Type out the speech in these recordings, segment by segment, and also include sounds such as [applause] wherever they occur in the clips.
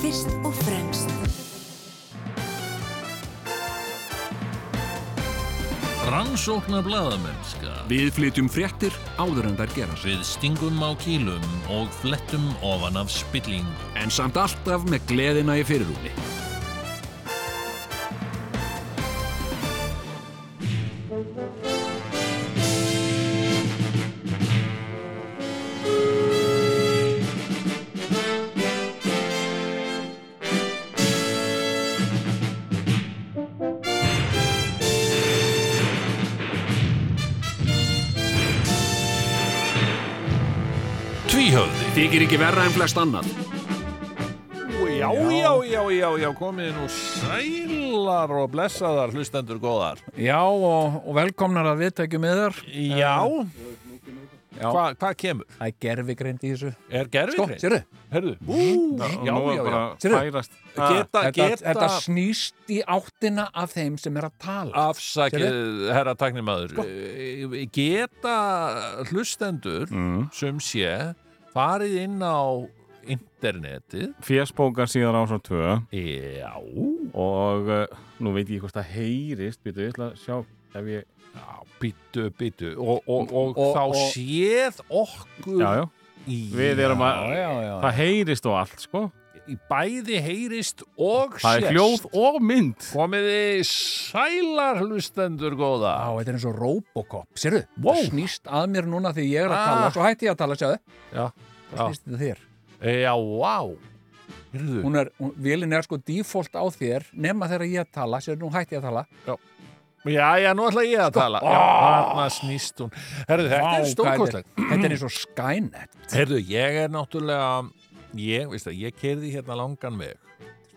fyrst og fremst. Rannsóknar blaðamennska Við flytjum fréttir áður en þær gerast. Við stingum á kýlum og flettum ofan af spilling En samt alltaf með gleðina í fyrirrúmi. Tvíhöfði Þykir ekki verra en flest annað. Já, já, já, já, já, komið nú sælar og blessaðar hlustendur góðar. Já og, og velkomnar að viðtækjum yður Já, Já, Hva, hvað kemur? það er gerfigreind í þessu Er Sko, gerfið? sérðu, Herðu, já, nú já, er já. bara Sérðu? færast Geta, þetta, þetta geta, snýst í áttina af þeim sem er að Ah. tala afsakið, herra taknimaður, eh, geta hlustendur sem sé farið inn á internetið. fjersbókar síðar Ah, á svo tvö Já, og uh, nú veit ég hvort það heyrist býtu, ég ætla að sjá ef ég já, býtu, býtu og, og, og, Og- þá og- séð okkur já, já, við erum að Já, já, já það heyrist og allt sko í bæði heyrist og það er hljóð og mynd Komiði sælar hlustendur góða Á, þetta er eins og Robocop, sérðu Wow. Það snýst að mér núna því ég er að Ah. tala Svo hætti ég að tala, sjáðu Já, Það já. snýst þetta þér Já, vá Hyrðu, Hún er, hún, Vélin er sko default á þér Nema þegar ég að tala, sérðu, nú hætti ég að tala já, já, nú ætla ég að Sko, tala Já, þarna snýst hún Herðu, þetta Vá, er stórkostlegt hvað Þetta er eins og Skynet Herðu, ég er náttúrulega Ég, veist það, ég kerði hérna langan veg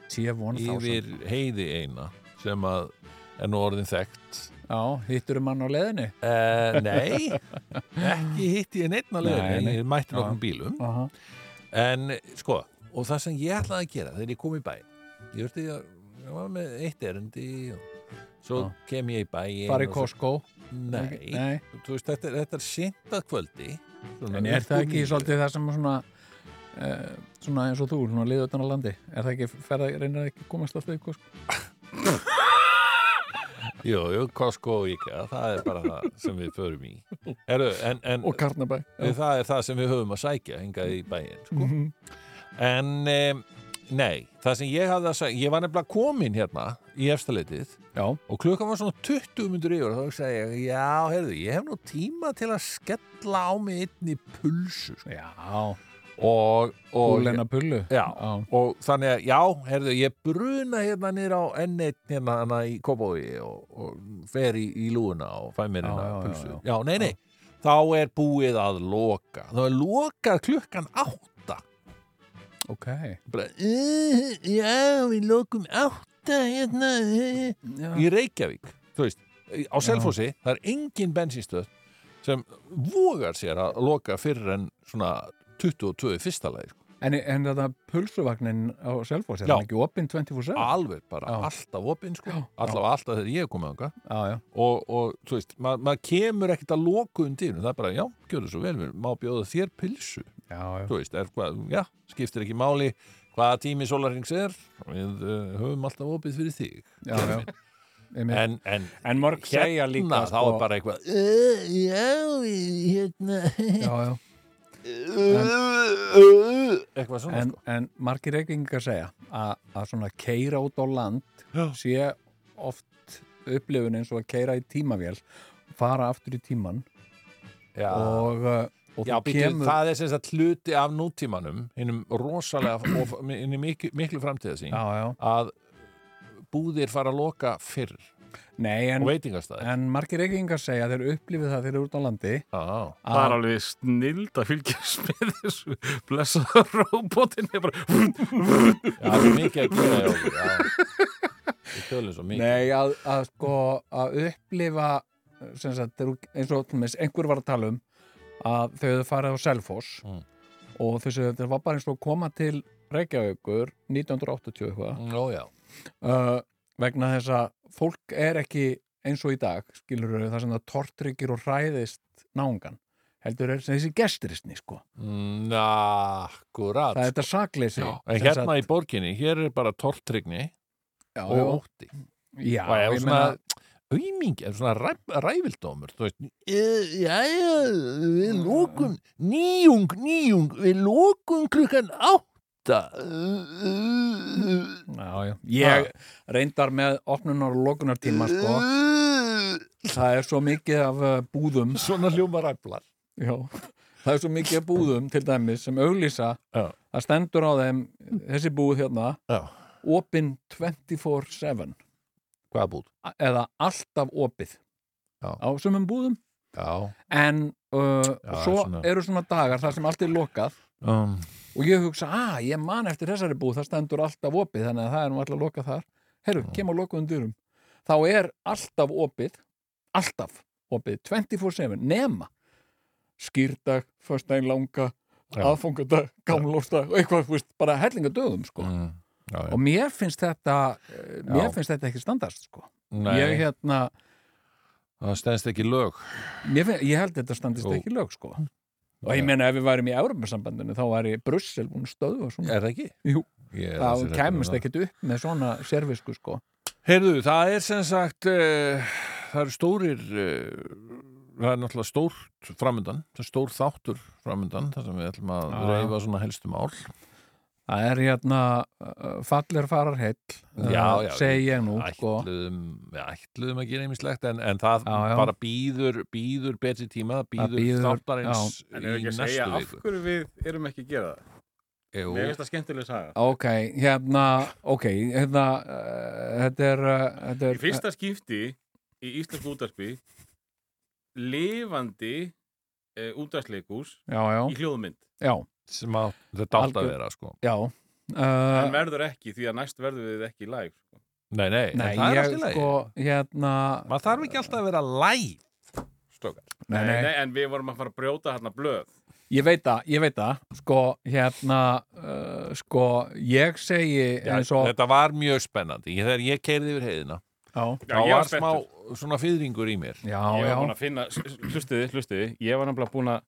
T-1000 Yfir heiði eina Sem að er nú orðin þekkt Já, hitturum mann á leiðinni Uh, nei, ekki hitti ég neitt að leiðinni, Nei, nei. ég mætti nokkrum bílum Aha. En sko, og það sem ég ætlaði að gera þegar ég kom í bæ Ég veist að ég var með eitt erindi og svo Já. kem ég í bæ Bara í Costco Nei, Nei. Þú veist, þetta, er- þetta er sint að kvöldi svona En er upp það úr ekki níu. svolítið það sem svona eh, svona eins og þú, svona liða utan á landi er það ekki, ferða, reynir það ekki að komast að þau sko? Jú, jú, Costco og IKEA, það er bara það sem við förum í Heru, En, en og Karnabæ við, það er það sem við höfum að sækja hingað í bæinn sko. En um, nei, það sem ég hafði að sækja Ég var nefnilega komin hérna í efstaleitið Já, Og klukkan var svona 20 myndur yfir og þá sagði ég, já, heyrðu, ég hef nú tíma til að skella á mig einn í pulsu. sko. já, Og, og, búleina pullu já, Já. og þannig að, já, heyrðu, ég bruna hérna niður á N1 hérna, hérna í Kópói og, og fer í, í lúuna og fæ mér Já, hérna já, já, pulsu. Já, já. nei, nei, þá er búið að loka. Þá er lokað klukkan átta. ok Bara, uh, já, við lokum átta hérna, uh, já. í Reykjavík þú veist, á Selfossi, það er engin bensinstöð sem vogar sér að loka fyrir en svona 22 í fyrsta lagi sko. En, en þetta pulsuvagnin á Selfoss er Já. Ah. hann ekki opinn 24-7? alveg bara, Já. alltaf opinn sko. Já. allavega alltaf þegar ég er komið ánga Já, já, og, og þú veist, ma- maður kemur ekkert að loku um dýrnum, það er bara, já, gjörðu svo vel við má bjóða þér pilsu, já, já. þú veist er, hvað, já, skiptir ekki máli hvaða tími sólarings er, við uh, höfum alltaf opið fyrir þig já, Hérna, já. [laughs] Einmitt. en, en hérna en mörg segja líka sko- þá er bara eitthvað "Eh, já, hérna [laughs] já, já. eitthvað svona En, sko. en margir reykingar segja að, að svona keira út á land sé oft upplifun eins og að keira í tímavél fara aftur í tíman já, og, uh, og já þú býtu, kemur það er sem sagt hluti af nútímanum hinnum [clears throat] rosalega og hinnum miklu, miklu framtíðasín já, já. að búðir fara að loka fyrr Nei, en, og veitingastæði en margir reykingar segja að þeir upplifið það þeir eru út á landi já, það er alveg snild að fylgjast [laughs] með þessu blessaða robotin ég bara já, það er mikið að gera hjá okkur já. við tölum svo mikið Nei, að, að sko að upplifa sem sagt, þeir eru- eins og til dæmis, einhver var að tala um að þau hefðu farið á Selfoss Mm. og þessu, þetta var bara eins og að koma til Reykjavíkur 1980 eitthvað Mm, Ó, já. uh, vegna þess að fólk er ekki eins og í dag, skilur þau það sem það tortryggir og hræðist náungan heldur er þessi gestrisni sko. Mm, Na, akkurat. það er þetta sakleysi En Sem hérna sagt- í borginni, hér er bara tortrygni já, og ótti. já, og ef ég svona meina- aumingi, ef svona ræ, ræfildómur þú veist "Eh, jæja, við Mm, lókum nýjung, nýjung, við lókum klukkan átta já, já. ég reyndar með opnunar og lokunartíma sko. það er svo mikið af uh, búðum svona hljóma ræflar Já, það er svo mikið af búðum til dæmis sem auglýsa Já. það stendur á þeim þessi búð hérna Já. opin 24-7 hvað búð? a- eða alltaf opið Já. á sumum búðum Já, en uh, Já, svo svona- eru svona dagar þar sem allt er lokað um, og ég hugsa, að ég man eftir þessari búð það stendur alltaf opið, þannig að það er nú alltaf lokað þar herru, Já. kem á lokuðum dyrum þá er alltaf opið alltaf opið, 24-7 nema skýrdag, föstdæn langa Já. aðfungadag, gamlófsdag og eitthvað, þú veist, bara hellinga dögum sko. mm, já, já. og mér finnst þetta eh, mér Já. finnst þetta ekki standast sko. Nei, ég, hérna, það stendst ekki lög mér finn, ég held þetta standist Jú. ekki í lög sko. og ég meina ef við værum í Európa-sambandinu þá væri Brussel búin að stöðva svona Er það ekki? Jú. Ég er það ansi hræddur um kæmist það. ekkit upp með svona servisku sko Heyrðu, það er sem sagt uh, það eru stórir uh, það er náttúrulega stórt framöndan, það er stór þáttur framöndan þar sem við ætlum að Já, ah, já. reyfa svona helstu mál það er hérna uh, fallir farar heill Já, já, segi ég nú sko ætluðum, við ætluðum að gera einmislegt en, en það Já, já. bara býður, býður betri tíma, það Það býður, býður, þáttarins En ef í ekki að segja næstu af viku hverju við erum ekki að gera það Jú, Mér finnst það skemmtileg saga ok, hérna ok, hérna uh, þetta er, uh, þetta Í er fyrsta skipti í Íslands útarpi lifandi uh, útarsleikús já, já, í hljóðmynd já, sem að þetta átt að Algjör- vera sko já en uh, verður ekki því að næst verður við ekki live sko. Nei, nei, en nei, það er ég allt í lagi sko hérna maður þarf ekki alltaf að vera live Stókar nei, nei, en við vorum að fara að brjóta hérna blöð ég veit það, ég veit það sko, hérna uh, sko, ég segi eins og, Þetta var mjög spennandi, Ég- þegar ég keirði yfir heiðina já, Já, þá ég var var smá spenntur. svona fyrringur í mér já, ég var já búin að finna, hlustiði, hlustiði ég var nefnilega búin að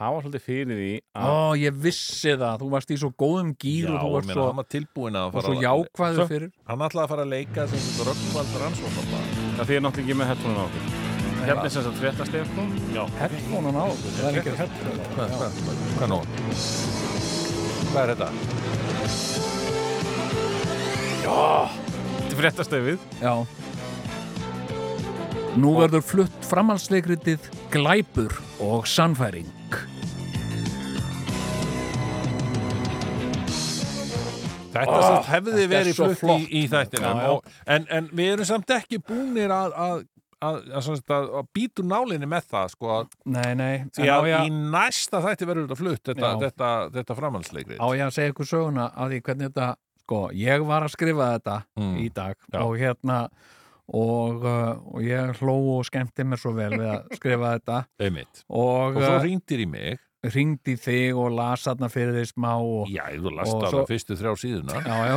hafa svolítið fyrir því að Ó, ég vissi það, þú varst í svo góðum gýr og þú ég varst meina, svo, hann var tilbúin að var fara svo jákvæður fyrir hann ætlaði að fara að leika sem þetta röggvald rannsóknarblad það því er náttúrulega ekki með headphone á okkur hérna er sem sagt fréttastef já, Hellónan á, okkur, það er ekki hellónan hvað, hvað, hvað, hvað, hvað er þetta? þetta er fréttastefið Já Nú verður flutt framhaldsleikritið Glæpur og sannfæring Þetta oh, satt hefði þetta er verið svo flutt í, flott. í þættinum Já, já. og- En, en við erum samt ekki búnir að, að, að, að, sem sagt að, að býtu nálinni með það sko, að- Nei, nei, en því á að ég, í næsta þætti verður þetta flutt þetta, Já. þetta, þetta framhaldsleikri á ég að segja ykkur söguna að því hvernig þetta, sko, ég var að skrifa þetta Mm. í dag Já. og hérna og, uh, og ég hló og skemmti mér svo vel við [laughs] að skrifa þetta einmitt og, Og svo uh, hringdir í mig hringdi í þig og las þarna fyrir þig smá og, Já, þú lasta Og alveg svo- fyrstu þrjá síðuna já, já.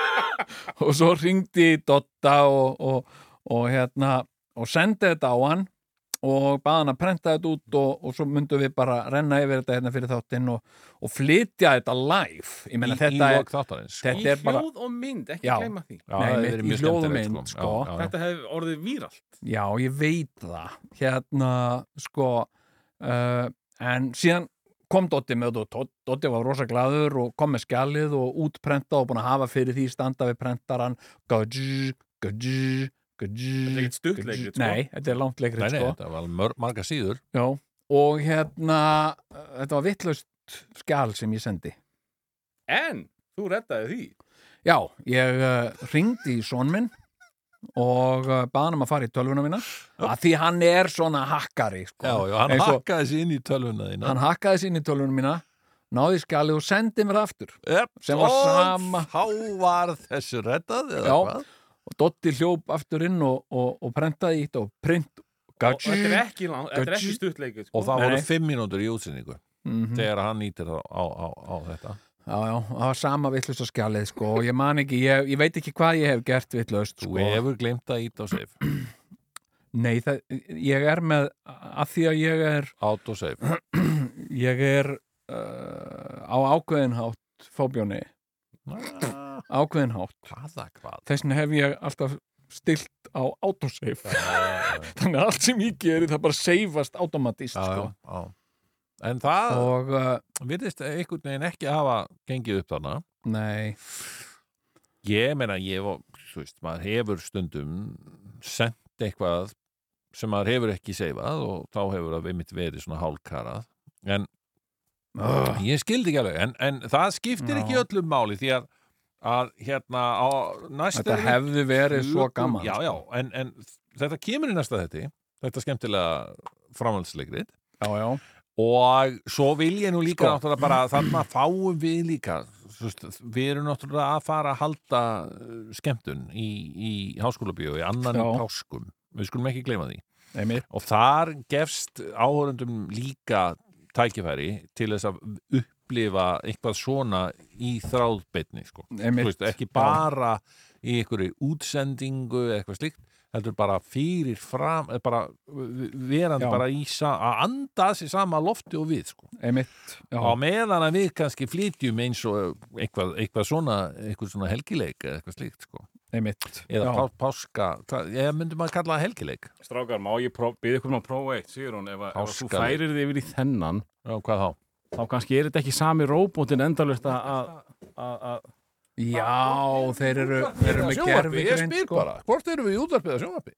[laughs] og svo ringdi Dotta og, og, og, hérna, og sendi þetta á hann og baða hann að prenta þetta út og, og svo myndum við bara renna yfir þetta hérna fyrir þáttinn og, og flytja þetta live ég meina í, í þetta er, lók þáttarins sko. þetta í er bara hljóð og mynd, ekki Já. gleyma því Já, Nei, það hefði mitt verið í mjög hljóð og skemmtilegt, mynd, sko. Já, sko. já, já. þetta hefði orðið víralt já, ég veit það hérna, sko uh, en síðan kom Dotti með þetta og Dod- Dotti var rosa glaður og kom með skjalið og útprenta og búin að hafa fyrir því standa við prentaran gudj, gudj, gudj Þetta er ekkert stutt leikrit, sko. Nei, þetta er langt leikrit, Nei, nei, sko þetta var mör, marga síður Já, og hérna uh, þetta var vittlaust skjal sem ég sendi en þú reddaði því Já, ég uh, ringdi í son minn og uh, baði hann um að fara í tölvuna mína að því hann er svona hakkari sko. hann Eins og- hakkaði sér inn í tölvuna þína hann hakkaði sér inn í tölvunum mína náði í skjalið og sendi mér aftur yep, sem var sama- Þá var þessu reddað eða Já. hvað? og Dotti hljóp aftur inn og, og, og prentaði í þetta og print og þetta er ekki, lang, þetta er ekki Gajú. stutt leikrit sko. Og það Nei, voru nei. fimm mínútur í útsendingu mm -hmm. þegar hann nýtir á, á, á, á þetta já, já, það var sama vittlusta skjalið sko, og ég man ekki, ég, ég veit ekki hvað ég hef gert vittlust Þú sko. hefur glemt að íta á sif Nei, það, ég er með að því að ég er [clears throat] autosave ég er uh, á ákveðinhátt fóbjóni, Ah, ákveðinhátt hvaða hvað þess vegna hef ég alltaf stilt á Sko. autosave þannig að allt sem ég geri það bara seifast automatist Já, já, sko. já. en það og uh, virðist einhvern veginn ekki hafa gengið upp þarna nei, ég meina ég var, þú veist, maður hefur stundum sendt eitthvað sem maður hefur ekki seifað og þá hefur það einmitt verið svona hálkarað en Ugh. ég skildi ekki alveg en, en það skiptir Já. ekki öllum máli því að, að hérna á næsta þetta hefði verið svo gaman já, sko. já, en, en þetta kemur í næsta þetta þetta skemmtilega framhaldsleikrit já, já. og svo vil ég nú líka Sko. náttúrulega bara þarna fáum við líka þú veist, við erum náttúrulega að fara að halda uh, skemmtun í, í háskólabíu, í annan í Já. páskum við skulum ekki gleyma því einmitt, og þar gefst áhörundum líka tækifæri til þess að upplifa eitthvað svona í þráðbeinni sko. Þú einmitt. veist, ekki bara í einhverju útsendingu eða eitthvað slíkt heldur bara fyrir fram eh, bara v- verandi Já. bara í sa- að anda sér sama lofti og við sko. já, einmitt já, á meðan að við kannski flytjum eins og eitthvað, eitthvað svona eitthvað svona helgileik eða eitthvað slíkt sko. einmitt eða já. pá, páska, það- eða myndum maður kalla það helgileik Strákar, má ég pró- biðja ykkur um að prófa eitt, sigur hún, ef, að- ef að þú Páskaleg. færir þig yfir í þennan, Já, hvað þá? þá kannski er þetta ekki sami róbótin endalvist að- að... að- að- já, þeir eru, þeir eru með sko. gerfi hvort erum við í útvarpið að sjónvarpi?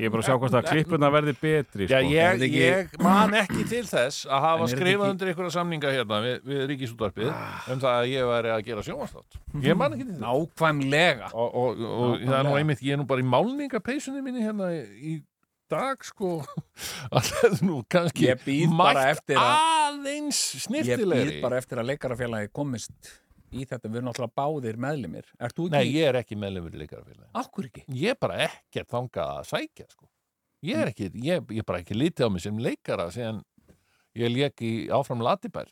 Ég er bara að sjá hvort að klippurna verði betri, Já, sko. ég, Er þetta ekki- ég man ekki til þess að hafa En er þetta skrifað ekki- undir einhverja samninga hérna við, við Ríkisútvarpið um það að ég væri að gera sjónvarstátt. Ég man ekki til þess. nákvæmlega Og, og, og, það er nú einmitt, ég er nú bara í málningapeysunni minni hérna í, í dag, sko. [laughs] Að það er nú kannski Ég býð bara eftir að- aðeins ég snirtilegri. býð bara eftir að leikarafélagi komist í þetta, við erum náttúrulega báðir meðlimir ert þú Nei, ekki? ég er ekki meðlumur í leikarafélagi. Akkur ekki? Ég er bara ekkert þangað að sækja, sko. Ég er ekki, ég, ég er bara ekki litið á mig sem leikara síðan ég lék í áfram Latibær.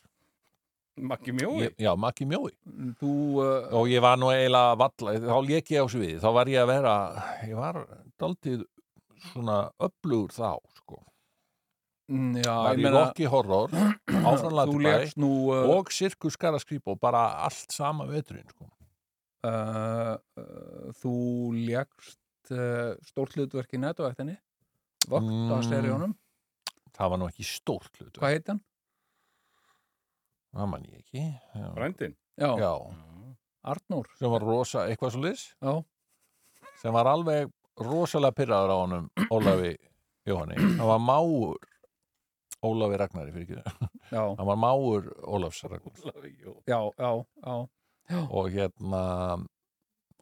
Maggi mjói. Ég, já, Maggi Mjói. Þú, uh, og ég var nú eiginlega valla, þá lék ég á sviði, þá var ég að vera, ég var daldið svona öflugur þá, sko. mm, já, Var ég í meina Rocky Horror, áfram þú Latibæ legst nú uh, og Sirkus Garaskrýp og bara allt sama veturinn, sko. uh, uh, þú legst uh, stórt hlutverk í nettovættinni vakt Mm. á seriónum, Það var nú ekki stórt hlut, hvað heit hann? það man ég ekki. Já. Brændin. Já, Já, Arnór sem var rosa, eitthvað svo lis, Já, sem var alveg rosalega pyrraður á honum Ólafi Jóhanni. Það var máur Ólafi Ragnari, fyrir ekki það. já, Það var máur Ólafs Ragnari. já, já, já. og hérna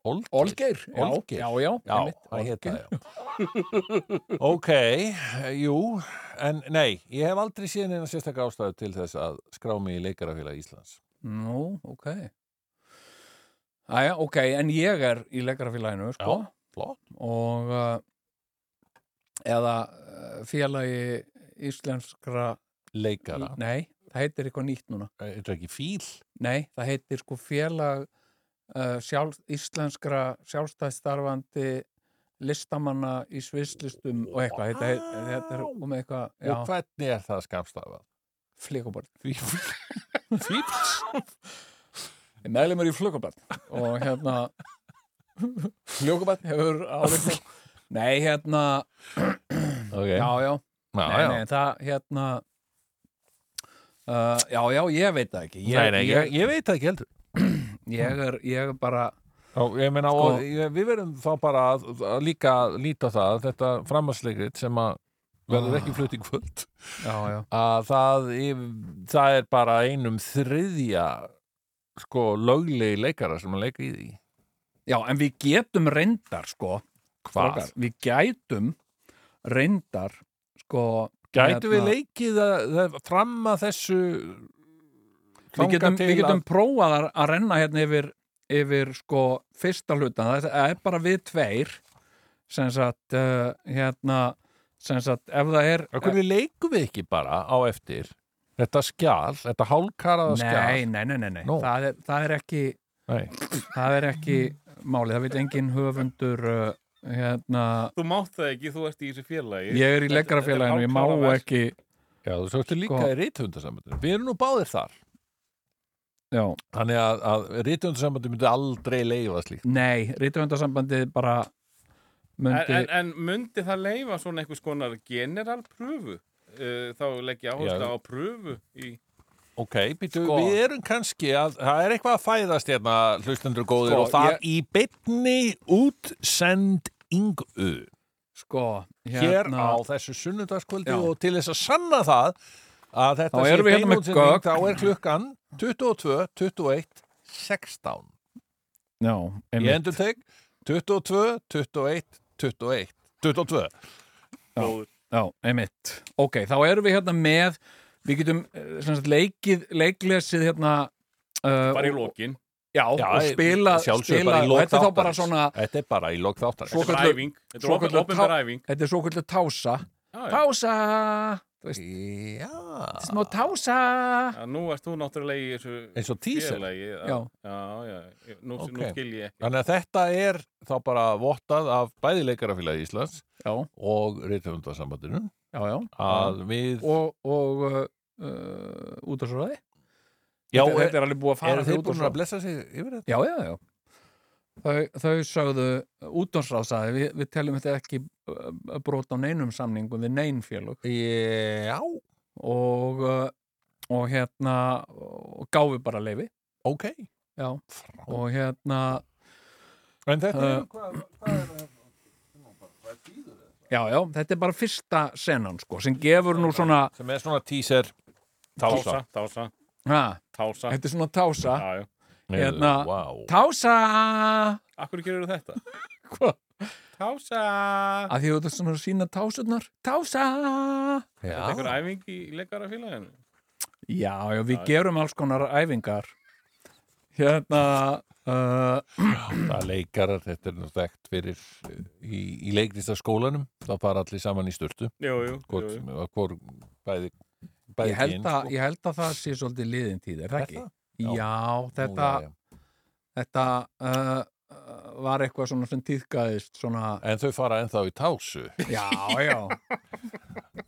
Olgeir, Olgeir, já, Olgeir. já, já, já, einmitt, það Olgeir. heita já [laughs] ok, jú en nei, ég hef aldrei séð neina sérstakka ástæðu til þess að skrá mig í leikarafélag Íslands Nú, ok Æja, ok, en ég er í leikarafélaginu, sko Já, flott. Og uh, eða uh, félagi íslenskra leikara, Nei, það heitir eitthvað nýtt núna er þetta ekki fíl? Nei, það heitir sko félag uh, sjálf, íslenskra sjálfstæðstarfandi listamanna í svislistum og eitthvað, þetta, heit- þetta er um eitthvað, og já, hvernig er það skamstafað? flíkubart fíl? meðlumur í flugubart og hérna flugubart hefur árið nei hérna, ok, já já, já, nei, já. nei, það hérna uh, já já, ég veit það ekki Nei, nei, ég, ég veit það ekki heldur ég er, ég er bara Já, ég meina, Sko- og ég, við verðum þá bara að, að líka líta á það að þetta framhansleikrit sem að verður ekki flutt í kvöld já já, að það, yf- það er bara einum þriðja sko löglegi leikara sem að leika í því já, en við getum reyndar sko, strákar, við gætum reyndar sko Gætu við hérna- leikið að, það, fram að þessu við getum, þangað til við getum prófað að, að renna hérna yfir, yfir sko fyrsta hlutan, það er- það er bara við tveir sem sagt uh, hérna, sem sagt ef það er að hvernig leikum við ekki bara á eftir þetta skjál, þetta hálkaraða nei, skjál nei, nei, nei, nei. Nú. Það, er, það er ekki Nei. það er ekki málið, það vil engin höfundur uh, hérna, Þú mátt það ekki, þú ert í þessu félagi ég er í leggarafélaginu, ég má ekki Já, þú sáttu líka Sko. í rithundasambandinu. Við erum nú báðir þar. já, Þannig að, að rithundasambandinu myndi aldrei leifa slíkt. nei, rítuvendasambandið bara En, myndi en, en myndi það leifa svona einhvers konar general pröfu? Uh, þá legg ég áherslu Já. á pröfu í... Ok, býtu, Sko. við erum kannski að, það er eitthvað að fæðast hérna hlustendur góðir Sko, og það í bytni útsendingu sko, hérna- hér á þessu sunnudagskvöldi Já. og til þess að sanna það að Þá þetta sé erum við hérna með gögn. þá er klukkan 22, 21, 16. já, Ég einmitt, endur teg 22, 21, 21, 22. já, einmitt ok, þá erum við hérna með við getum eh, sem sagt, leikið leiklesið hérna uh, Bara í og- lokin já, og spila, sjálfsögðu spila bara í lok þetta er þá bara þáttarins. svona Þetta er bara í lok þáttar. Svo- Þetta er Svokölluð- æfing Þetta er svokölluð opin- opinber tá- æfing þetta er svo kvöldu tása Já, já. tása, þú veist, Já. smá tása Já, Nú ert þú náttúrulega í þessu Eins og tísel. félagi Já. já, já. Ég- Nú, nú Ok. skil ég ekki Þannig að þetta er þá bara vottað af bæði leikarafélagi Íslands já, og reytöfundarsambandinu já, já að við... og, og uh, uh, útásróði Já, þetta, er, þetta er alveg búið að fara eru fyrir þeir búin útvarpsráð. að blessa sig yfir þetta? Já, já, já. Þau, þau sögðu útdónsráðsaði, við, við teljum þetta ekki uh, brot á neinum samningum við nein félög Já. og, uh, og hérna og gáfi bara leifi Ok. já. og hérna En þetta Uh, er... Hvað, hvað er það? já, já, þetta er bara fyrsta senan sko, sem gefur nú svona Sem er svona teaser tása. Tása, tása, ha, tása þetta er svona tása Já, já Hérna- Wow. tása Akkur gerur þetta? Hva? Tása að því þú ert svona að sína tásunar tása Þetta er einhver æfing í leikarafélaginu já, já, við gerum alls konar æfingar hérna uh, Það leikarar, þetta er nú þekkt fyrir uh, í, í leiklistaskólanum, þá fara allir saman í störtu, Jú, jú, jú, hvort, jú. hvort bæði, bæði ég held, kyn, að, sko. ég held að það sé svolítið liðin tíð, er það Er ekki? það? Já, Já. þetta, Nú, já, já. þetta uh, uh, var eitthvað svona sem týðkaðist svona, En þau fara ennþá í tásu. já, [laughs] já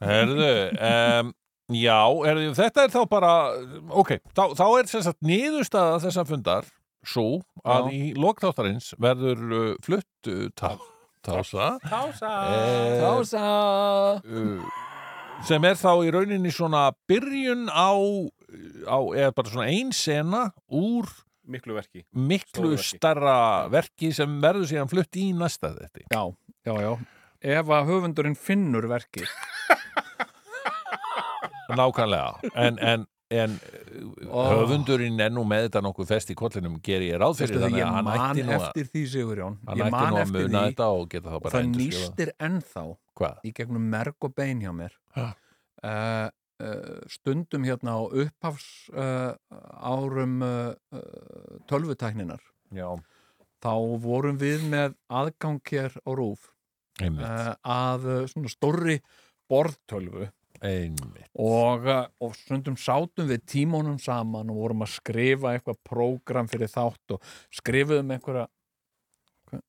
Herðu, um, já, herðu, þetta er þá bara, ok, þá, þá er sem sagt niðurstaða þessa fundar svo að Já. í lokþáttarins verður uh, flutt uh, tá, tása. Tása Eh, Tása uh, sem er þá í rauninni svona byrjun á, á eða bara svona ein sena úr Miklu verki miklu Stóru verki. starra verki sem verður síðan flutt í næsta þetta Já, já, já Ef að höfundurinn finnur verkið nákvæmlega en, en, en Ó. oh. höfundurinn er nú með þetta nokkuð fest í kollinum ger ég ráð Veistu fyrir það, þannig ég að hann man ætti nú að eftir því, Sigurjón hann Ég ætti man nú að eftir muna því þetta og geta það og bara það endurskrifa. nýstir ennþá hvað? í gegnum merg og bein hjá mér uh, Ha. uh, stundum hérna á upphafs uh, árum uh, uh, tölvutækninar Já, þá vorum við með aðgang hér á Rúf einmitt, uh, að eh, svona stórri borðtölvu einmitt. og, eh, og stundum sátum við tímónum saman og vorum að skrifa eitthvað prógram fyrir þátt og skrifuðum einhverja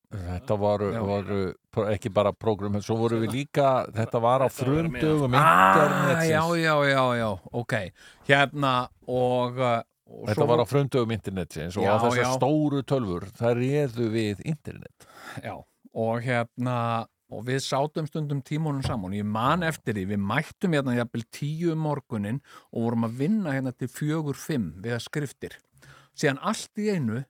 Þetta voru, Já. voru pro- ekki bara prógrum, svo voru við líka þetta var á Þetta var að frumdögum ah, internetsins já, já, já, já, ok hérna og, eh, og Þetta var á fröndöfum internetsins og Já, á þessar já. stóru tölfur, það réðu við internet. Já, og hérna og við sátum stundum tímunum saman og ég man eftir því, við mættum hérna jafnvel tíu um morgunin og vorum að vinna hérna til fjögur fimm við að skriftir síðan allt í einu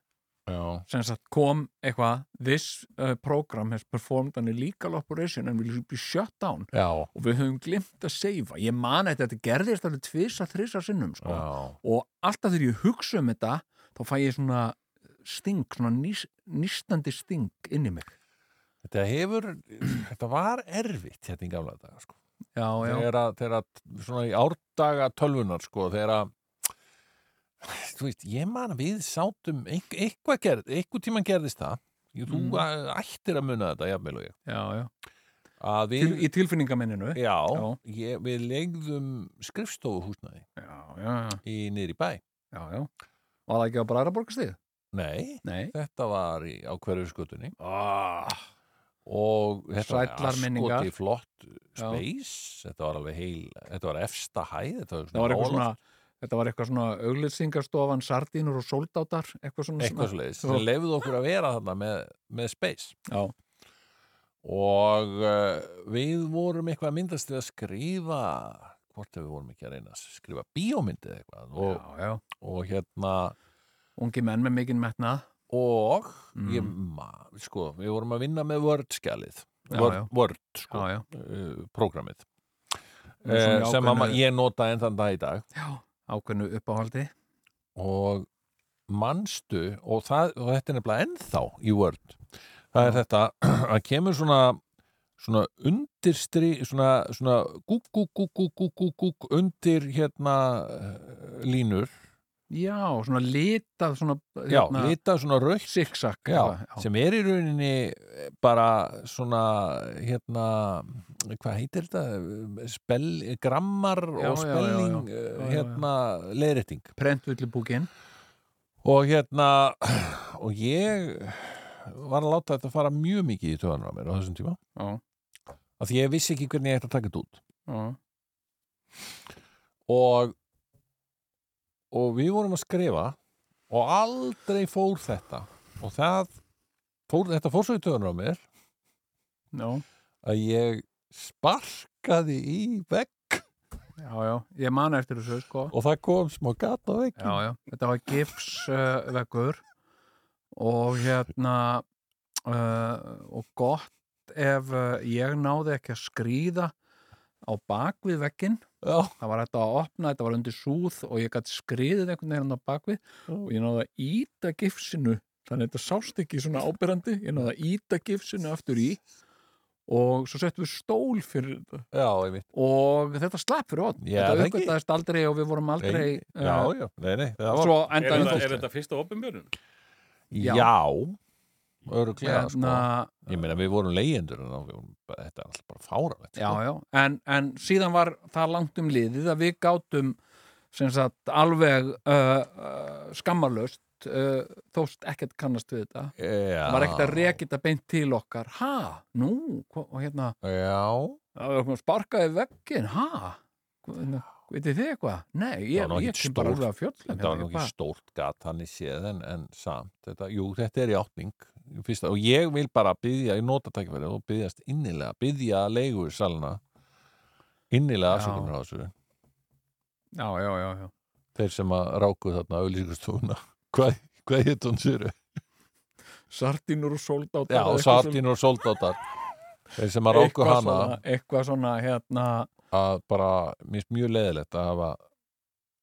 Já. sem sagt kom eitthvað this uh, program has performed an illegal operation and will be shut down Já. og við höfum glimt að seifa ég man eftir að þetta gerðist alveg tvisa þrisa sinnum sko. og alltaf þegar ég hugsa um þetta þá fæ ég svona sting, svona nýs, nýstandi sting inn í mig Þetta hefur, þetta var erfitt hérna í gamla daga, sko. Já, já. Þegar að, þegar að, svona í árdaga tölvunar, sko, þegar að, [laughs] þú veist, ég man að við sátum, einh- eitthvað gerð, eitthvað tíman gerðist það, ég, þú Mm. mm. ættir að muna þetta, jafnvel og ég, já, já. að Til, við, í tilfinningaminninu já, Já. Ég, við legðum skrifstofuhúsnaði já, já, í niður í bæ. já, já. var það ekki á bræðraborgastíð? Nei, nei þetta var í, á hverju skutunni. ah. og þetta var Sællar minningar. askoti flott Já. space þetta var alveg heil, þetta var efsta hæð þetta var, það var eitthvað nálægt- svona þetta var eitthvað svona auglýsingastofan sardínur og sóldátar eitthvað svona eitthvað svoleiðis, Já. þeir lefðu okkur að vera þarna með, með space Já. og uh, við vorum eitthvað að myndast til að skrifa hvort ef við vorum ekki að reyna að skrifa bíómyndið eitthvað og, já, já. og hérna ungi menn með mikinn metnað og Mhm. ég, ma- sko, við vorum að vinna með Word-skjalið Já, já. Word, Word sko, já, já. uh, prógramið Með svona eh, sem að ma- ákveðnu- ég nota enn þann dag í dag já, ákveðnu uppáhaldi og manstu og, það, og þetta er nefnilega ennþá í Word það er þetta að kemur svona svona undirstri svona, svona gúk, gúk, gúk, gúk, gúk, gúk, gúk undir hérna eh, línur, já, svona litað svona já, lita svona rautt zigzag Hérna já, eitthvað, sem er í rauninni eh, bara svona hérna, hvað heitir þetta Spell, grammar Já, og já, já, já. spelling já, já, já. hérna, leiðrétting prentullibúkin og hérna [clears throat] og ég var að láta þetta fara mjög mikið í töðanur á mér á þessum tíma já, af því ég vissi ekki hvernig ég ætti að taka þetta út já, og og við vorum að skrifa og aldrei fór þetta og það fór, þetta fór svo í töðanur á mér já, að ég sparkaði í vegg já, já ég man eftir þessu sko og það kom smá gata vegg já, já, þetta var gifs uh, vekkur og hérna uh, og gott ef uh, ég náði ekki að skrýða á bak við vekkinn já, það var þetta að opna, þetta var undir súð og ég gæti skriðið einhvern veginn á bakvið og ég náði að íta gifsinu þannig að þetta sást ekki svona ábyrrandi ég náði að íta gifsinu aftur í og svo settum við stól fyrir þetta já, einmitt og þetta slapp fyrir ótt Já, þetta það ekki. uppgötaðist aldrei og við vorum aldrei Nei, já, uh, já, nei, nei, það var svo Er endaði þetta, þetta er þetta fyrsta opinbjörun? já. já sko. öruglega hérna, Ég meina, við vorum leyendur en þá við vorum bara, þetta er alltaf bara sko. fáranlegt. já, já, en, en síðan var það langt um liðið að við gátum sem sagt alveg uh, uh, skammarlaust uh, þóst ekkert kannast við þetta já. Það var ekkert að reka þetta beint til okkar ha, nú, hva- og hérna Já, það var okkur sparkaði veggin, ha Hva- hérna, vitið þið eitthvað? Nei, Það ég, var nú ég ekkert kem bara stórt. alveg að fjöllum hérna, þetta var nú ekki stórt gat hann í séð en, en samt. Þetta, jú, þetta er játning. Fyrsta, og ég vil bara byggja, ég nota tækifæri og byggjast innilega, byggja leigur salna innilega Já. afsökunar á þessu. já, já, já, já. Þeir sem að ráku þarna auðlýsingustúna. [laughs] Hvað, hvað hétt hún sér? sardínur og sóldátt Já, og Sardín og Soldátar. Þeir sem að ráku hana svona, eitthvað svona hérna að bara, mér finnst mjög leðilegt að hafa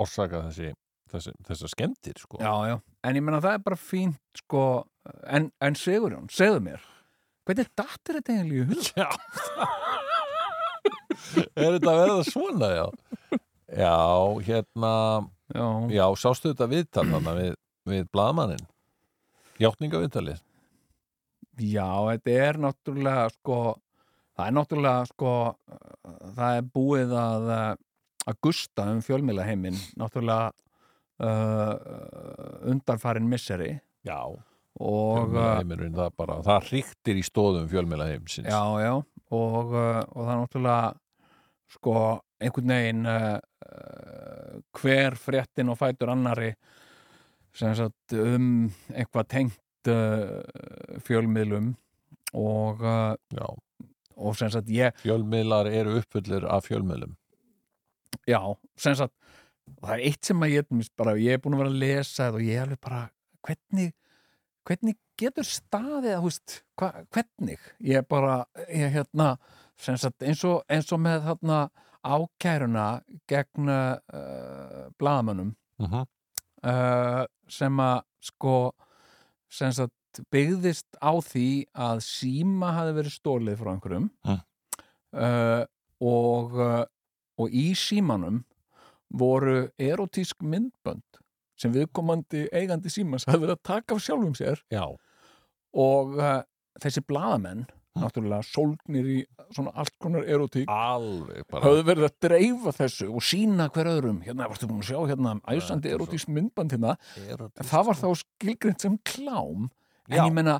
orsakað þessi, þessi, þessar skemmtir sko. já, já. en ég meina það er bara fínt sko, en, en Sigurjón, segðu mér hvernig dattir þetta eiginlega í hug? [laughs] Já Er þetta að verða svona, já Já, hérna Já, Já, sástu þetta viðtal þarna við, við blaðmanninn Játningaviðtalið já, þetta er náttúrulega sko, það er náttúrulega sko, uh, það er búið að uh, að gusta um fjölmýla heiminn náttúrulega uh, undarfarin misseri Já og uh, Fjölmiðlaheimurinn, Hérna það, bara, það hriktir í stóðum fjölmiðla heimsins eh, Já, já, og, uh, og það er náttúrulega sko einhvern veginn uh, uh, hver fréttin og fætur annari sem sagt um eitthvað tengt uh, fjölmiðlum og, uh, Já, og sem sagt ég, Fjölmiðlar eru uppfullir af fjölmiðlum já, sem sagt það er eitt sem að ég, til dæmis bara, ég er búin að vera að lesa þetta og ég er alveg bara hvernig, hvernig getur staðið, þú veist, hva, hvernig ég er bara, ég hérna sem sagt, eins og, eins og með þarna ákæruna gegn uh, blaðamönnum mm uh, sem að sko sem sagt byggðist á því að síma hafi verið stólið frá einhverjum Mm. uh, og, uh, og í símanum voru erotísk myndbönd sem viðkomandi eigandi símans hafi verið að taka af sjálfum sér Já, og uh, þessi blaðamenn Mm. náttúrulega sólgnir í svona allt konar Ah. erotík alveg bara höfðu verið að dreifa þessu og sína hver öðrum, hérna, varstu búin að sjá hérna æsandi þetta er svo- erotísk myndband hérna Erotískt. En það var þá skilgrind sem klám en Já. ég meina,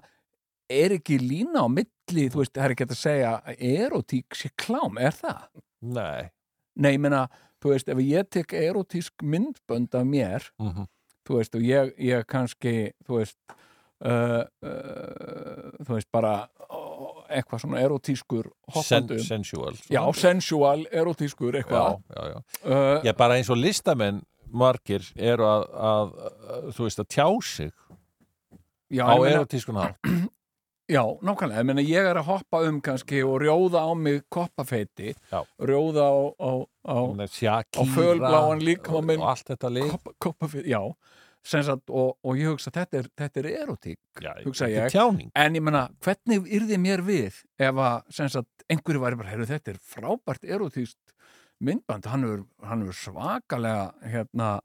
er ekki lína á milli, þú veist, það er ekki hægt að segja að erotík sé klám, er það? Nei Nei, ég meina, þú veist, ef ég tek erotísk myndbönd af mér, mm þú veist, og ég, ég kannski, þú veist, uh, uh, þú veist, bara ó, eitthvað svona erotískur Sen, hoppandu. Sensual já, sensual, erotískur, já, eitthvað. já, já. Uh, Ég bara eins og listamenn margir eru að, að, að þú veist að tjá sig já, á ég meina- erotískun hátt Já, nákvæmlega, ég meina ég er að hoppa um kannski og rjóða á mig koppafeiti, Já. rjóða á, á, á Sjakíra á fölbláan líkama minn. og allt þetta lík koppa, koppafeiti, já, sem sagt, og, og ég hugsa þetta er, þetta er erotík, já, hugsa þetta er ég. tjáning En ég meina, hvernig yrði mér við ef að, sem sagt, einhverju væri bara, heyrðu, þetta er frábært erotíst myndband, hann er, hann er svakalega, hérna,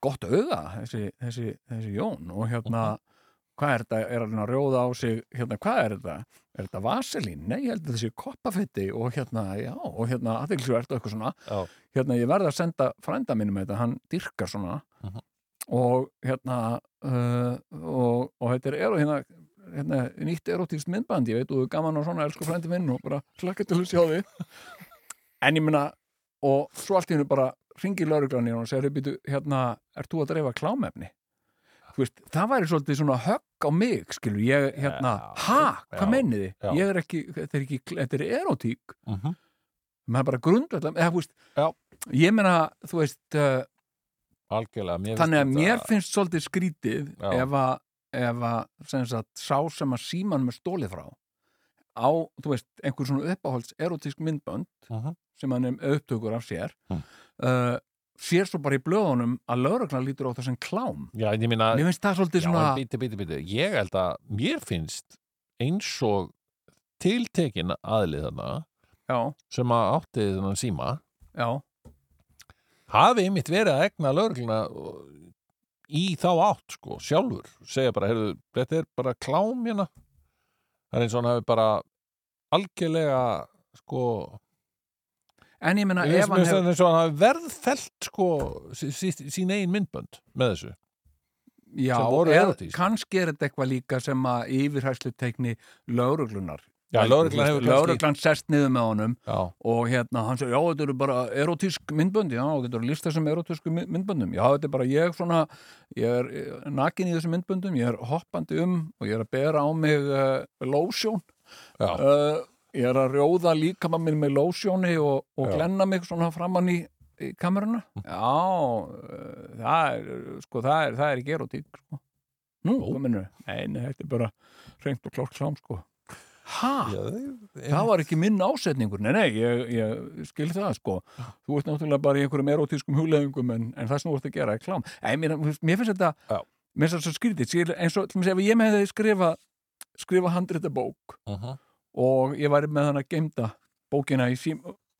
gott auga, þessi, þessi, þessi Jón, og hérna, hvað er þetta, er hann að rjóða á sig, hérna, hvað er þetta, er þetta vaselín, nei, ég held að þessi koppafetti og hérna, já, og hérna, aðeinsverð og eitthvað svona, Já. hérna, ég verði að senda frænda mínum þetta, hann dyrkar svona, Mhm. og hérna, uh, og, og þetta er, er hérna, hérna, nýtt erotíst myndband, ég veit, og þú er gaman og svona, elsku frændi minn og bara slakka til að sjá þig en ég meina, og svo allt í hennu bara ringir lauruglan í hann og segir, býtu, hérna, ert þú að dreifa klámefni? Þú veist, það væri svolítið svona högg á mig, skilur, ég, hérna, Já, ha, já, hvað meinið þið? já. Ég er ekki, þetta er ekki, þetta er erotík, mm -hmm. maður bara grundvæðlega, eða, þú veist, Já. ég meina, þú veist, uh, algjörlega mér þannig að mér þetta- finnst svolítið skrítið Já. ef að, ef að sem sagt, sá sem að síman með stólið frá á, þú veist, einhver svona uppáhalds erotísk myndbönd Mhm. sem hann er upptökur af sér Mm. uh, sér svo bara í blöðunum að lögreglan lítur á það sem klám já, en ég minna mér finnst það svolítið já, svona en bíti, bíti, bíti ég held að mér finnst eins og tiltekin aðlið þarna já, sem að átti þennan síma já, hafi einmitt verið að egna lögregluna uh, í þá átt sko, sjálfur, segja bara heyrðu, þetta er bara klám hérna það er eins og hann hafi bara algjörlega sko en ég meina Ég ef veist hann mér hefur hef... eins og hann hafi verðfelt sko sí- sí- sín eigin myndbönd með þessu já, sem voru eða erotísk. kannski er þetta eitthvað líka sem að yfirhæslu tekni lögreglunar Já, lögreglan hefur kannski lögreglan sest niður með honum Já, og hérna, hann segir, já, þetta eru bara erotísk myndbönd, já, þetta eru lista sem erotísku my- myndböndum, já, þetta er bara ég svona ég er eh, nakin í þessum myndböndum ég er hoppandi um og ég er að bera á mig uh, lósjón já, uh, ég er að rjóða líkama minn með lósjóni og, og Já. Hm. glenna mig svona framann í, í kameruna já, uh, það er sko, það er, það er ekki erotík sko. nú, kominu, nei, nei, þetta er bara reynd og klárt klám, sko ha? já það var ekki minn ásetningur, nei nei, ég, ég skil það sko, þú ert náttúrulega bara í einhverjum erotískum hugleðingum en, en það sem þú ert að gera er klám, Ei, mér, mér finnst þetta Já. mér finnst þetta svo skrítið, Skil- eins og til dæmis ef ég með þeir skrifa skrifa handritabók Mhm, og ég væri með hana geimda bókina í sím,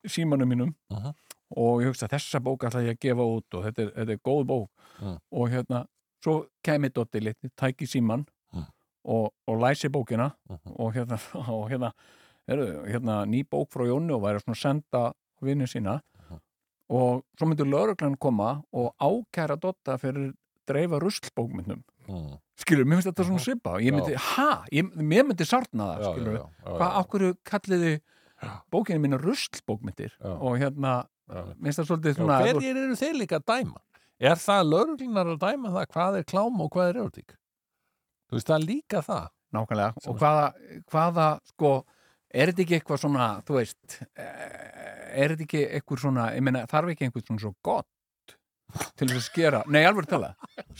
símanum mínum Mhm. og ég hugsa þessa bók ætla ég að gefa út og þetta er, þetta er góð bók Mm. og hérna, svo kemi Dotti litni, tæki síman Mm. og, og læsi bókina mhm. og hérna, [laughs] og hérna, heru, hérna ný bók frá Jónu og væri svona að senda vinnu sína Mhm. og svo myndur lauruglan koma og ákæra Dotta fyrir dreifa ruslbókmyndum Mm, skilur, mér finnst þetta svona Mhm. svipa ég Já. myndi, ha, ég, mér myndi sárna það já, já, skilur, já, já, hvað, já. okkur kalliði Já. bókinu mína ruslbókmyndir Já. og hérna, Já. mér finnst það svolítið Já, svona Hverjir eru þeir líka að dæma? Er það lögreglunar að dæma það hvað er klám og hvað er erotík? Þú veist, það er líka það. Nákvæmlega, Sem og að- hvaða, hvaða sko, er þetta ekki eitthvað svona, þú veist, eh, er þetta ekki eitthvað svona, ég meina, þarf ekki einhvern svona svo gott til þess að skera, nei, alveg tala,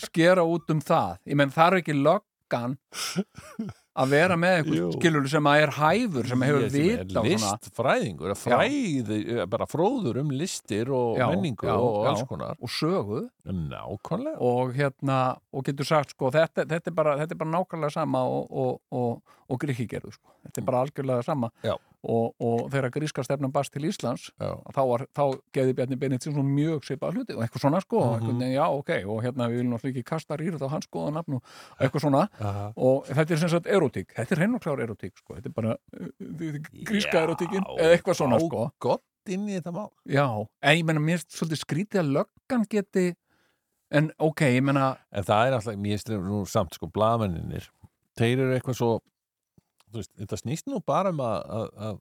skera út um það, ég meina, þarf ekki löggan að vera með Jú. eitthvað skilur sem að er hæfur, sem hefur Ég sem er vita og svona, Listfræðingur, er fræði, er bara fróður um listir og Já, menningu já, og já. alls konar. og sögu Nákvæmlega. og hérna, og getur sagt, sko, þetta, þetta, er, bara, þetta er bara nákvæmlega sama og, og, og, og gríki gerðu, sko, þetta er bara algjörlega sama Já. og, og þegar gríska stefnum bast til Íslands Já, þá, var, þá gefði Bjarni Benediktsson mjög svipað hluti og eitthvað svona sko mm Mhm. einhvern veginn, já ok, og hérna við viljum náttúrulega ekki kasta rýrð á hans góða nafn og eitthvað svona Aha. og þetta er sem sagt erotík, þetta er henn og klár erotík sko, þetta er bara uh, uh, gríska Já, erotíkin eða eitthvað svona já, sko Gott inn í þetta mál. já, en ég menna mér finnst svolítið skrítið að löggan geti en ok, ég menna En það er alltaf, mér styrir nú samt, sko, blamennir. Þeir eru eitthvað svo þú veist, þetta snýst nú bara um að, að, að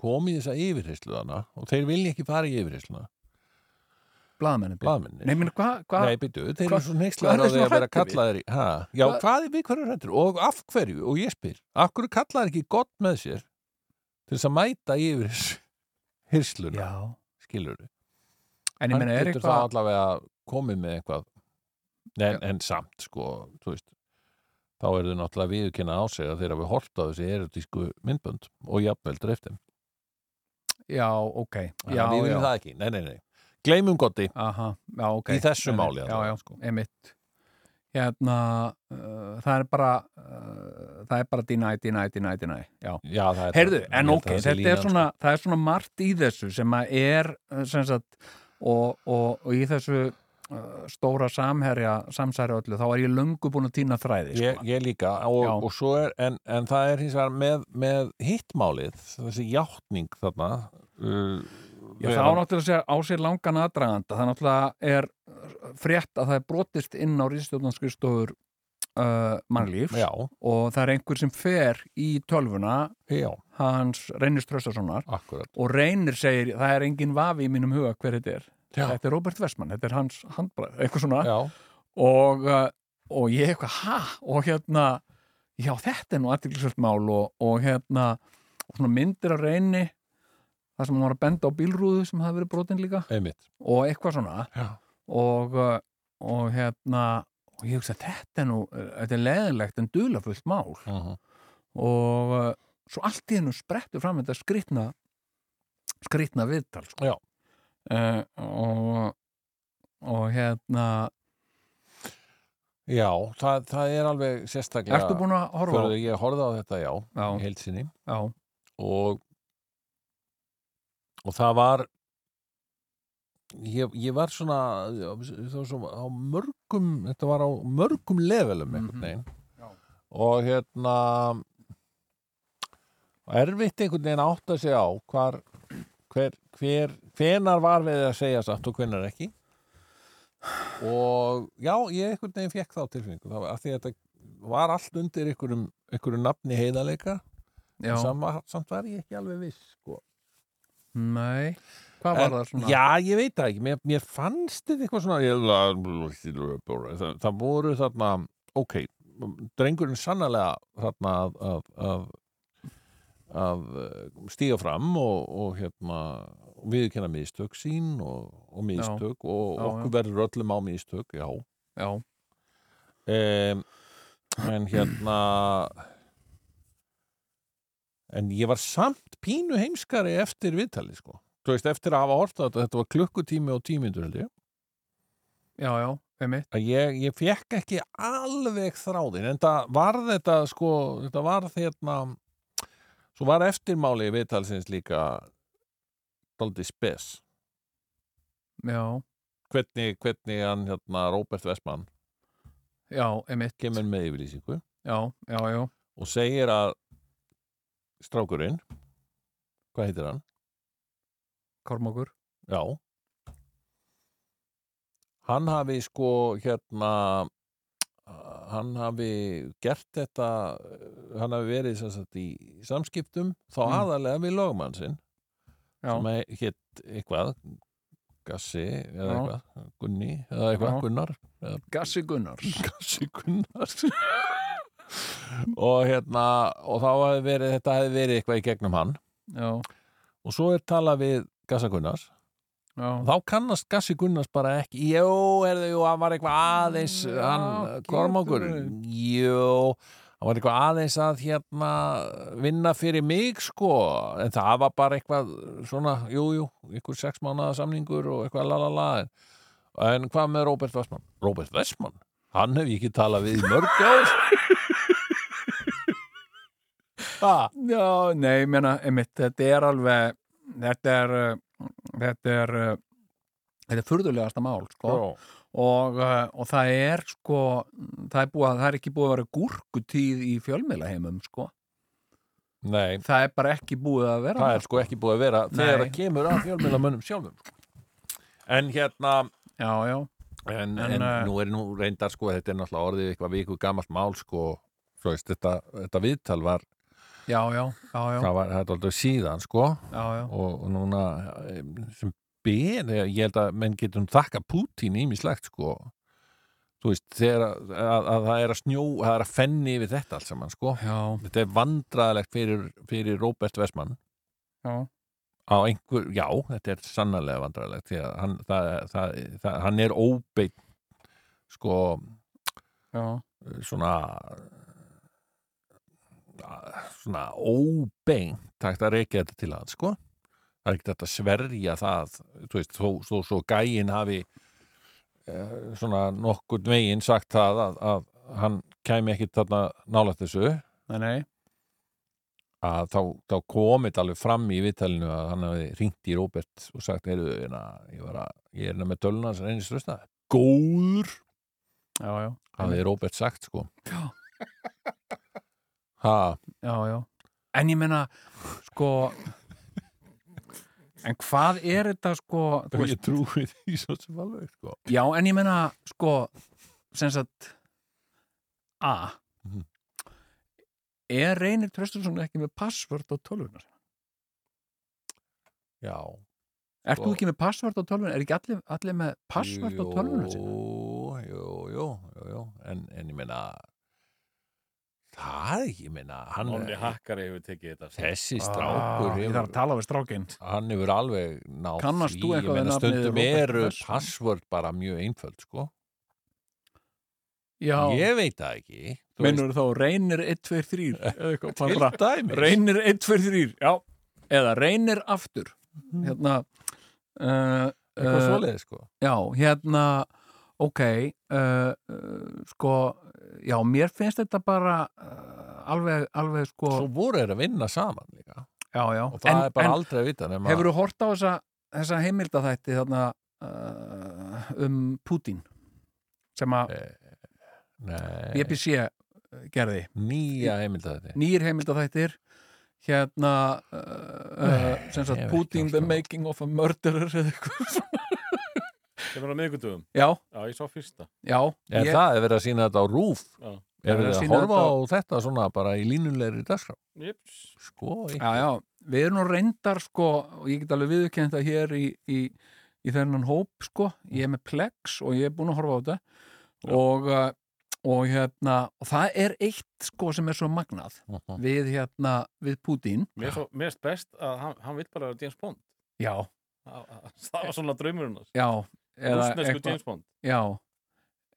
koma í þessa yfirheyslu þarna og þeir vilja ekki fara í yfirheysluna blaðamennin blaðminni Nei, minn, hvað, hvað, Nei, byrju, þeir hva- eru svo hvað neykslega eru á þeir því svona að vera hræddir við? kallaðir í, ha, já, Hva- hvað er við hverju hrættur og af hverju, og ég spyr af hverju kallaðir ekki gott með sér til þess að mæta yfir hirsluna, já, skilur en ég meina, er hann getur þá eitthvað allavega komið með eitthvað en, en samt sko þú veist, þá er þau náttúrulega viðkynna á sig að þeirra við horft á þessi erotísku myndbönd og jafnvel dreiftum já, ok, En við já, já, viljum það ekki, nei, nei, nei gleymum gotti aha, já, ok Í þessu Nei, nei, máli já, allavega, já, sko. emitt hérna, uh, það er bara uh, það er bara deny, deny, deny, deny já, Já, það er Heyrðu, það. Ég en held ok, að það sé þetta er línan, sko. svona, það er svona margt í þessu sem að er eh, sem sagt, og, og, og í þessu uh, stóra samherja samsæri öllu, þá er ég löngu búin að týna þræði Ég, sko. ég líka Já. og, og svo er, en, en það er hins vegar með, með hittmálið, þessi játning þarna uh, Já, það á náttúrulega sér, á sér langan aðdraganda það náttúrulega er eh, frétt að það er brotist inn á ríðstjórnarskustofur uh, mannlífs Já, og það er einhver sem fer í tölvuna já, hans Reynir Ströstasonar akkurat og Reynir segir, það er engin vafi í mínum huga hver þetta er Já, þetta er Robert Vessmann, þetta er hans handbræð, eitthvað svona já, og, uh, og ég eitthvað, ha? Og hérna, já, þetta er nú aðtilsvöld mál og, og hérna, og svona myndir að reyni það sem hann var að benda á bílrúðu sem hafi verið brotin líka einmitt og eitthvað svona Já, og, uh, og hérna og ég hugsa, þetta er nú, uh, þetta er leðilegt en dulafullt mál mhm og uh, svo allt í hennu sprettur fram þetta skritna skritna viðtal Já. sko. uh, og og hérna Já, það, það er alveg sérstaklega ertu búin að horfa á Hörðu, Ég horfði á þetta, já, í já, heild sinni já, og, og það var ég, ég var svona það var svona á mörgum þetta var á mörgum levelum einhvern Mhm. veginn Já. og hérna og erfitt einhvern veginn að átta sig á hvar, hver, hver hvenar var við að segja satt og hvenar ekki og já, ég einhvern veginn fekk þá tilfinningu það var af því að þetta var allt undir einhverjum, einhverjum nafni heiðarleika já, Sama, samt var ég ekki alveg viss sko. nei hvað var það svona? Já, ég veit það ekki, mér, mér fannst þetta eitthvað svona ég, það, það voru þarna ok, drengurinn sannlega þarna að, að, að, að eh, stíga fram og, og hérna viðkenna mistök sín og, og mistök og Já, okkur verður öllum á mistök, já já, um, en hérna en ég var samt pínu heimskari eftir viðtalið sko þú veist eftir að hafa hort að þetta var klukkutími og tímindur held ég já, já, einmitt að ég, ég fekk ekki alveg þráðin en það var þetta sko þetta var hérna svo var eftirmáli viðtalsins líka daldið spes já, hvernig, hvernig hann hérna Róbert Vestmann já, einmitt kemur með yfirlýsingu já, já, já, og segir að strákurinn hvað heitir hann? Kormokur Já hann hafi sko hérna hann hafi gert þetta hann hafi verið sem sagt í samskiptum þá Mm. aðalega við lögumann sinn já, sem hétt eitthvað Gassi eða Já. eitthvað Gunni eða eitthvað Já. Gunnar [laughs] Gassi Gunnars Gassi Gunnars [laughs] og hérna og þá hafi verið þetta hafi verið eitthvað í gegnum hann já, og svo er talað við Gassa Gunnars já, þá kannast Gassi Gunnars bara ekki jú, herðu, jú, hann var eitthvað aðeins Já, hann, getur Kormákur verið. jú, hann var eitthvað aðeins að hérna, vinna fyrir mig sko, en það var bara eitthvað svona, jú, jú, ykkur sex mánaða samningur og eitthvað lalala en hvað með Róbert Vestmann? Róbert Vestmann? Hann hef ég ekki talað við í mörg ár Hvað? já, nei, ég meina einmitt, þetta er alveg þetta er uh, þetta er uh, þetta er furðulegasta mál, sko og, uh, og það er sko það er, búið, að- það er ekki búið að vera gúrkutíð í fjölmiðlaheimum sko. Nei, það er bara ekki búið að vera það er sko ekki búið að vera þegar Nei. það kemur að fjölmjölamönnum sjálfum sko. en hérna já, já, en, En, en, eh, nú er nú reyndar sko þetta er náttúrulega orðið eitthvað viku gamalt mál sko svo veist, þetta, þetta viðtal var já, já, já, já, það var þetta aldrei síðan sko já, já. og núna em, sem ben, ég held að menn getum þakka Putin ímislegt sko þú veist, þegar að, að, að það er að snjó, að það er að fenni yfir þetta allt saman sko, Já, þetta er vandræðilegt fyrir, fyrir Robert Vestmann já, á einhver, já, þetta er sannarlega vandræðilegt því að hann, það, það, það, hann er óbeitt sko, já, svona svona óbeint takt að reykja þetta til að sko það er ekkert hægt að sverja það þú veist, þó, þó svo gæin hafi eh, svona nokkurn veginn sagt það að, að hann kæmi ekki þarna nálægt þessu nei, nei, að þá, þá komið alveg fram í viðtalinu að hann hafi ringt í Róbert og sagt, heyrðu, hérna, ég, var að, ég er hérna með töluna hans reynist rösta góður, já, já, hafi Róbert sagt sko Já. ha, já, já. En ég meina, sko, en hvað er þetta, sko, þú og ég trúi því svo sem alveg sko. já, en ég meina, sko, sem sagt, a, Mhm. er reynir Tröstursson ekki með passvörd á tölvunar? já, Ert Sko. þú ekki með passvörd á tölvunar? Er ekki allir, allir með passvörd á tölvunar jú, sinna? jú, jú, jú, jú. En, en ég meina það, ég meina hann, Nonni hakkar hefur tekið þetta sko. þessi strákur Ah, Ég þarf að hefur, tala við strákinn. hann hefur alveg náð Kannast þú því, eitthvað ég við meina nafnið stundum Robert eru Westman? passvörd bara mjög einföld sko. Já, ég veit það ekki þú veist, minnur þá reynir 1, 2, 3, eða eitthvað, bara- [laughs] til dæmis reynir 1, 2, 3 já. eða reynir aftur hérna uh, Mhm. eitthvað uh, svoleið sko. já, hérna ok uh, uh, sko, já, mér finnst þetta bara uh, alveg, alveg sko, svo voru þeir að vinna saman líka. já, já og það en, er bara en aldrei að vita nema hefur þú hort á þessa, þessa heimildaþætti þarna uh, um Putin sem Eh, að nei, BBC gerði nýja heimilda þetta nýr heimildaþættir hérna uh, Nei, sem sagt ég hef ekki Putin hort the á. making of a murderer eða eitthvað Sem er á miðgundum já, Já, ég sá fyrsta já, En ég, það er verið að sína þetta á rúf Já. Er Það er verið að að sýna horfa þetta á þetta svona bara í línulegri dagskrá Jips Sko, já, já, við erum nú reyndar sko, og ég get alveg viðurkennt það hér í, í, í þennan hóp sko, ég er með Plex og ég er búin að horfa á þetta og, uh, og hérna og það er eitt sko sem er svo magnað já við hérna, við Putin Mér svo- mér finnst best að hann, hann vill bara vera James Bond já, Það það var svona draumurinn hans. já eða Rússnesku eitthvað- James Bond Já,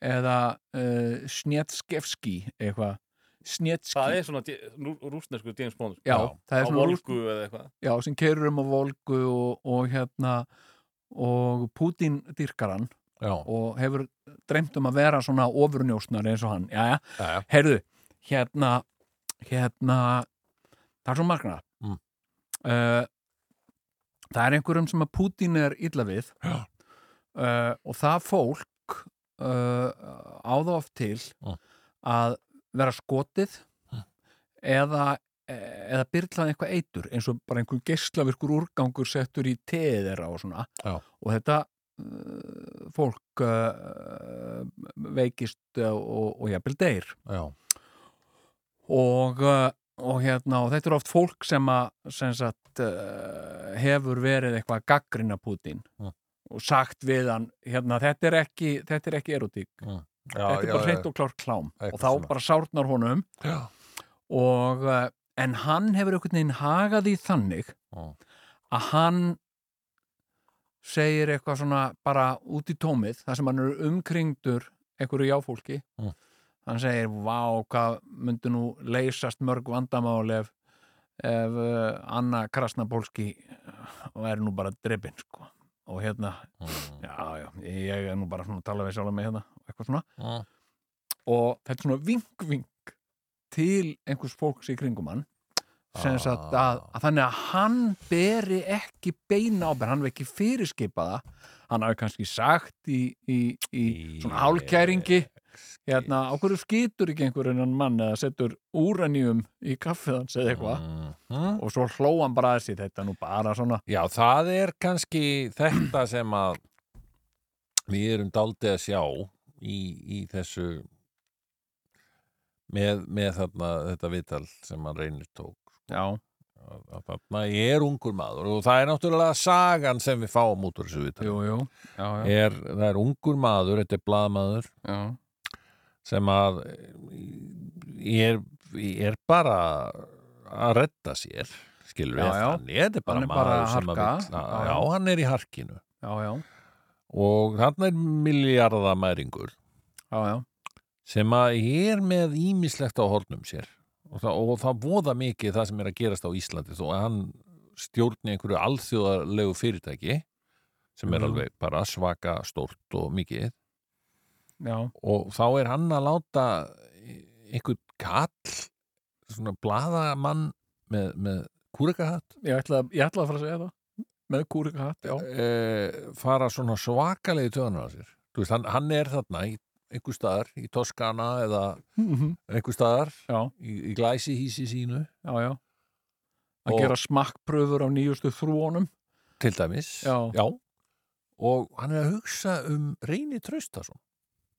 eða uh, Snetskevski eitthvað Snetski, Það er svona dje- nú- rússnesku James Bond sko. já, já, það er Á svona rúst, volgu eða eitthvað já, sem keirur um á volgu og, og hérna og Putin dyrkar hann og hefur dreymt um að vera svona ofurnjósnar eins og hann Jæja, Jæja. heyrðu, hérna hérna það er svo magna Mm. Eh, það er einhverjum sem að Putin er illa við Já. Eh, og það fólk uh, á það oft til Mm. að vera skotið Mm. eða eða byrlaði eitthvað eitur eins og bara einhver geislavirkur úrgangur settur í teið þeirra og svona Já. og þetta uh, fólk uh, veikist uh, og, og jafnvel deyr já, og, uh, og hérna og þetta er oft fólk sem að sem sagt, uh, hefur verið eitthvað að gaggrina Putin Mm. og sagt við hann hérna, þetta er ekki, þetta er ekki erotík já þetta er bara hreitt já, og klárt klám Eitthvað og þá svona. bara sárnar honum já, og, eh, en hann hefur einhvern veginn hagað í þannig Já. að hann segir eitthvað svona bara út í tómið þar sem hann er umkringdur einhverju jáfólki Mm. hann segir, vá, hvað myndi nú leysast mörg vandamál ef, ef eh, Anna Krasnapolski væri nú bara drefin sko. og hérna, Mm, já, já ég er nú bara svona að tala við sjálf með hérna og eitthvað svona mm, og þetta er svona vink-vink til einhvers fólks í kringum hann sem Ah. sagt að, að þannig að hann beri ekki beina ábyrgð, hann hef ekki fyrirskipaða hann hafi kannski sagt í, í, í svona hálkæringi hérna, á hverju skýtur ekki einhverjum hann mann eða setur úranjum í kaffið hans eða eitthvað Mhm. og svo hló hann bara að sér þetta er nú bara svona Já, það er kannski þetta sem að við erum daldið að sjá í, í þessu með, með þarna, þetta vital sem hann reynir tók já, Þannig ég er ungur maður og það er náttúrulega sagan sem við fáum út úr þessu viðtali. jú, jú já, já, Er, það er ungur maður, þetta er blaðmaður já, sem að er, er bara að redda sér skilur Já, við, já. hann er bara Hann er maður bara að sem að harka. vill að, Já, já. já, hann er í harkinu já, já, og hann er miljardamæringur já, já. sem að er með ímislegt á hornum sér og það, og það voða mikið það sem er að gerast á Íslandi þó að hann stjórni einhverju alþjóðarlegu fyrirtæki sem er Mhm. alveg bara svaka stórt og mikið Já, og þá er hann að láta einhvern kall svona bladamann með, með kúrekahatt ég ætlaði ég ætla að fara að segja það með kúrikahatt, já, e, fara svona svakalegi töðanar að sér Þú veist, hann, hann er þarna í einhver staðar í Toskana eða Mhm. einhver staðar já, í, í glæsihísi sínu já, já að Og- gera smakkpröfur á nýjustu þrúonum til dæmis Já. og hann er að hugsa um reyni Traustason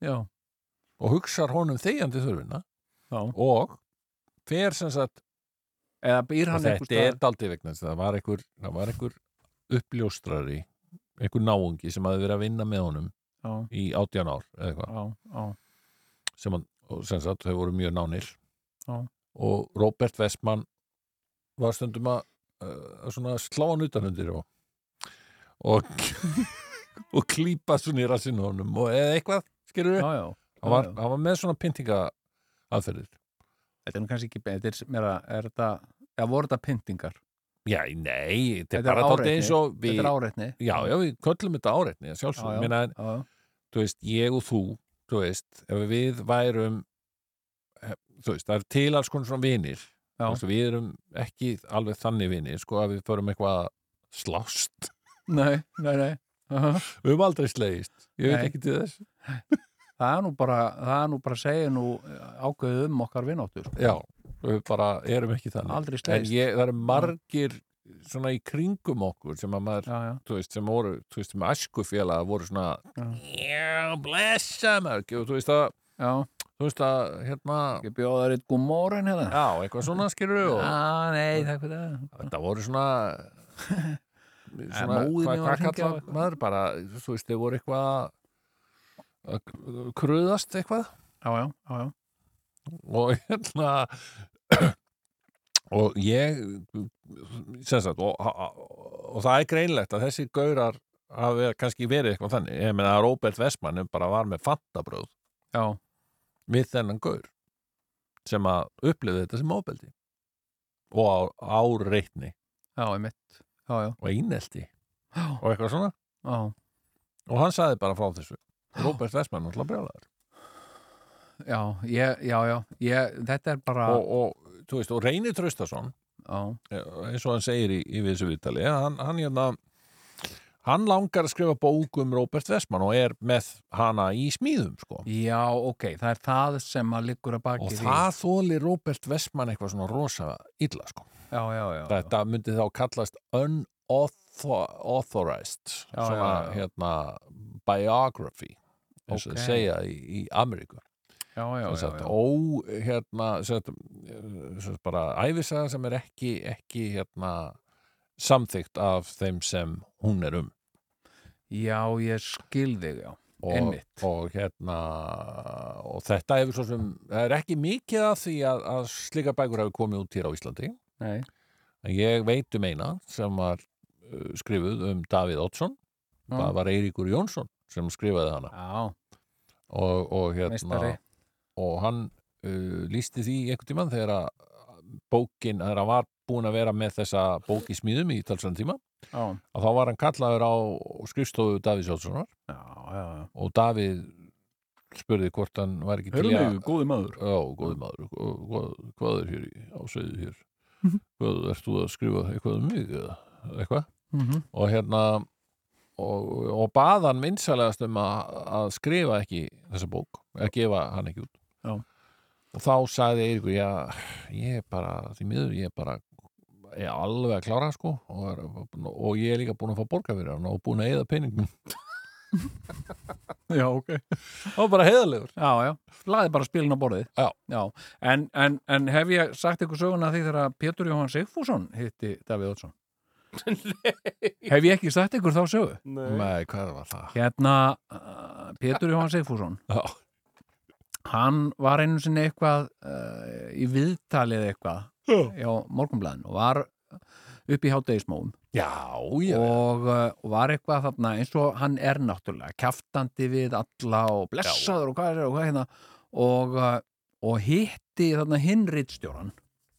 já, og hugsar honum þegjandi þörfina já, og fer sem sagt eða býr og hann einhvers þetta er staðar? daldið vegna þess að það var einhver, það var einhver uppljóstrari einhver náungi sem hafði verið að vinna með honum já, í átján ár eða eitthvað já, já, sem, hann, og sem sagt, þau voru mjög nánir Já. og Robert Westman var stundum að, uh, að svona slá hann utan undir og og, [laughs] og klípa svona í rassinu á honum og eða eitthvað, skilur við já, já hann var, já. hann var með svona pyntinga aðferðir þetta er nú kannski ekki þetta er meira, er þetta já, voru þetta pyntingar, já, nei, þetta Þetta er er bara daldið áreitni. eins og við, þetta er áreitni já, já, við köllum þetta áreitni að sjálfsögum, Já, menna en já, þú veist, ég og þú, þú veist, ef við værum, eh, þú veist, það er til alls konar svona vinir, Já. þú veist, við erum ekki alveg þannig vinir, sko, að við förum eitthvað að slást. [laughs] nei, nei, nei Aha. Við höfum aldrei slegist, ég veit Nei. ekki til þess. það er nú bara það er nú bara að segja nú ágöðu um okkar vináttur Já, við bara erum ekki þannig. aldrei En slegist ég, það eru margir svona í kringum okkur sem að maður, já, já, þú veist, sem voru, þú veist, með æskufélaga voru svona, Já. já, blessa mörg, og þú veist að, já, þú veist að, hérna, ekki bjóða þér eitt gúmórin hérna já, eitthvað svona skilur og... já, Ah, nei, takk fyrir það þetta voru svona [laughs] svona, hvað, móðir mín var hvað að kalla hringja og eitthvað. maður bara, þú veist, þau voru eitthvað að- að kruðast eitthvað já, já, já, já, og hérna [coughs] og ég sem sagt og, og það er greinlegt að þessi gaurar hafi kannski verið eitthvað þannig ég meina að Róbert Vestmann bara var með fantabröð já, við þennan gaur sem að upplifði þetta sem ofbeldi og á, á reitni já, ég mitt já, já, og einelti já, og eitthvað svona já og hann sagði bara frá [gasps] þessu Róbert Vestmann alltaf brjálæður já, ég, já, já, ég, þetta er bara og, og, þú veist, og Reynir Traustason já, eh, eins og hann segir í, í við þessu viðtali hann, hann, hérna, hann langar að skrifa bók um Róbert Vestmann og er með hana í smíðum sko. já, ok, það er það sem að liggur að baki og því. það þóli Róbert Vestmann eitthvað svona rosa illa sko. já, já, já, já, þetta myndi þá kallast unauthorized Já, svona já, já. Hérna, biography eins og Ok. okay. segja í, í Ameríku já, já, já, sagt, já. ó, hérna sem sagt, eh, sem sagt, bara æfisaga sem er ekki, ekki hérna, samþygt af þeim sem hún er um já, ég skil þig, já og, Einmitt. og hérna og þetta hefur svo sem það er ekki mikið af því að, að slíka bækur hefur komið út hér á Íslandi nei, en ég veit um eina sem var uh, skrifuð um Davíð Oddsson Já. það var Eiríkur Jónsson sem skrifaði hana já, og, og hérna meistari og hann uh, lísti því einhvern tímann þegar að bókin, þegar hann var búin að vera með þessa bók í smíðum í talsvæðan tíma já, að þá var hann kallaður á skrifstofu Davíð Sjálfssonar já, já, já og Davíð spurði hvort hann var ekki til í að Hörlegu, góði maður Já, góði maður, gó- hvað, hvað er hér í, á sveið hér? Hvað, ert þú að skrifa eitthvað um mig eða eitthvað? Mhm. og hérna og, og bað hann vinsalegast um að, að skrifa ekki þessa bók, að gefa hann ekki út Já. og þá sagði Eiríkur já, ég er bara, því miður ég er bara ég er alveg að klára sko og, er, og ég er líka búin að fá borga fyrir hann og búin að eyða peningum já, ok það var bara heiðalegur Já, já, laði bara spilin á borðið Já. En, en, en hef ég sagt ykkur söguna af því þegar Pétur Jóhann Sigfússon hitti Davíð [laughs] Oddsson Hef ég ekki sagt ykkur þá sögu? Nei. Nei, hvað var það? Hérna, uh, Pétur Jóhann Sigfússon Já, Hann var einu sinni eitthvað uh, í viðtalið eitthvað hjá morgunblæðin og var upp í hátegismóum já, já, og, uh, og var eitthvað þarna eins og hann er náttúrulega kjaftandi við alla og blessaður og hvað er og hvað hérna og, uh, og hitti þarna hinn rittstjóran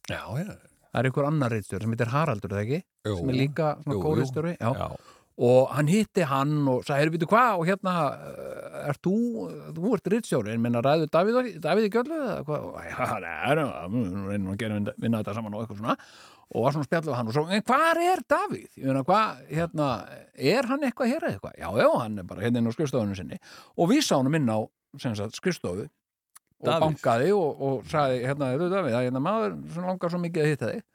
já, já, það er einhver annar rittstjóri sem heitir Haraldur er það ekki Jú. sem er líka Jú, svona jú. góð rittstjóri já. já. og hann hitti hann og sagði, heyrðu, býtu hvað og hérna, uh, ert þú þú ert rittstjóri, en minna ræðu Davíð, Davíð í göllu eða hvað Og, já, neða, reynum að gera vinna þetta saman og eitthvað svona og var svona að spjalla við hann og svo, en hvar er Davíð? Ég meina, hvað, hérna, er hann eitthvað hér eða eitthvað? Já, já, hann er bara hérna inn á skrifstofunum sinni og við sá hann inn á sem sagt, skrifstofu og Davíð. bankaði og, og sagði, hérna, er þú Davíð? Það er hérna maður sem langar svo mikið að hitta þig.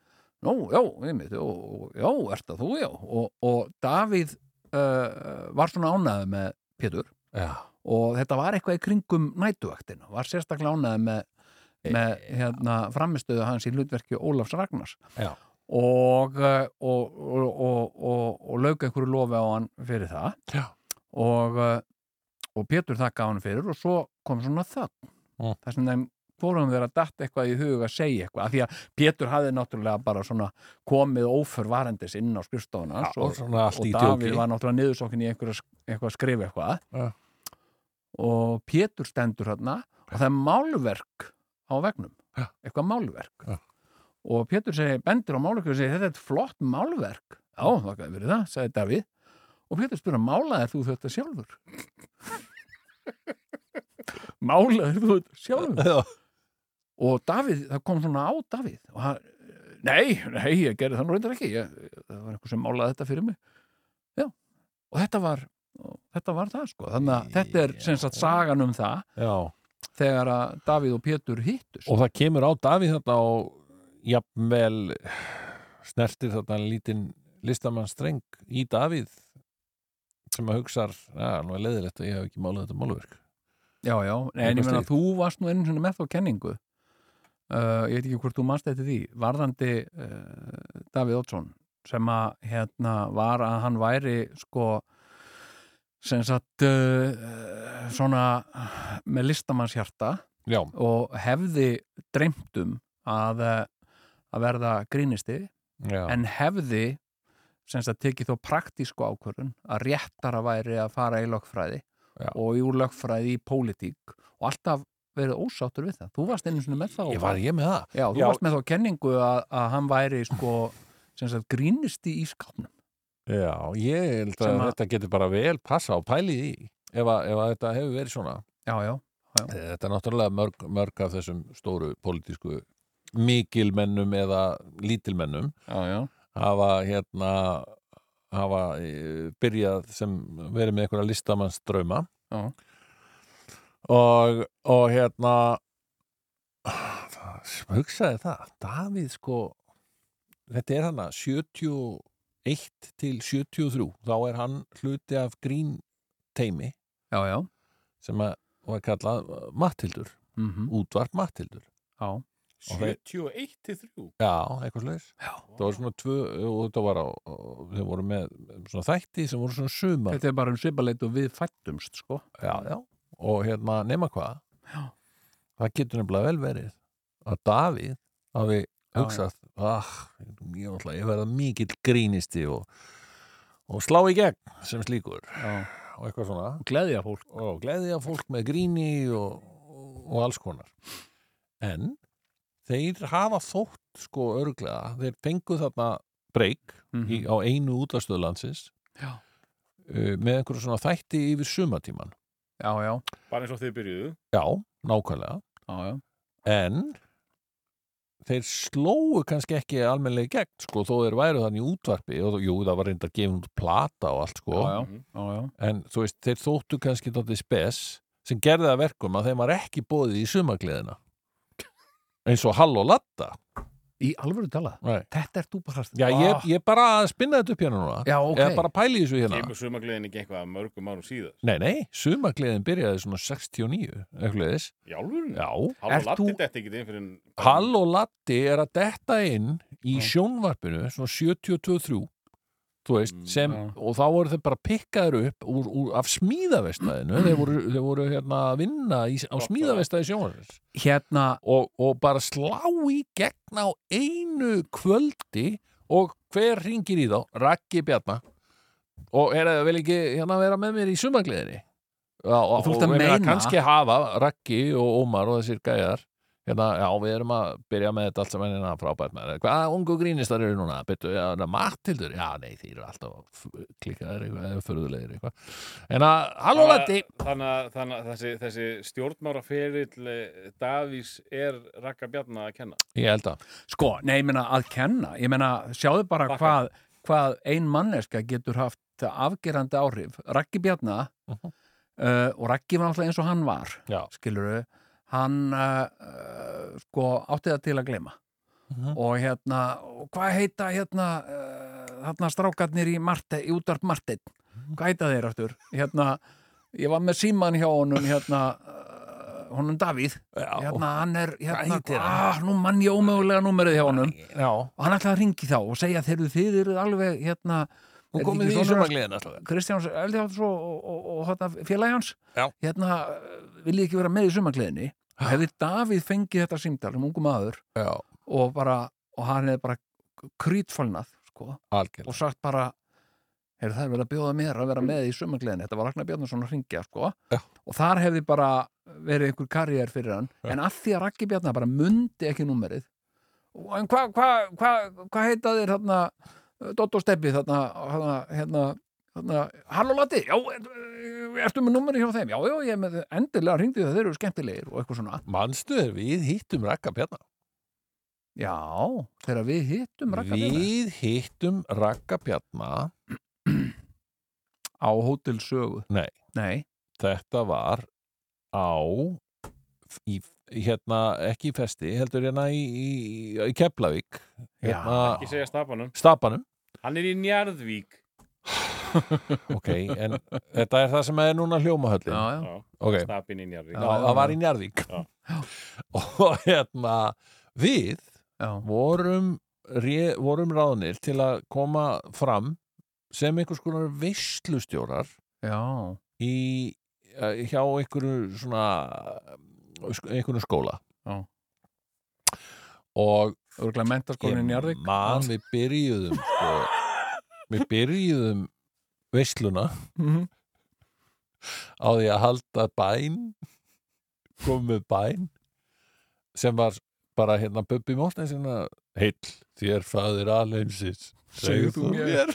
Nú, já, einmitt, og, og, já, ert það þú, já. Og, og Davíð uh, var svona ánæði með Pétur já. og þetta var eitthvað í kringum nætuvaktina, var sérstaklega ánæði með, E- með hérna, framistöðu hans í hlutverki Ólafs Ragnars Já. og, eh, og, og, og, og, og lauk einhverju lofi á hann fyrir það Já. og, eh, og Pétur þakka hann fyrir og svo kom svona þögn Mm. þar sem þeim fórum þeir að datt eitthvað í hug að segja eitthvað, af því að Pétur hafði náttúrulega bara svona komið óförvarendis inn á skrifstofuna hans og svona allt og í Davíð djóki var náttúrulega niðursokkin í einhverja, einhverja að skrifa eitthvað Já. og Pétur stendur hérna og það er málverk á vegnum Já. eitthvað málverk Já. og Pétur segir, bendur á málverk og segir, þetta er flott málverk já, það gæði verið það, sagði Davíð og Pétur spyrir, málaðir þú þetta sjálfur? [laughs] málaðir þú þetta sjálfur? Já, og Davíð, það kom svona á Davíð og hann, nei, nei, ég gerði það nú reyndar ekki ég, það var einhver sem málaði þetta fyrir mig já, og þetta var og þetta var það sko, þannig að þetta er sem sagt sagan um það já. þegar að Davíð og Pétur hittust og það kemur á Davíð þarna og jafnvel snertir þarna lítinn listamann í Davíð sem að hugsa já, nú er leiðilegt að ég hef ekki málað þetta málverk já, já, nei, en Eitthvað ég meina slíkt. þú varst nú einu sinni með þá kenningu uh, ég veit ekki hvort þú manst eftir því varðandi uh, Davíð Oddsson sem að hérna var að hann væri sko sem sagt uh, uh, svona með listamannshjarta já, og hefði dreymt um að, eh, að verða grínisti já, en hefði sem sagt tekið þó praktísku ákvörðun að réttara væri að fara í lögfræði Já. og í úr lögfræði í pólitík og alltaf verið ósáttur við það. Þú varst einu sinni með þá. ég var ég með það Já, þú Já. varst með þá kenningu að, að hann væri sko sem sagt grínisti í skápnum. já, ég held að, Sem að- þetta getur bara vel passa og pælið í ef að, ef að þetta hefur verið svona Já, já. Þetta er náttúrulega mörg, mörg af þessum stóru pólitísku mikilmennum eða lítilmennum Já, já. hafa hérna hafa e, byrjað sem verið með einhverja listamannsdrauma Já. og, og hérna [sighs] það, hugsaði það Davíð sko þetta er hana 71 til 73 þá er hann hluti af grín teimi Já, já. sem að, var kallað Mattildur Mm útvarp Mattildur Já. 71 til 3 Já, eitthvað slags Það var svona tvö, og þetta var á á- þau voru með svona þætti sem voru svona sumar Þetta er bara um svipaleit og við fættumst sko. Já, já, og hérna nema hvað Já. Það getur nefnilega vel verið að Davíð hafi Já, hugsað ah, ég, ætla, ég verða mikill grínisti og, og slá í gegn sem slíkur Já. og eitthvað svona Gleðja fólk. og gleðja fólk með gríni og, og alls konar en þeir hafa þótt sko örglega, þeir fengu þarna breyk Mm í, á einu útastöðlandsins Já. með einhverju svona þætti yfir sumatíman Já, já. Bara eins og þið byrjuðu já, nákvæmlega Já, já. en þeir slóu kannski ekki almennlega í gegn sko, þó þeir væru þannig í útvarpi og jú, það var reyndar gefin út plata og allt sko, Já, já. Mhm. Já, já. en þú veist, þeir þóttu kannski dóttið spes sem gerði það að verkum að þeim var ekki bóðið í sumagliðina eins og Hall og Latta í alvöru talað Nei. þetta er dúparhastin Já, ég, ég bara að spinna þetta upp hérna núna Ah. Já, ok. Eða bara pæli í þessu hérna Kemur sumagliðin ekki eitthvað mörgum árum síðar? Nei, nei, sumagliðin byrjaði svona 69 eitthvað leðis Í álfurinn? Já, Halló, Ert latti þú- þetta ekki inn fyrir en... Hall og Latti er að detta inn í sjónvarpinu svona 72-3 þú veist, Mm, sem, já. og þá voru þeir bara pikkaður upp úr, úr, af smíðavestæðinu þeir voru, þeir voru hérna að vinna í, á Gott smíðavestæði sjónvarpins hérna, og, og bara slá í gegn á einu kvöldi og hver ringir í þá? Raggi Bjarna og er það vel ekki hérna að vera með mér í sumagliðinni Já, og, þú ert að ég meina, meina- kannski hafa Raggi og Ómar og þessir gæjar hérna, já, við erum að byrja með þetta allt saman hérna frábært með hvað ungu grínistar eru núna? Byttu, já, na, Mattildur? Já, nei, þeir eru alltaf klikkaðir eitthvað, eða förðulegir eitthvað en að, halló Latti Þannig að, þannig að þessi, þessi stjórnmáraferill Davís er Raka Bjarna að kenna. ég held að, sko, nei, ég meina að kenna ég meina, sjáðu bara Þakka. hvað, hvað ein manneska getur haft afgerandi áhrif, Raggi Bjarna Mhm. uh, og Raggi var náttúrulega eins og hann var Já. skilurðu, hann uh, uh, sko átti það til að gleyma Mhm. og hérna og hvað heita hérna uh, hérna strákarnir í, Marte, í útvarp Martin Mhm. hvað heita þeir aftur hérna, ég var með síman hjá honum hérna, uh, honum Davíð já, hérna, hann er, hérna, heitir ah, nú mann ég ómögulega númerið hjá honum já og hann ætlaði að ringi þá og segja þeir eru þið eru alveg, hérna nú er þið komið ekki því í sonur hans sumagliðin alltaf Kristjáns Eldjáls og, og, og, og hérna, félagi hans Já. hérna, viljið ekki vera með í sumagliðinni og hefði Davíð fengið þetta símdal um ungu maður já, og bara, og hann hefði bara krýtfólnað, sko, algjörlega og sagt bara heyrðu það er verið að bjóða mér að vera með í sumagliðinni þetta var Ragnar Bjarnason að ringja, sko Já. og þar hefði bara verið einhver karriér fyrir hann, Já. en að því að Raggi Bjarnar bara mundi ekki númerið Og en hvað hva, hva, hva heita þér hérna, Dotto Steppi þarna, hérna, hérna, hérna Halló Latti, já, er- ertu með númerið hjá þeim? Já, já, ég er með endilega ringdi það, þeir eru skemmtilegir og eitthvað svona Manstu þegar við hittum Ragga Bjarna? Já, þegar við hittum Ragga Bjarnar Við hittum Ragga Bjarna, á hótelsögu Nei. Nei, þetta var á, í, hérna, ekki í festi, heldur hérna í, í, í Keflavík, hérna, Ekki segja stafanum. Stapanum. Hann er í Njarðvík. Ok, en þetta er það sem er núna já, hljómahöllin. já, Já, Ok, stapin í Njarðvík. já, það var í Njarðvík. Já. [laughs] Og hérna, við já, vorum, ré, vorum ráðnir til að koma fram sem einhvers konar veislustjórar já, í, eh, hjá einhverju svona eh, sk- einhverju skóla Já. og örgulega mentaskólinni í ég Njarðvík man við byrjuðum sko, við byrjuðum veisluna Mhm. á því að halda bæn komum með bæn sem var bara hérna Bubbi Mortens hérna, heill, þér fæðir alheimsins Segðu þú mér.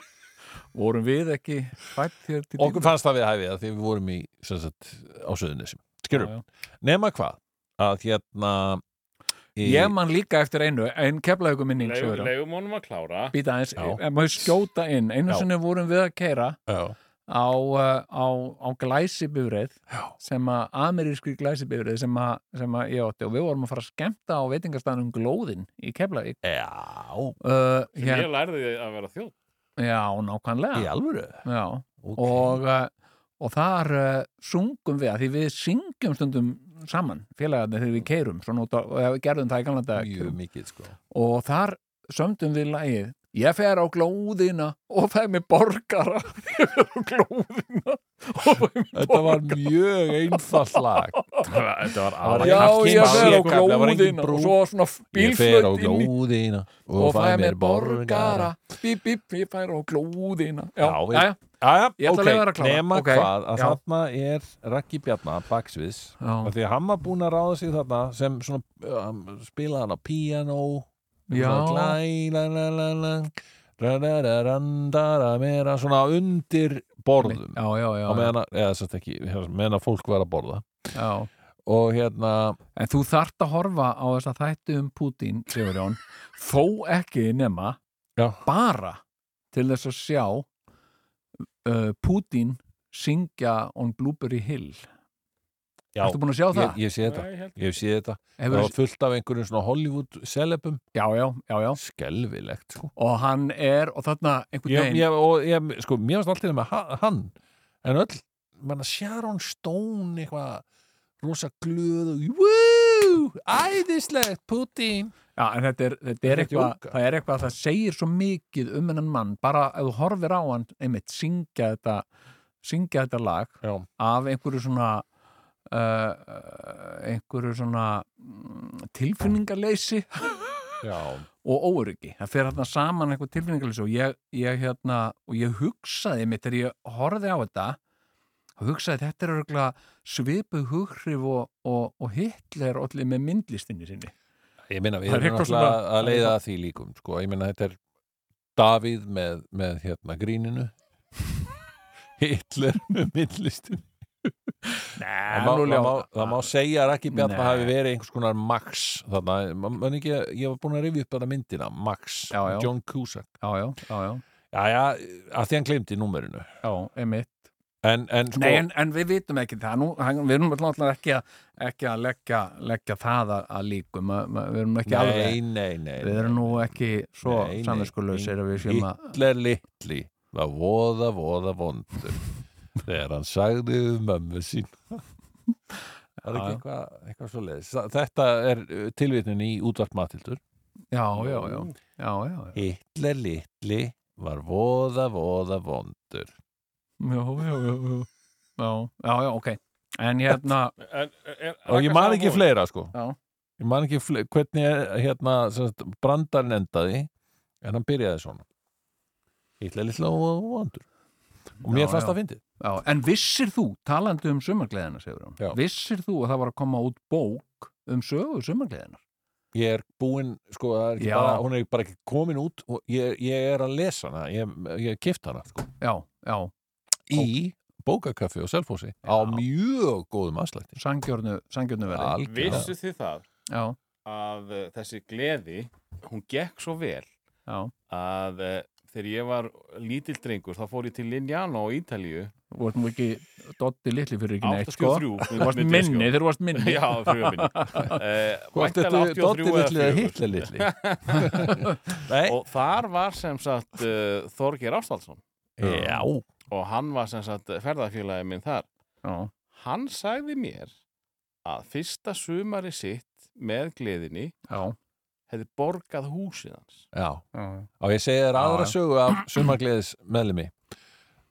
vorum við ekki fætt hér til okkur fannst það við hæfið að því við vorum í sem sagt, á söðunisum, skjörum Já, já. nema hvað að hérna í, Ég man líka eftir einu, ein keflaugum minning Leif, leifum honum að klára. Býta aðeins, Já. en maður skjóta inn Einu Já. sinni vorum við að keira já, á, uh, á, á glæsibifrið Já. sem að amerískri glæsibifrið sem að, sem að ég átti og við vorum að fara að skemmta á veitingastæðanum glóðin í Keflavík já, uh, Ég hér, lærði að vera [laughs] þjóð. Já, nákvæmlega í alvöru Já, okay. og, eh, og þar uh, sungum við að því við syngjum stundum saman félagarnir þegar við keirum svona út á, og ef við gerðum það í gamla mjög dag mikið sko og þar sömdum við lagið Ég fer á glóðina og fæ mig borgara [laughs] Ég fer á glóðina og fæ mig þetta var mjög einfalt lag Þetta var var Já, kalt kynmál. ég fer á Ég- það var engin glóðina brú. og svo svona ég fer á bílflöð inn í glóðina og fæ mér borgara Bíp, bíp, ég fer á glóðina Já, Já, við- já, já, Aja, Ég ætla að leyfa þér að klára. nema Ok, hvað að já. þarna er Raggi Bjarnar baksviðs af já, því að hann var búin að ráða sig þarna sem svona, um, spilaði hann á um, piano Já. rarararandara meira svona undir borðum já, já, já, á meðan að, eða sérst ekki, hérna, meðan að fólk var að borða já. og hérna, En þú þart að horfa á þess að þættu um Pútín, Sigurjón, þó ekki nema Já. bara til þess að sjá uh, Pútín syngja on Blueberry Hill. Já. Ertu búin að sjá ég, það? ég sé þetta, ég hef séð þetta það Hefur, var fullt af einhverjum svona Hollywood celebum, já, já, já, já. skelvilegt sko. Og hann er, og þarna einhvern ég, veginn, ég, og ég, sko, mér varst alltaf með ha- hann en öll, manna Sharon Stone eitthvað rosa glöð og woo, æðislegt Putin já, en þetta er, þetta er Þetta er eitthvað, jóka. það er eitthvað að það segir svo mikið um hennan mann, bara ef þú horfir á hann, einmitt, syngja þetta, syngja þetta lag já, af einhverju svona, uh, einhverju svona mm, tilfinningarleysi já, og óöryggi, það fer hérna saman eitthvað tilfinningarleysi og ég, ég hérna og ég hugsaði mitt þegar ég horfði á þetta og hugsaði þetta er örgulega svipuð hughrif og, og, og Hitler allir með myndlistinni sinni ég meina við Það er erum eitthvað náttúrulega svona- að leiða að því líkum sko, ég meina þetta er Davíð með, með hérna gríninu [laughs] Hitler með myndlistinu Nei, það má, það, má, það má segja að Raki Bjarnar Ah. Nei. hafi verið einhvers konar Max þarna, man, man ekki, ég var búin að rifja upp þetta myndina, Max, Já, já. John Cusack Já, já, já, já, já, já, að því hann glemdi númerinu já, einmitt en, en sko, Nei, en, en við vitum ekki það nú, hann- við erum alltaf ekki að, ekki að leggja, leggja það að, að líkum Ma- ma- við erum ekki nei, alveg nei, nei, við erum nú ekki svo Nei, nei, samvinskuleusir að við séum að Hitler litli var voða, voða [laughs] vondur þegar hann sagði um mömmu sín það er Já, ekki já. eitthvað, eitthvað svo leiðis þetta er uh, tilvitnin í útvart matildur já, já, já, já, já, já. Hitler litli var voða, voða vondur já, já, já, já. Já, já, já, ok. En hérna, En, eh, er, og ég man ekki fleira sko Já. ég man ekki fleira, hvernig eh, hérna sem sagt, brandarinn endaði en hann byrjaði svona ítla litla og vandur og mér Já, fannst já. það fyndið já, en vissir þú, talandi um sumargleðina, segir hann, Já. vissir þú að það var að koma út bók um sögu sumargleðinar? ég er búinn, sko, það er ekki Já. bara, hún er bara ekki komin út og ég, ég er að lesa hana ég, ég kift hana sko, Já, já, í bókakaffi og selfhósi á mjög góðum aðslætti sangjörnu, sangjörnu verði. Algjörlega. Vissu þið það Já, að uh, þessi gleði, hún gekk svo vel já, að uh, þegar ég var lítill drengur þá fór ég til Lignano á Ítalíu þú varst nú ekki dotti litli fyrir ekki neitt, sko. 83 [laughs] Þú varst minni, þegar þú varst minni. sko. Já, frjóminni Hvort þetta er dottir litli eða hitli litli Nei, Og þar var sem sagt uh, Þorgeir Ástvaldsson já og hann var sem sagt ferðarfélagi minn þar [laughs] Já, Hann sagði mér að fyrsta sumari sitt með gleðinni já, hefði borgað húsið hans Já, já, og ég segi þér Já, aðra já. sögu af sumargleðis meðlumi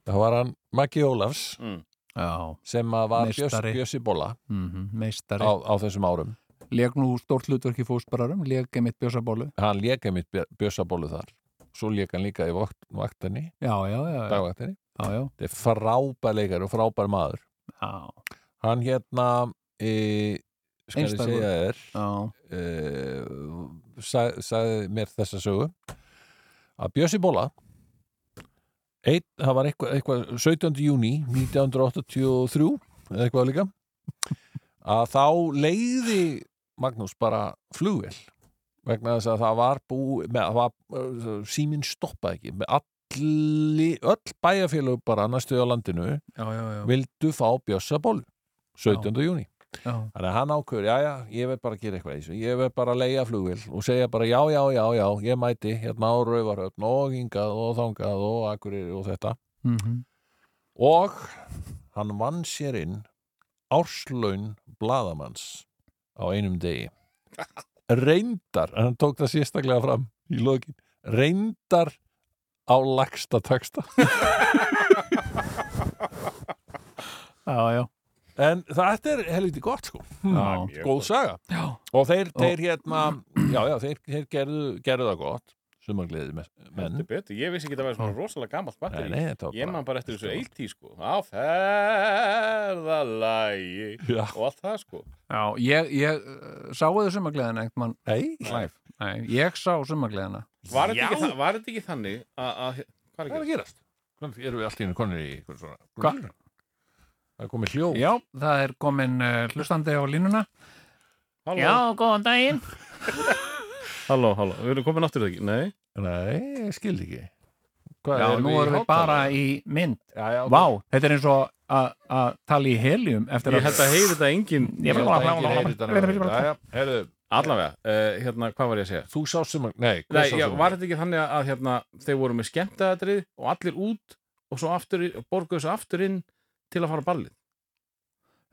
Það var hann Maggi Ólafs Mm. já, sem að var Meistari. Bjössi Bóla mhm, á, meistari. á þessum árum Leg nú stórt hlutverk í fósbararum, leg einmitt bjössabólu. Hann léka mitt Bjössabólu þar Svo léka hann líka í vakt, vaktinni, Já, já, já, já, dagvaktinni já, já, Þetta er frábær leikar og frábær maður. já, Hann hérna, e, skal Einstakur. ég segja þér, já, e, sag, sagði mér þessa sögu, að Bjössi Bóla, einn, það var eitthvað, eitthvað 17. júni 1983, eða eitthvað líka, að þá leiði Magnús bara flugvel vegna þess að það var bú með, það var, eh, síminn stoppaði ekki með alli, öll bæjarfélög bara næstu á landinu já, já, já, vildu fá Bjössa Bólu 17. júni, já. þannig að hann ákveður já, já, ég verð bara að gera eitthvað í þessu ég verð bara að leiga flugvél og segja bara já, já, já, já ég mæti hérna á Rauvarhöfn og hingað og þangað og akkurýri og þetta Mhm. og hann vann sér inn árslaun bladamanns á einum degi reyndar, en hann tók það sérstaklega fram í lokin, reyndar á lagsta taksta Já, já, en þetta er helviti gott sko já, góð saga já, og þeir, þeir hérna já, já, þeir, þeir gerðu, gerðu það gott sumargleði me- menn Ah. Þetta er betur, ég vissi ekki að það væri svona rosalega gamalt nei, batteri nei, þetta var Ég man bara eftir þessu þetta var- 80 sko Á ferðalægi Já. Og allt það sko já, ég, ég uh, sáu þau sumagleðina einhvern mann nei, live, nei, ég sá sumagleðina Var þetta Já. ekki, þa- var þetta ekki þannig að- að hvað Hvað er er að ekki? gerast? Hvernig erum við allt í henni konir í einhver svona Hva? það er komið hljóð Já, það er komin uh, hlustandi á línuna Halló, góðan daginn halló, halló, við erum komin áttur ekki Nei, nei, ég skildi ekki Hvað, Já, nú í erum við hátalaranum? bara í mynd já, já, Vá, þetta er eins og að að tala í helium eftir að Ég held að heyri þetta engin Ég vil bara- Herðu, Allavega, uh, hérna, hvað var ég að segja? þú sá sem að Nei, hvað Nei, sást já, um- var þetta ekki þannig að hérna, þeir voru með skemmtaðatrið og allir út og svo aftur, í- borguðu svo aftur inn til að fara á ballið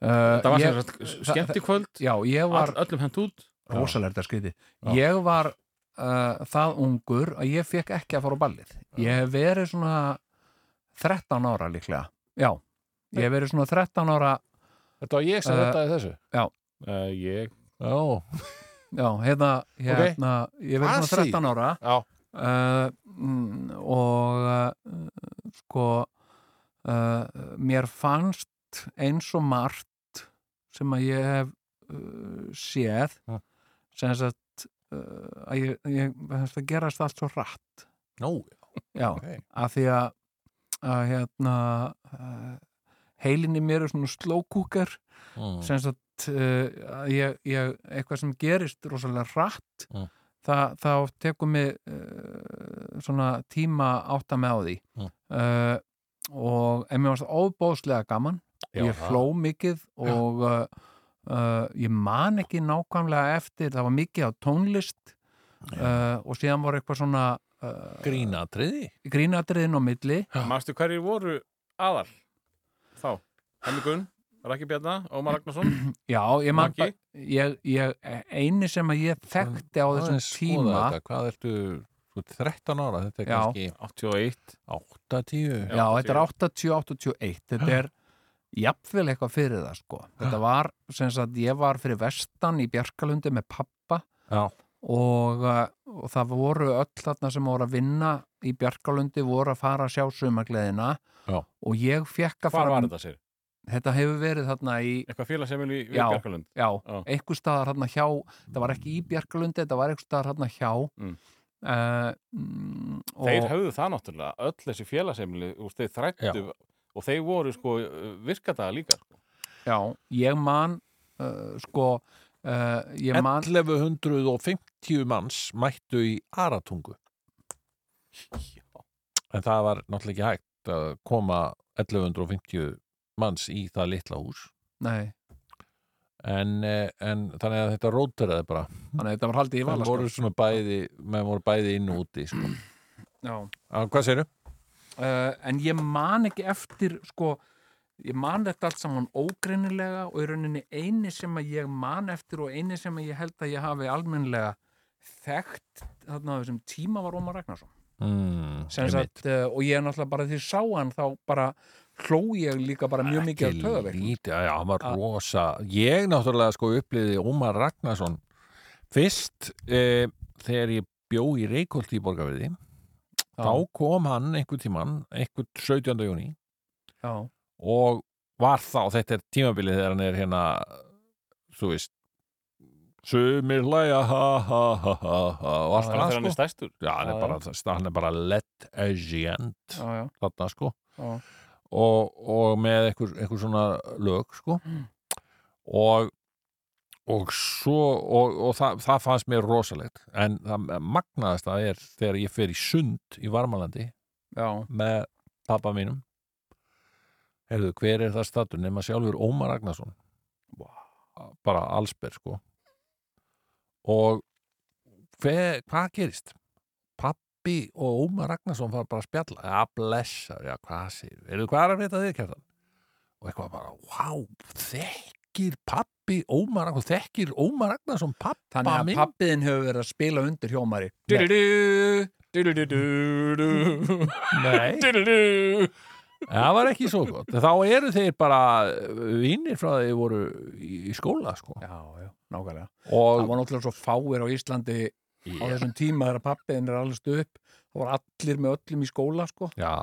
Uh, Það var ég, sem sagt skemmtikvöld já, ég var all, öllum hent út rosalega skriti Já. ég var uh, það ungur að ég fekk ekki að fara á ballið ég hef verið svona 13 ára líklega já, ég hef verið svona 13 ára Þetta var ég sem Eh, þetta er þessu uh, Ég Já, já, hérna, hérna ég Hvað hef verið svona 13 ára já, uh, mm, og uh, sko uh, mér fannst eins og margt sem að ég hef uh, séð Ja. sem sagt uh, að ég, ég fannst að gerast allt svo rætt nú, já, ok af því að, að hérna uh, heilinni mér er svona slókúkar Mm. sem sagt uh, að ég, ég, eitthvað sem gerist rosalega rætt Mm. það, þá tekur mig uh, svona tíma að átta með á því Mm. uh, og en mér varst óbóðslega gaman Já, ég það- hló mikið og uh, uh, ég man ekki nákvæmlega eftir, það var mikið á tónlist uh, og síðan var eitthvað svona uh, Grínatriði grínatriðin á milli Marstu hverjir voru aðal þá? Hemmi Gunn, Raki Bjarna, Ómar Ragnarsson [clears throat] já, ég man Maggi? bara- ég, ég, eini sem að ég þekkti á þessum Aðeins skoða tíma þetta, Hvað ertu, þú ert 13 ára Þetta er Já. kannski 81 8-10 já, þetta er 80-81 [gasps] þetta er jafnvel eitthvað fyrir það sko. þetta var, sem sagt, ég var fyrir vestan í Bjarkalundi með pappa Já. og, uh, og það voru öll þarna sem voru að vinna í Bjarkalundi voru að fara að sjá sumagleðina Já. og ég fekk að Hvar fara var þetta sér? þetta hefur verið þarna í Eitthvað félagsemmil í í Já. Bjarkalund já, Já. einhver staðar hérna hjá það var ekki í Bjarkalundi, þetta var einhver staðar hérna hjá Mm. Eh, mm, og, Þeir höfðu það náttúrulega, öll þessi félagsemmil úr þeir þrættu og þeir voru sko virkadaga líka sko. já, ég man uh, sko uh, ég man 1150 manns mættu í Aratungu En það var náttúrulega ekki hægt að koma 1150 manns í það litla hús nei, en, eh, en þannig að þetta róteraði bara þannig að þetta var haldið í menn voru vala sko. svona bæði menn voru bæði inn og úti [clears throat] sko. já ah, Hvað segirðu? uh, en ég man ekki eftir sko, ég man þetta allt saman ógreinilega og í rauninni eini sem að ég man eftir og eini sem að ég held að ég hafi almennlega þekkt þarna á þessum tíma var Ómar Ragnarsson Mm, Sem einmitt. sagt, uh, og ég er náttúrulega bara því sá hann þá bara hló ég líka bara mjög mikið af Ekki töðaveik lítið, já, hann var Að- rosa ég náttúrulega sko upplýði Ómar Ragnarsson fyrst eh, þegar ég bjó í Reykjolt í Borgarverði þá kom hann einhvern tímann einhvern 17. júni já, og var þá, þetta er tímabilið þegar hann er hérna þú veist sumir hlæja ha ha ha ha ha og allt Já, það Þannig að hann sko er stærstur já, hann er Já, bara, hann er bara legend já, já, þarna sko já. og, og með einhver, einhver svona lög sko Mm. og og svo og, og það, það fannst mér rosalegt en það magnaðast það er þegar ég fer í sund í Varmalandi já. með pappa mínum heyrðu, hver er það statur nema sjálfur Ómar Ragnarsson wow. bara allsber sko og hver, hvað gerist? pappi og Ómar Ragnarsson fara bara að spjalla, ja blessar já hvað segir, heyrðu hvað er að frétta þig kjartan? og eitthvað bara, wow þekkir pappi Ómar Ragnarsson þekkir Ómar Ragnarsson pappa þannig að minn pappiðin hefur verið að spila undir hjómari Du-du-du, du-du-du-du, nei du-du-du. Það var ekki svo gott. Þá eru þeir bara vinnir frá þeir voru í í skóla, sko. já, já, nákvæmlega það Og var náttúrulega svo fáir á Íslandi á þessum tíma þegar pappiðin er allast upp þá var allir með öllum í skóla sko. já,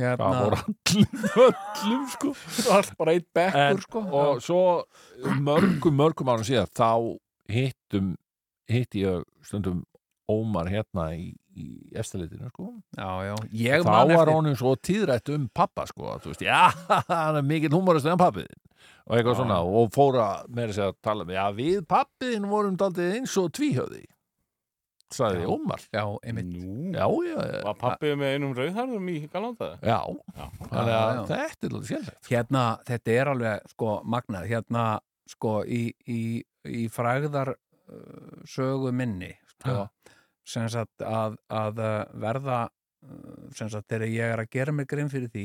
hérna, það voru allir öllum, sko. [laughs] allt bara eitt En- bekkur sko. Og svo mörgum, mörgum árum síðar, þá hittum, hitti ég stundum Ómar hérna í, í eftirlitinu, sko. já, já. ég þá man var eftir honum svo tíðrætt um pappa, sko. að Þú veist, já, [laughs] hann er mikill húmorist en pappiðin. Og eitthvað svona, og fóra meira sér að segja að tala um, já, við pappiðin vorum daldið eins og tvíhöði. sagði Já. Ómar já, einmitt Nú, já, já, já, var pappið með einum rauðharðum í galanda já. Já. Þannig að Já, já. þetta er alveg sérlegt hérna, þetta er alveg sko magnað, hérna sko í, í, í fræðar uh, sögu minni sko, sem sagt að, að uh, verða uh, sem sagt þegar ég er að gera mig grein fyrir því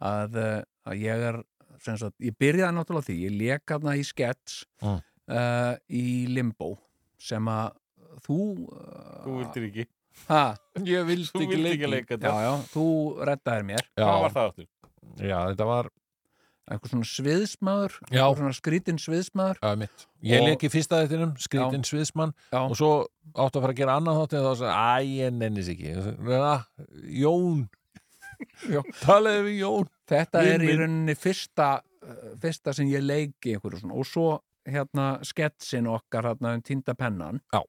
að, uh, að ég er sem sagt, ég byrjaði náttúrulega á því ég lék hana í skets Mm. uh, í Limbo sem að þú uh, Þú vildir ekki, ha, ég þú vildir ekki leika já, þetta já, þú reddaðir mér Hvað var já, það áttur? já, þetta var einhver svona sviðsmaður Já. einhver svona skrítinn sviðsmaður Já, mitt. Ég Og- leik í fyrsta þettinum, skrítinn sviðsmann Já. og svo áttu að fara að gera annað þátt en þá sagði, æ, ég nennis ekki Ég sagði, "Ah, Jón [laughs] Já. talaði við Jón þetta Vin er í minn. rauninni fyrsta uh, fyrsta sem ég leiki einhverju svona og svo hérna sketsin okkar hérna um týnda pennan Já.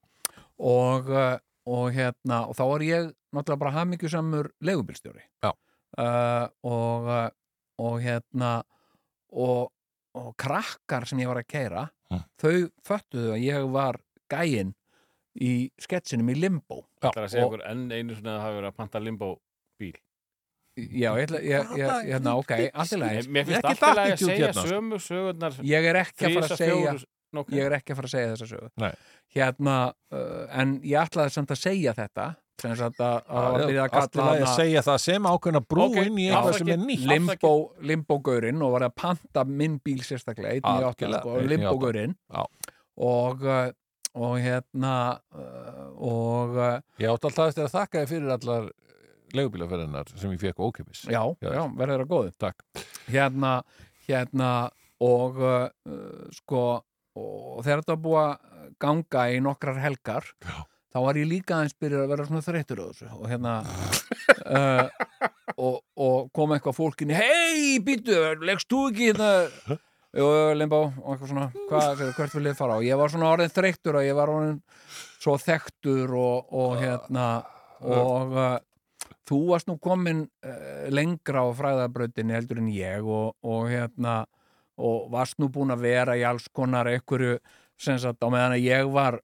og, uh, og hérna og þá er ég náttúrulega bara hamingjusamur leigubílstjóri Já. uh, og, uh, og hérna og, og krakkar sem ég var að keira Mm. þau föttuðu að ég var gæinn í sketsinum í Limbo Það er að segja og- okkur enn einu svona að hafa verið að panta limbó bíl Já, ég ætla, ég, ég, Hvaða ég, hérna, ok, allt í lagi Mér Ekki finnst alltaf að attitude segja hérna, sko. sömu sögurnar Ég er ekki að fara að segja Ég segja er ekki að fara að segja þessa sögu Nei. Hérna, uh, en ég ætlaði samt að segja þetta sem sagt að að það var byrjað að Allt í kalla lagi að hana segja það sem ákveðna brú Ok, inn í já. eitthvað sem er Afsakið. nýtt Lim- limbó, limbógaurinn og var að panta minn bíl sérstaklega, einn í átta Algjörlega, sko, einn í átta. limbógaurinn Já. og uh, og hérna uh, og uh, Ég átti alltaf eftir að þakka þér fyrir allar leigubílaferðinar sem ég fekk ókipis já, Já. já, verður að góðu Takk. hérna, hérna og uh, sko og þegar þetta var búið að ganga í nokkrar helgar Já. þá var ég líka aðeins byrjað að vera svona þreyttur á þessu og hérna uh, og, og kom eitthvað fólkinni hei, býtu, leggst þú ekki hérna Jú, jú, limbó, og eitthvað svona, hvað, hvert vil ég fara á? Ég var svona orðin þreyttur og ég var orðin svo þekktur og, og hérna, og uh, þú varst nú komin uh, lengra á fræðabrautinni heldur en ég og, og hérna og varst nú búin að vera í alls konar einhverju sem sagt á meðan að ég var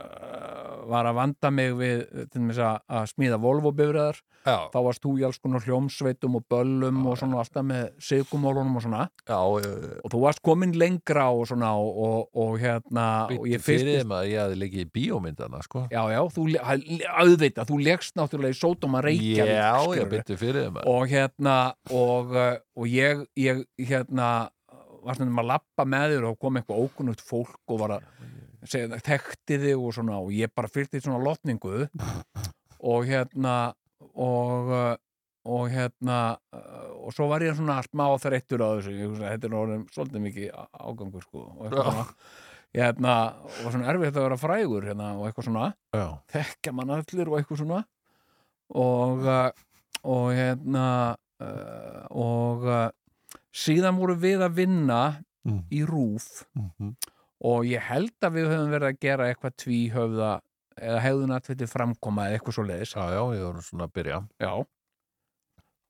uh, var að vanda mig við til þess að, að smíða Volvo-bifræðar Já, þá varst þú í alls konar hljómsveitum og böllum og svona alltaf með sigumólunum og svona já, eh, já og þú varst komin lengra og svona og, og, og hérna og Býttu fyrir þeim að ég hafði leikið í bíómyndana sko. Já, já, þú, le- auðvitað, þú leggst náttúrulega í Sódóma Já, Reykjavík já, skilurðu býttu fyrir þeim að og hérna og, uh, og ég, ég hérna var stundum að lappa með þér og kom eitthvað ókunnugt fólk og var að segja, tekti þig og svona og ég bara fylgdi svona lotningu og hérna og, uh, og hérna uh, og svo var ég svona smá þreyttur á þessu ég, hugsaði, þetta er orðin svolítið mikið á- ágangur sko og eitthvað svona hérna, og var svona erfitt að vera frægur hérna og eitthvað svona Já, þekka mann allir og eitthvað svona og uh, og hérna uh, og uh, síðan voru við að vinna Mm. í rúf Mhm. og ég held að við höfum verið að gera eitthvað tvíhöfða eða hefðun atviti framkoma eða eitthvað svo leiðis já, já, ég voru svona að byrja Já.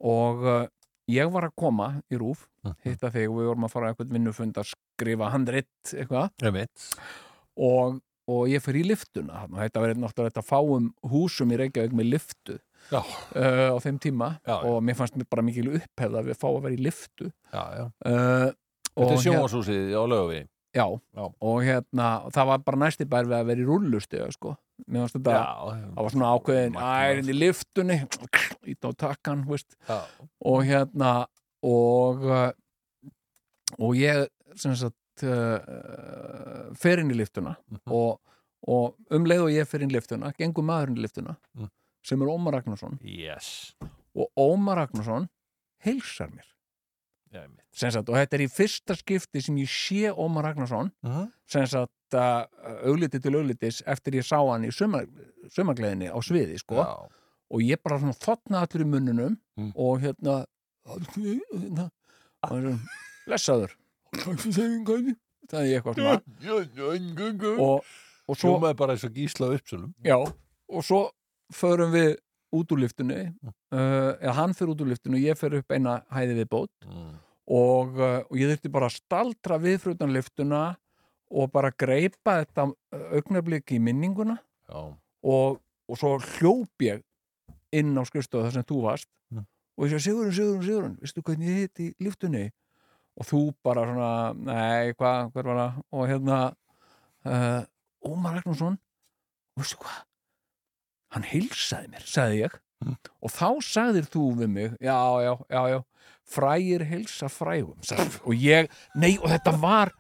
og uh, ég var að koma í rúf hitta þig og við vorum að fara á eitthvað vinnufund að skrifa handrit eitthvað Einmitt. og, og ég fyrir í liftuna þarna. þetta verið náttúrulega þetta fáum húsum í Reykjavík með liftu Já. uh, á þeim tíma Já, já. og mér fannst mér bara mikil upphefð að við fá að vera í liftu Já, já. uh, Þetta er hér, sjónvarsúsið á lögavi já, Já. og hérna og það var bara næsti bær við að vera í rullustu sko. mér fannst þetta það var svona ákveðin, Magnað. að er henni í liftunni ít á takkan, þú veist Já. og hérna og uh, og ég sem sagt uh, fer inn í liftuna Mhm. og, og um leið og ég fer inn í liftuna gengur maðurinn í liftuna Mhm. sem er Ómar Ragnarsson Yes og Ómar Ragnarsson heilsar mér Já, einmitt. sem sagt, og þetta er í fyrsta skipti sem ég sé Ómar Ragnarsson Mhm. sem sagt uh, augliti til auglitis eftir ég sá hann í sumar, sumargleðinni á sviði sko Já. og ég bara svona þotna allir í munnunum Mm. og hérna hérna og hann svona, lesaður það er ég eitthvað svona og og, og svo sjómaði bara eins og gísla á uppsölum já, og svo förum við út úr liftunni uh, eða hann fyrir út úr liftunni og ég fyrir upp eina hæði við bót Mm, og, uh, og ég þurfti bara að staldra við fyrir utan liftuna og bara greipa þetta augnablik í eh, minninguna já, og, og svo hljóp ég inn á skrifstofu þar sem þú varst Mm. og ég sagði Sigurinn, Sigurinn, Sigurinn veistu hvernig ég hitt í lyftunni og þú bara svona, nei, hvað hver var það, og hérna uh, Ómar Ragnarsson veistu hvað hann heilsaði mér, sagði ég Mm. og þá sagðir þú við mig já, já, já, já frægir heilsa frægum sagði, og ég, nei, og þetta var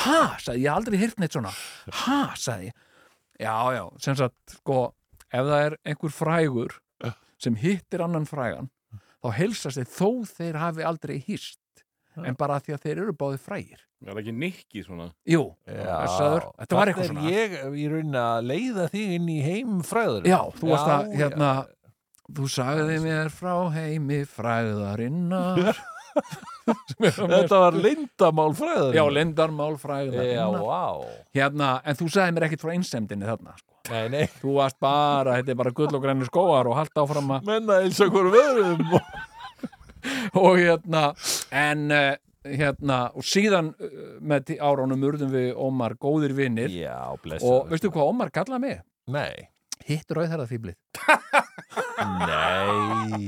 ha, sagði, ég hef aldrei hýrt neitt svona ha, sagði ég já, já, sem sagt, sko ef það er einhver frægur sem hittir annan frægan þá heilsast þeir þó þeir hafi aldrei hýst en bara af því að þeir eru báði frægir Það er ekki nikki svona jú, Já, blessaður. Þetta var eitthvað þarna er svona. ég í raunin að leiða þig inn í heim fræður já, þú varst að, Já, hérna þú sagði mér frá heimi [laughs] fræðarinnar Sem er að mér- Þetta var lindamál fræður já, lindarmál fræðarinnar vá hérna, en þú sagði mér ekkert frá einsendinni þarna sko. Nei, nei, þú varst bara, þetta er bara gull og grænir skóar og halda áfram að menna eins og um hvort veðrum og hérna en eh, hérna, og síðan eh, með tí- áránum urðum við Ómar góðir vinnir Já, blessa og veistu hvað Ómar kallaði mig? Nei, Hitt rauðherða fýblið nei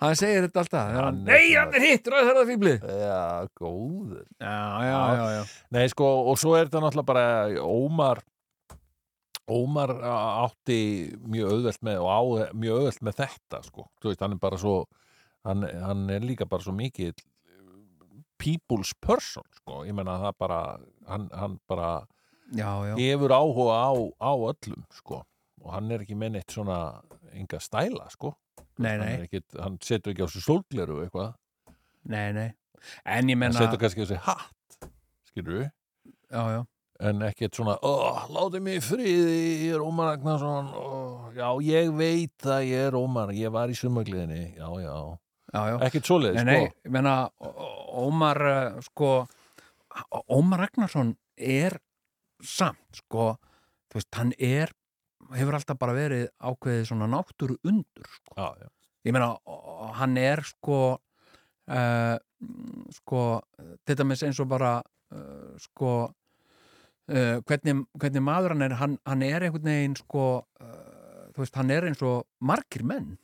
hann segir þetta alltaf þegar hann, Hann er nei, svona- hann er hitt rauðherða fýblið Já, góður já, já, já, já, Nei, sko, og svo er þetta náttúrulega bara Ómar Ómar á- átti mjög auðvelt með og á mjög auðvelt með þetta, sko þú veist, hann er bara svo hann, hann er líka bara svo mikið people's person, sko ég menna það bara, hann, hann bara já, já. hefur áhuga á, á öllum, sko og hann er ekki með neitt svona enga stæla, sko nei, hann, nei, er ekkit, hann setur ekki á sig sólgleru eitthvað, nei, nei en ég hann menna setur kannski á sig hatt skilur við já, já, en ekkert svona oh, látið mig í friði, ég er Ómar Ragnarsson oh, já, ég veit að ég er Ómar, ég var í sumagliðinni já, já, já, já ekkert svoleið Nei, sko. nei, ég meina Ó- Ó- Ómar eh, sko, Ó- Ómar Ragnarsson er samt sko, þú veist, hann er hefur alltaf bara verið ákveðið svona náttúru undur sko. já, já. ég meina, ó- ó- hann er sko uh, sko þetta með eins og bara uh, sko uh, hvernig, hvernig maður hann er hann, hann er einhvern veginn sko uh, þú veist, hann er eins og margir menn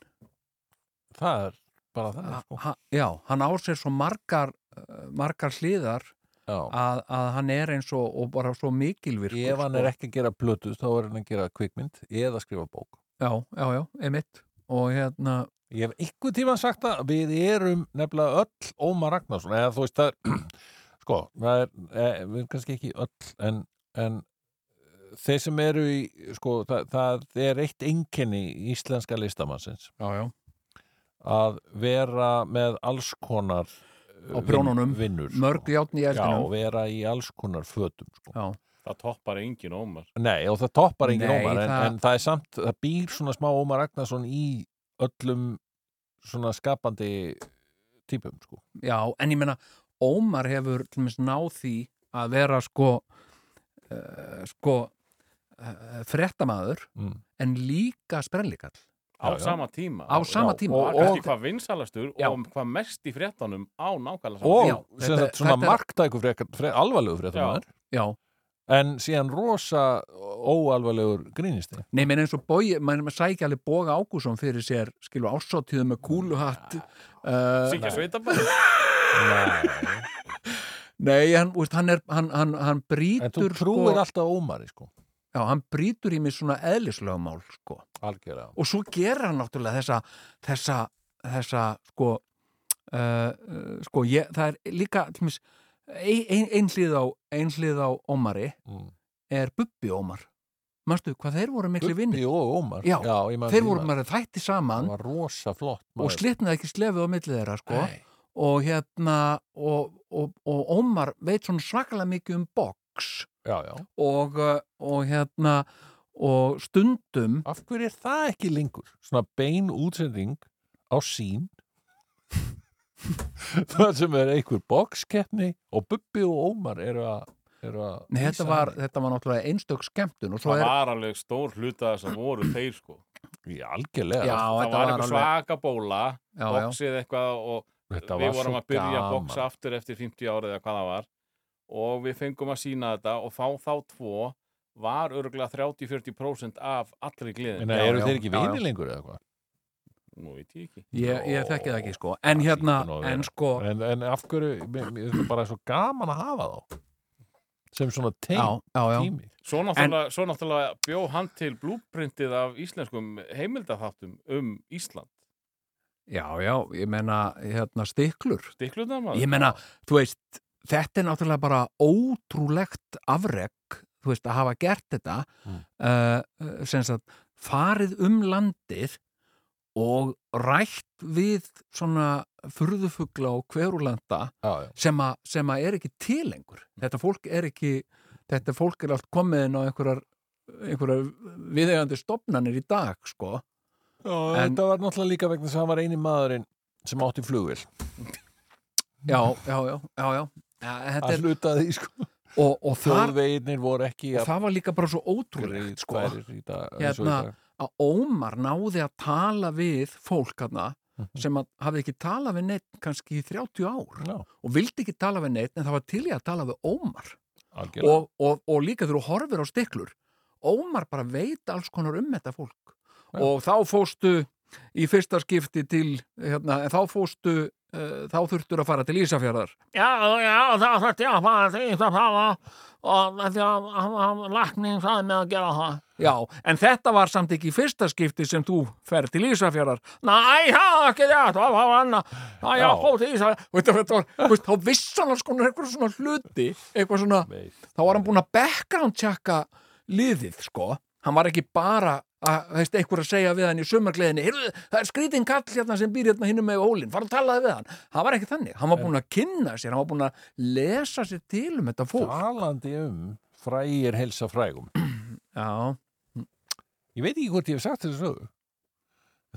það er bara það ha, sko. ha- já, hann á sér svo margar uh, margar hliðar já. að, að hann er eins og, og bara svo mikilvirkur ef hann sko. er ekki að gera plötu þá er hann að gera kvikmynd eða skrifa bók já, já, já, emitt og hérna, ég hef einhvern tíma sagt að við erum nefnilega öll Ómar Ragnarsson eða þú veist það er [clears throat] sko, það er, e, við erum kannski ekki öll en, en eh, þeir sem eru í, sko, það, það er eitt einkenni íslenska listamannsins já, já, að vera með alls konar uh, Á prjónunum, vin, vinnur, mörg sko. játn í Já, eldinum vera í alls konar fötum sko. já, Það toppar engin ómar Nei, og það toppar engin Nei, Ómar en, það- en það er samt, það býr svona smá Ómar Ragnarsson í öllum svona skapandi típum, sko já, en ég meina Ómar hefur til mér náð því að vera sko uh, sko uh, fréttamaður mm. en líka sprellikall á Já, já. sama tíma á sama já, tíma og- og ekki hvað vinsalastur Já. og hvað mest í fréttanum á nákvæmlega sama Og Já, sem þetta- sagt svona þetta er- marktækur frekar, frekar, alvarlegur fréttamaður já, en síðan rosa óalvarlegur grínisti Nei, menn eins og bói, mann sækja alveg Boga Ágússon fyrir sér, skilu, ásáttíðu með kúluhatt uh, Sýkja sveitabæð Nei, hann, úst, hann, er, hann, hann, hann en þú brýtur trúir alltaf Ómari, sko Já, hann brýtur í mig svona eðlislögumál sko. algjörlega og svo gerir hann náttúrulega þessa þessa, þessa sko, uh, uh, sko ég, það er líka til dæmis, ein, ein, ein, hlið á, ein hlið á Ómari mm. er Bubbi Ómar Manstu, hvað þeir voru miklu vinni? Bubbi og Ómar Já, ég man Þeir því voru maður. maður þætti saman Það var rosa flott og slitnaði ekki slefið á milli þeirra sko. og hérna og, og, og Ómar veit svona svakalega mikið um box já, já. og, uh, og hérna og stundum Af hverju er það ekki lengur? Svona bein útsending á [laughs] sín Það sem er einhver bokskeppni og Bubbi og Ómar eru að eru að Nei, lýsa þetta, var, henni. þetta var náttúrulega einstök skemmtun og svo Það er var alveg stór hluta þess að voru þeir sko Já, algjörlega Já, Það þetta var var eitthvað alveg svaka bóla já, já, boxið eitthvað og Þetta við var vorum svo að byrja að gaman. boksa aftur eftir 50 árið eða hvað það var og við fengum að sína þetta og fá þá tvo var örgulega 30-40% af allri gleðin Meina, Já, eru já, þeir ekki já, já. vinir lengur eða hvað? nú veit ég ekki ég, ég þekki það ekki sko en Það hérna, hlýtur nú að en vera. sko En, en af hverju, mér, mér er bara svo gaman að hafa þá sem svona já, teim, já, já, tími svo náttúrulega, svo náttúrulega bjó hann til blúprintið af íslenskum heimildaþáttum um Ísland já, já ég meina, hérna, stiklur stikluðna maður ég meina, þú veist þetta er náttúrulega bara ótrúlegt afrek, þú veist, að hafa gert þetta mm. Mm. uh, sem sagt, farið um landið og rætt við svona furðufugla og hverulanda Já, já, sem að, sem að er ekki tilengur þetta fólk er ekki þetta fólk er allt komið inn á einhverjar einhverjar viðegandi stopnanir í dag sko Já, En- þetta var náttúrulega líka vegna þess að hann var eini maðurinn sem átti flugvél já, já, já, já, já. Ja, þetta að er, hluta því sko og, og, það, þjóðveginir voru ekki og það var líka bara svo greiðfærir ótrúlegt sko í dag, Hérna, eins og í dag. að Ómar náði að tala við fólk hana Mhm. sem að hafði ekki talað við neitt kannski í 30 ár Já, og vildi ekki tala við neitt en það var til í að tala við Ómar algjörlega og, og, og líka þegar þú horfir á stiklur Ómar bara veit alls konar um þetta fólk Já. og þá fóstu í fyrsta skipti til hérna, en þá fóstu uh, þá þurftur að fara til Ísafjörðar Já, já, þá þurfti ég að fara til Ísafjörðar og því að lakning saði með að gera það Já, en þetta var samt ekki í fyrsta skipti sem þú fer til Ísafjörðar Næ, það er ekki rétt, það var annað Næ, já, Já. fór til Ísafjörðar Veit, þá vissan alls konar eitthvað svona hluti eitthvað svona Veit. þá var hann búinn að background checka liðið sko, hann var ekki bara að, veist, einhver að segja við hann í sumargleðinni heyrðu, það er skrítin kall hérna sem býr hérna hinnum með ólinn, fara að talaði við hann hann var ekki þannig, hann var búinn að kynna sér hann var búinn að lesa sér til um þetta fólk Talandi um frægir helsa frægum já, Ég veit ekki hvort ég hef sagt þessu sögu.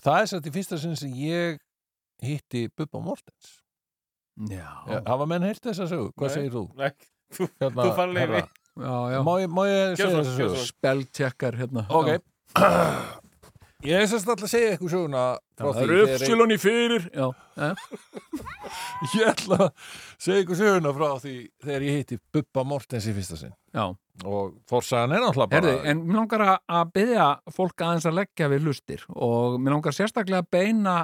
Það er satt í fyrsta sinn sem ég hitti Bubba Mortens. já, Já. Hafa menn heilt þessa sögu? Hvað Nei. segir þú? Nei, þú, Hérna, þú fann leiði herra, já, já. Má ég, má ég Gjörðu segja svo, þessa gjörðu sögu? svo. spell checkar hérna Ok. [clears throat] Ég er sérst alltaf að segja ykkur söguna frá því þegar ég- í fyrir já, já, Ég ætla að segja ykkur söguna frá því þegar ég hitti Bubba Mortens í fyrsta sinn. já. Og fórsagan er náttúrulega bara... Herði, en mér langar að- að byggja fólk aðeins að leggja við hlustir og mér langar sérstaklega að beina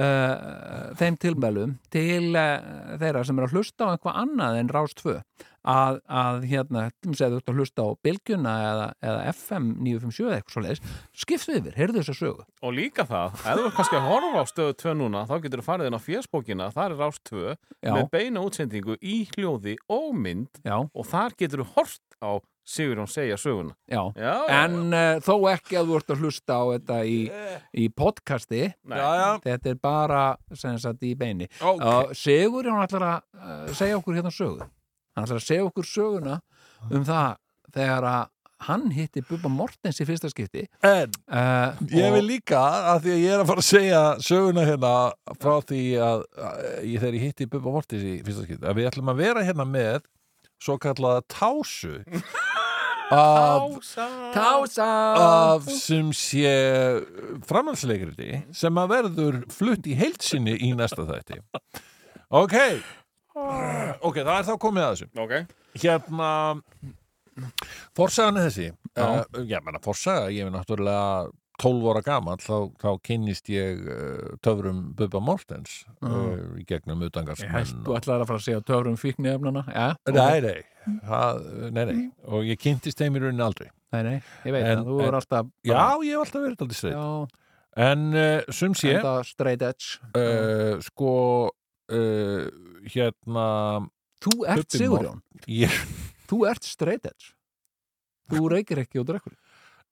uh, þeim tilmælum til uh, þeirra sem eru að hlusta á eitthvað annað en Rás 2 að, að hérna, til dæmis ef þú ert að hlusta á Bilgjuna eða, eða FM 957 eða eitthvað svo leiðis, skiptu yfir, heyrðu þess að sögu og líka það, ef þú er kannski að horfa á stöðu 2 núna, þá getur þú farið inn á fjöspókina þar er rást 2 Já, með beina útsendingu í hljóði og mynd já, og þar getur þú hort á Sigurjón segja söguna já já, já, En uh, þó ekki að þú ert að hlusta á þetta í, Eh. í podcasti nei, Já, já, Þetta er bara sem sagt í beini ok. okay. Sigur, hann ætlar að uh, segja okkur hérna sögu hann ætlar að segja okkur söguna um það þegar að hann hitti Bubba Mortens í fyrsta skipti En uh, Ég vil líka, að því að ég er að fara að segja söguna hérna frá því að, að ég þegar ég hitti Bubba Mortis í fyrsta skipt, að við ætlum að vera hérna með svo kallaða tásu af, Tása af sem sé framhaldsleikriti sem að verður flutt í heilsinni í næsta þætti. Ok, ok, það er þá komið að þessu ok, hérna forsagan er þessi uh, ég menna forsaga, ég er náttúrulega 12 ára gamall, þá, þá kynnist ég uh, töfrum Bubba Mortens uh, í gegnum utangarsmenn Þú ætlar að fara að segja töfrum fíknefnana ja, ok. Nei, nei, það, nei, nei og ég kynntist þeim í rauninni aldrei nei, nei, ég veit En- en, þú en- er alltaf Já, ég hef alltaf verið aldrei já, sveit En uh, sum sé enda straight edge uh, sko uh, hérna Þú ert Bubbi Sigurjón, ég, [laughs] þú ert straight edge Þú reykir ekki og drekkur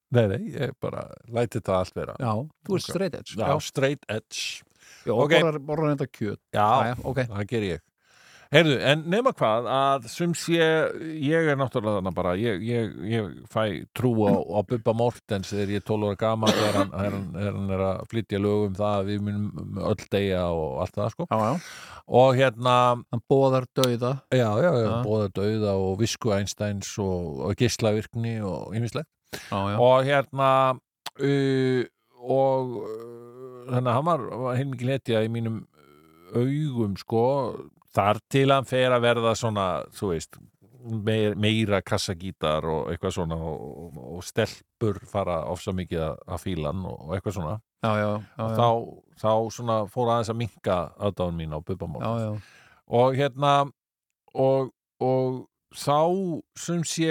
Nei, nei, ég bara læti þetta allt vera Já, þú ert Ok. straight edge Já, straight edge já og ok. borrar, borrar enda kjöt Já, Jæja, ok. það ger ég Heyrðu, en nema hvað að sem sé, ég er náttúrulega þarna bara, ég, ég, ég fæ trú á, á Bubba Mortens þegar ég er 12 ára gaman þegar hann, þegar hann, þegar hann er að flytja lög um það að við munum öll deyja og allt það sko Já, já, og hérna, hann bóðar dauða já, já, já Já. bóða dauða og visku Einsteins og, og gislavirkni og yfislega Já, já, og hérna uh, og uh, þannig að hann var, var heilmikil hetja í mínum augum sko þar til hann fer að verða svona, þú veist meir, meira kassagítar og eitthvað svona og, og, og stelpur fara ofsa mikið að- að fílan og, og eitthvað svona já, já, já, já, þá, þá svona fór aðeins að minka aðdáðun mín á bubamál já, já. og hérna og, og þá sem sé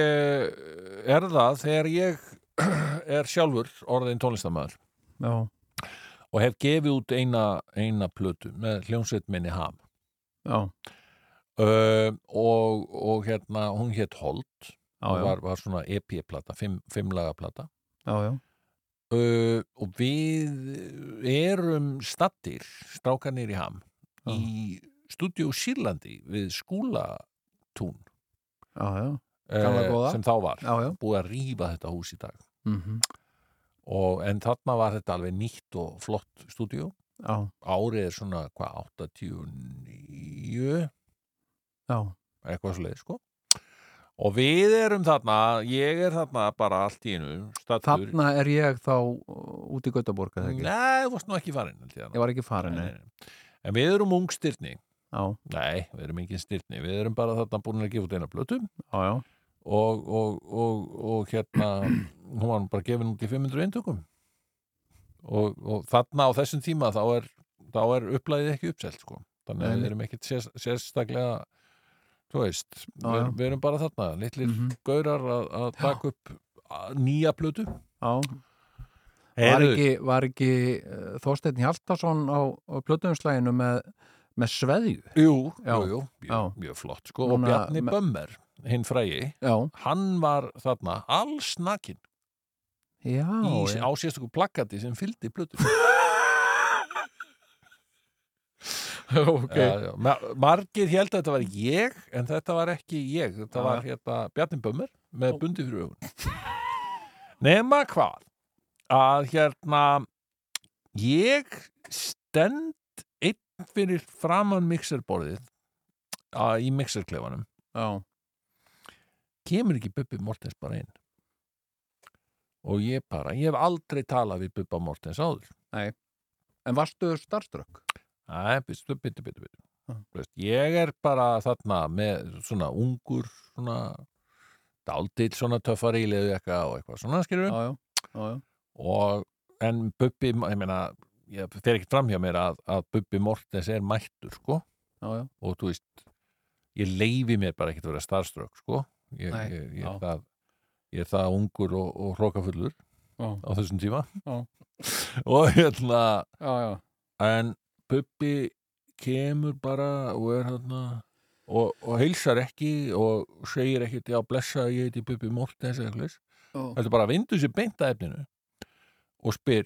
er það þegar ég [clears throat] er sjálfur orðin tónlistamæður já. og hef gefið út eina, eina plötu með hljónsveit minni ham já. uh, og, og hérna hún hétt Holt Já, og já, var, var svona EP-plata, fimm, fimmlagaplata já, já, uh, og við erum stattir, strákanir í ham Já. í stúdíu Sýrlandi við skúlatún já, já, Gamla uh, góða. sem þá var já, já. búið að rýfa þetta hús í dag Mm og, en þarna var þetta alveg nýtt og flott stúdíu já, árið er svona hvað 89 já, eitthvað svo leið sko og við erum þarna, ég er þarna bara allt í einu stattur þarna er ég þá út í Götaborg eða ekki, Nei, þú varst nú ekki farin held ég ég var ekki Nei, farin nei. nei, nei. En við erum ung styrni já, Nei, við erum engin styrni, við erum bara þarna búin að gefa út eina blötu já, já, og, og, og, og hérna hún var nú bara gefin út í 500 eintökum og, og þarna á þessum tíma þá er, þá er upplæðið ekki uppselt sko. þannig Nei, að nei. við erum ekkit sér, sérstaklega þú veist, Já, við, já. við erum bara þarna litlir Mhm. gaurar að- að taka upp að- nýja plötu já. Var Heyrðu, ekki, var ekki uh, Þorsteinn Hjaltason á, á plötuðumslæginu með, með sveðju? Jú, Já, jú, jú, já. mjög, mjög flott sko. og Núna Bjarni me- Bömmer, hinn frægi Já, hann var þarna alls nakin já, í, já. á sérstöku plakati sem fylgdi plötu ok. já, já. Ma margir held að þetta var ég en þetta var ekki ég þetta Já, var hérna Bjarni Bömmur með bundi fyrir augun nema hvað að hérna ég stend einn fyrir framan mixerborðið að, í mixerklefanum já, kemur ekki Bubbi Mortens bara inn og ég bara ég hef aldrei talað við Bubba Mortens áður en varstu starstruck? Nei, býttu, býttu, býttu, býttu. Já. Þú Veist, ég er bara þarna með svona ungur, svona daldill, svona töffari í leðu eitthvað og eitthvað svona skilur Já, já, já, já, og en Bubbi, ég meina ég fer ekkert fram hjá mér að, að Bubbi Mortens er mættur, sko já, já, og þú veist, ég leifi mér bara ekkert að vera starströk, sko ég, Nei, ég, ég, já. er það, ég er það ungur og, og hrókafullur Já. á þessum tíma Já. [laughs] og hérna já, já. en Bubbi kemur bara og er hérna og, og heilsar ekki og segir ekkit já blessa ég heiti Bubbi Mortens eða eitthvað Ó. heldur bara að vindu sér beint að efninu og spyr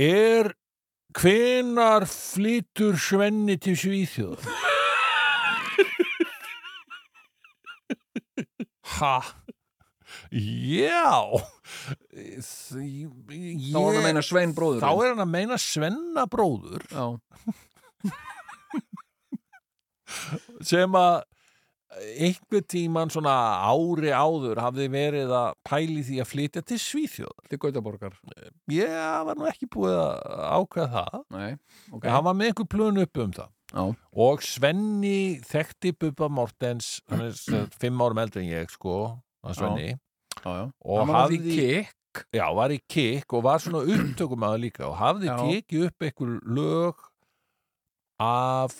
er hvenar flytur Svenni til Svíþjóð ha já Þá var hann að meina Svein bróður. Þá er hann að meina Svenna bróður Já, sem að einhver tíman svona ári áður hafði verið að pæli því að flytja til Svíþjóðar. til Götaborgar. Ég var nú ekki búið að ákveða það. Nei, ok. Hann var með einhver plön upp um það. Já. Og Svenni þekkti Bubba Mortens, hann er sem sagt fimm árum eldri en ég, sko, hann Svenni. já, já. Og hann var því kikk. já, var í kikk og var svona upptökumæður líka og hafði Já. tekið upp einhver lög af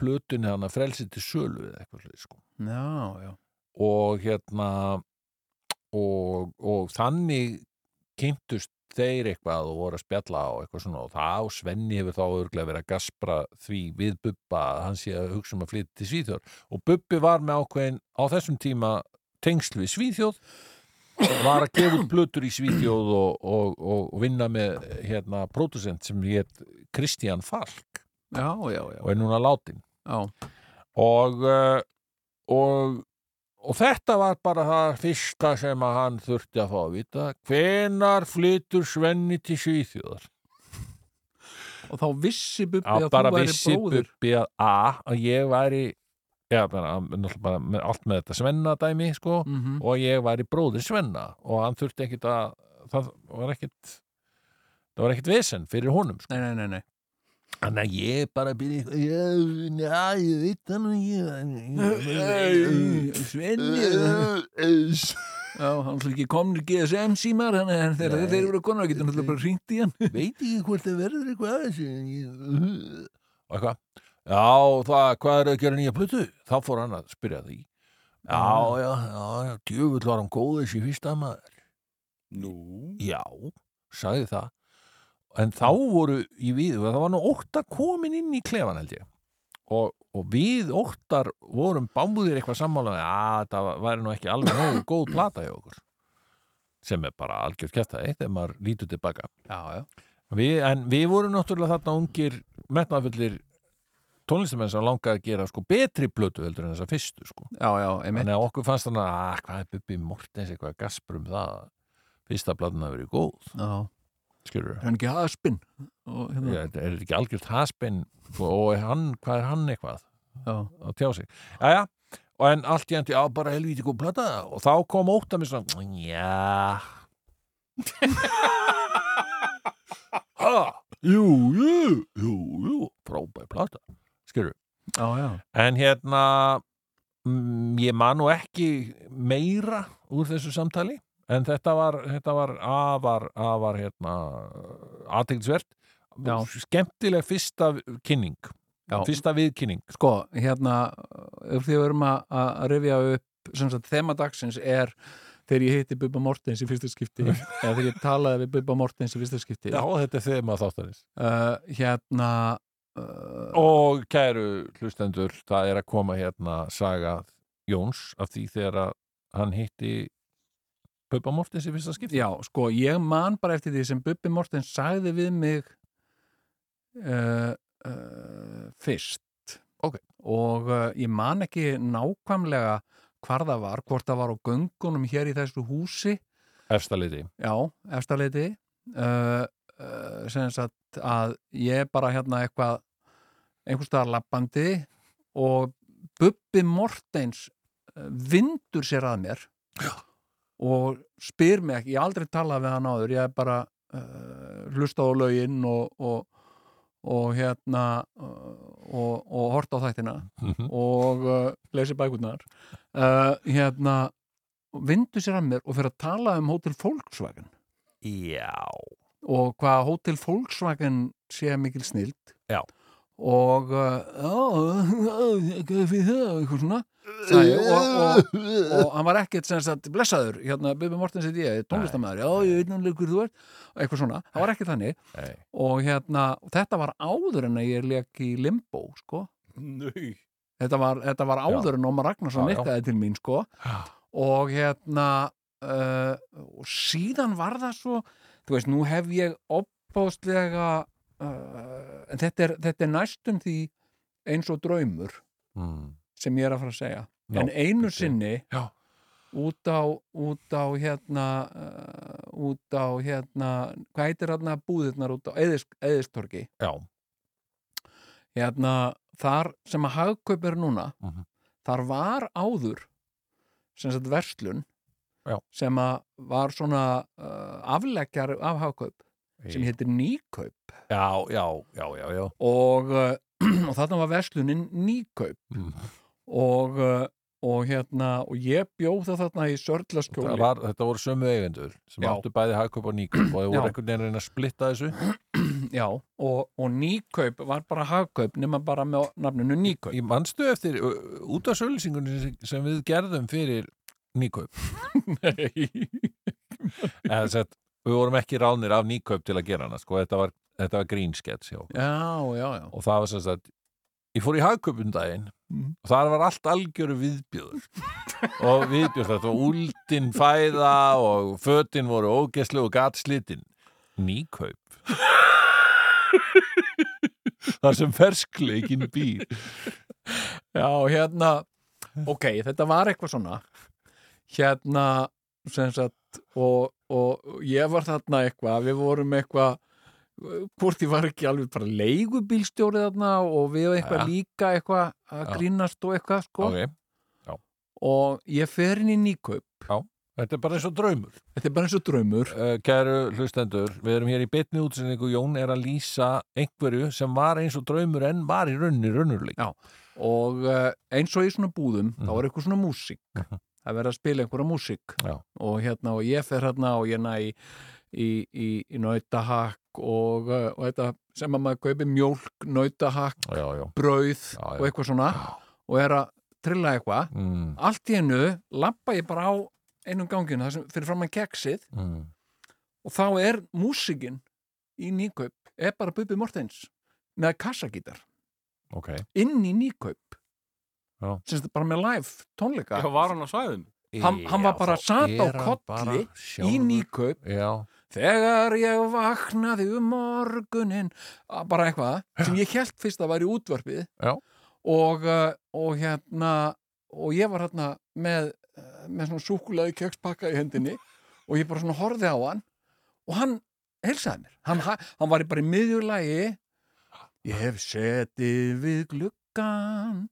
plötunni hann að frelsi til sölu eða eitthvað slið, sko. Já, já, og hérna og, og þannig kynntust þeir eitthvað og voru að spjalla og eitthvað svona og það og Svenni hefur þá örglega verið að gaspra því við Bubba að hann sé að hugsa um að flytja til Svíþjóð og Bubbi var með ákveðin á þessum tíma tengsl við Svíþjóð var að gefa út plötur í Svíþjóð og, og, og, og vinna með hérna pródusent sem hétt Kristján Falk já, já, já, og er núna látin já, og, eh, og, og þetta var bara það fyrsta sem að hann þurfti að fá að vita hvenar flytur Svenni til Svíþjóðar og þá vissi Bubbi að að þú bara væri vissi bróður. Bubbi að a, að ég væri já, bara, hann- náttúrulega bara, með- allt með þetta Svenna dæmi sko, Mm -hmm. og ég væri bróðir Svenna og hann þurfti ekkit að það var ekkit það var ekkit vesen fyrir honum sko. Nei, nei, nei, nei. Þannig að ég bara byrja eitthvað, já, já, ég veit það nú ekki. Svenni Já, hann slúið ekki komnir GSM símar þannig að þegar Nei. þeir eru konar getur náttúrulega bara hringt í hann [laughs] Veit ekki hvort það verður eitthvað að þessu. en ég- Og eitthvað, já, það, hvað er að gera nýja plötu? Þá fór hann að spyrja því. Já, já, já, já, djöfull var hann góð þessi fyrsta maður. Nú Já, sagði það. En þá voru í við, það var nú óttar komin inn í klefan held ég. Og, og við óttar vorum báðir eitthvað sammála að það væri nú ekki alveg nógu góð plata í okkur. Sem er bara algjörð kjæftæði þegar maður lítur tilbaka. Já, já, Við, en við vorum náttúrulega þarna ungir metnafullir tónlistamenn sem langaði að gera sko betri blötu heldur en þessa fyrstu sko. já, já, einmitt Þannig að okkur fannst þannig að "Ah, hvað er Bubbi Mortens eitthvað gaspur um það að fyrsta blatna hafi verið góð, Já, skilur er hann ekki haspinn og hérna, Er er þetta ekki algjört haspinn sko, og er hann, hvað er hann eitthvað já, að tjá sig? Jæja, og en allt í endi á bara helvíti góð blata og þá kom ótt að mér svona, já, [laughs] ha, jú, jú, jú, jú, frábæð blata, skilur já, já En hérna, mm, ég man nú ekki meira úr þessu samtali, en þetta var, þetta var afar, afar hérna, aðteglisvert. Já. Skemmtileg fyrsta kynning, Já. fyrsta viðkynning. Sko, hérna, ef því við erum að, að rifja upp, sem sagt, þema dagsins er þegar ég hitti Bubba Mortens í [laughs] fyrsta skipti eða þegar ég talaði við Bubba Mortens í fyrsta skipti Já, þetta er þeim að þáttanins. Uh, hérna uh, Og kæru hlustendur, það er að koma hérna saga Jóns af því þegar að hann hitti Pöpa Mortins í fyrsta skipti. Já, sko, ég man bara eftir því sem Bubbi Mortens sagði við mig uh, uh, fyrst Ok. og uh, ég man ekki nákvæmlega hvar það var, hvort það var á göngunum hér í þessu húsi Efsta liti. já, efstaleiti uh, uh, sem sagt að ég bara hérna eitthvað einhverstaðar lappandi og Bubbi Mortens eh, vindur sér að mér og spyr mig ekki, ég hef aldrei talað við hann áður ég hef bara uh, hlustað á lögin og, og, og hérna uh, og, og hort á þættina Mhm. og uh, lesi bækurnar uh, hérna vindu sér að mér og fyrir að tala um Hotel Volkswagen Já. og hvað Hotel Volkswagen sé mikil snild Já. og uh, já, já, hvað er fyrir það og eitthvað svona sagði, ég, og, og, og hann var ekkert sem sagt blessaður, hérna Bibi Mortens heiti ég, tónlistamæður, já ég veit náttúrulega hver þú ert eitthvað svona, hann var ekkert þannig Nei. og hérna, þetta var áður en að ég leik í limbo, sko Nau Þetta var, þetta var áður en Ómar Ragnarsson Já, já. nikkaði til mín sko Já. og hérna uh, og síðan var það svo þú veist, nú hef ég opbóðslega uh, en þetta er, þetta er næstum því eins og draumur Mm. sem ég er að fara að segja Já, en einu bíddu. sinni Já. út á, út á hérna uh, út á hérna hvað heitir hérna búðirnar út á Eyðis- Eyðistorgi Já. hérna, þar sem að hagkaup er núna Mhm. þar var áður sem sagt verslun Já. sem að var svona uh, afleggjar af hagkaup sem heitir nýkaup Já, já, já, já, já. og, uh, [clears throat] og þarna var verslunin nýkaup Mm. og, uh, og hérna og ég bjóð það þarna í sörlaskjóli Þetta, var, þetta voru sömu eigendur sem Já. áttu bæði hagkaup og nýkaup og þeir Já. voru einhvern veginn að reyna að splitta þessu já, og, og nýkaup var bara hagkaup nema bara með nafninu [laughs] nýkaup Ég manstu eftir út af sölusningunni sem, sem við gerðum fyrir nýkaup Eða, sett, Við vorum ekki ránir af nýkaup til að gera hana sko. þetta var, þetta var grínskets og já, já, já það var sem sagt Ég fór í hagkaupum um daginn Mhm. og þar var allt algjöru viðbjöður og viðbjöður þetta var úldin fæða og fötin voru ógeslu og gatslitin nýkaup þar sem ferskleikin býr Já, hérna Ok, þetta var eitthvað svona Hérna, sem sagt og, og ég var þarna eitthvað við vorum eitthvað hvort ég var ekki alveg bara leigubílstjóri þarna og við eitthvað Jæja. líka eitthvað að Já. Sko. grínast og eitthvað sko ok, og ég fer inn í nýkaup Já, Þetta er bara eins og draumur. Þetta er bara eins og draumur Uh, kæru hlustendur, við erum hér í betni útsinningu, Jón er að lýsa einhverju sem var eins og draumur en var í rauninni raunurleik. Já. og eh, eins og í svona búðum þá Mhm. er eitthvað svona músík það verður að spila einhverja músík Já. og hérna og ég fer hérna og ég næ í, í, í, í nautahakk og, eh, og þetta sem að maður kaupi mjólk, nautahakk, Já, já. brauð Já, já. og eitthvað svona og er að trilla eitthvað Mm, allt í hennu lappa ég bara á einum ganginu þar sem fyrir fram að keksið mm. og þá er músíkin í nýkaup, er bara Bubi Mortens með kassagítar Ok. inn í nýkaup Já. sem þetta bara með live tónleika Já, var hann á svæðum? Hann- hann var bara þá sat á er hann bara kolli í sjálfur- nýkaup Já, þegar ég vaknaði um morgunin Að bara eitthvað sem ég held fyrst að væri útvarpið Já. og, uh, og hérna og ég var hérna með, uh, með svona súkulaði kjökspakka í hendinni og ég bara svona horfði á hann og hann helsaði mér hann, ha- hann var í bara í miðjulagi ég hef setið við gluggan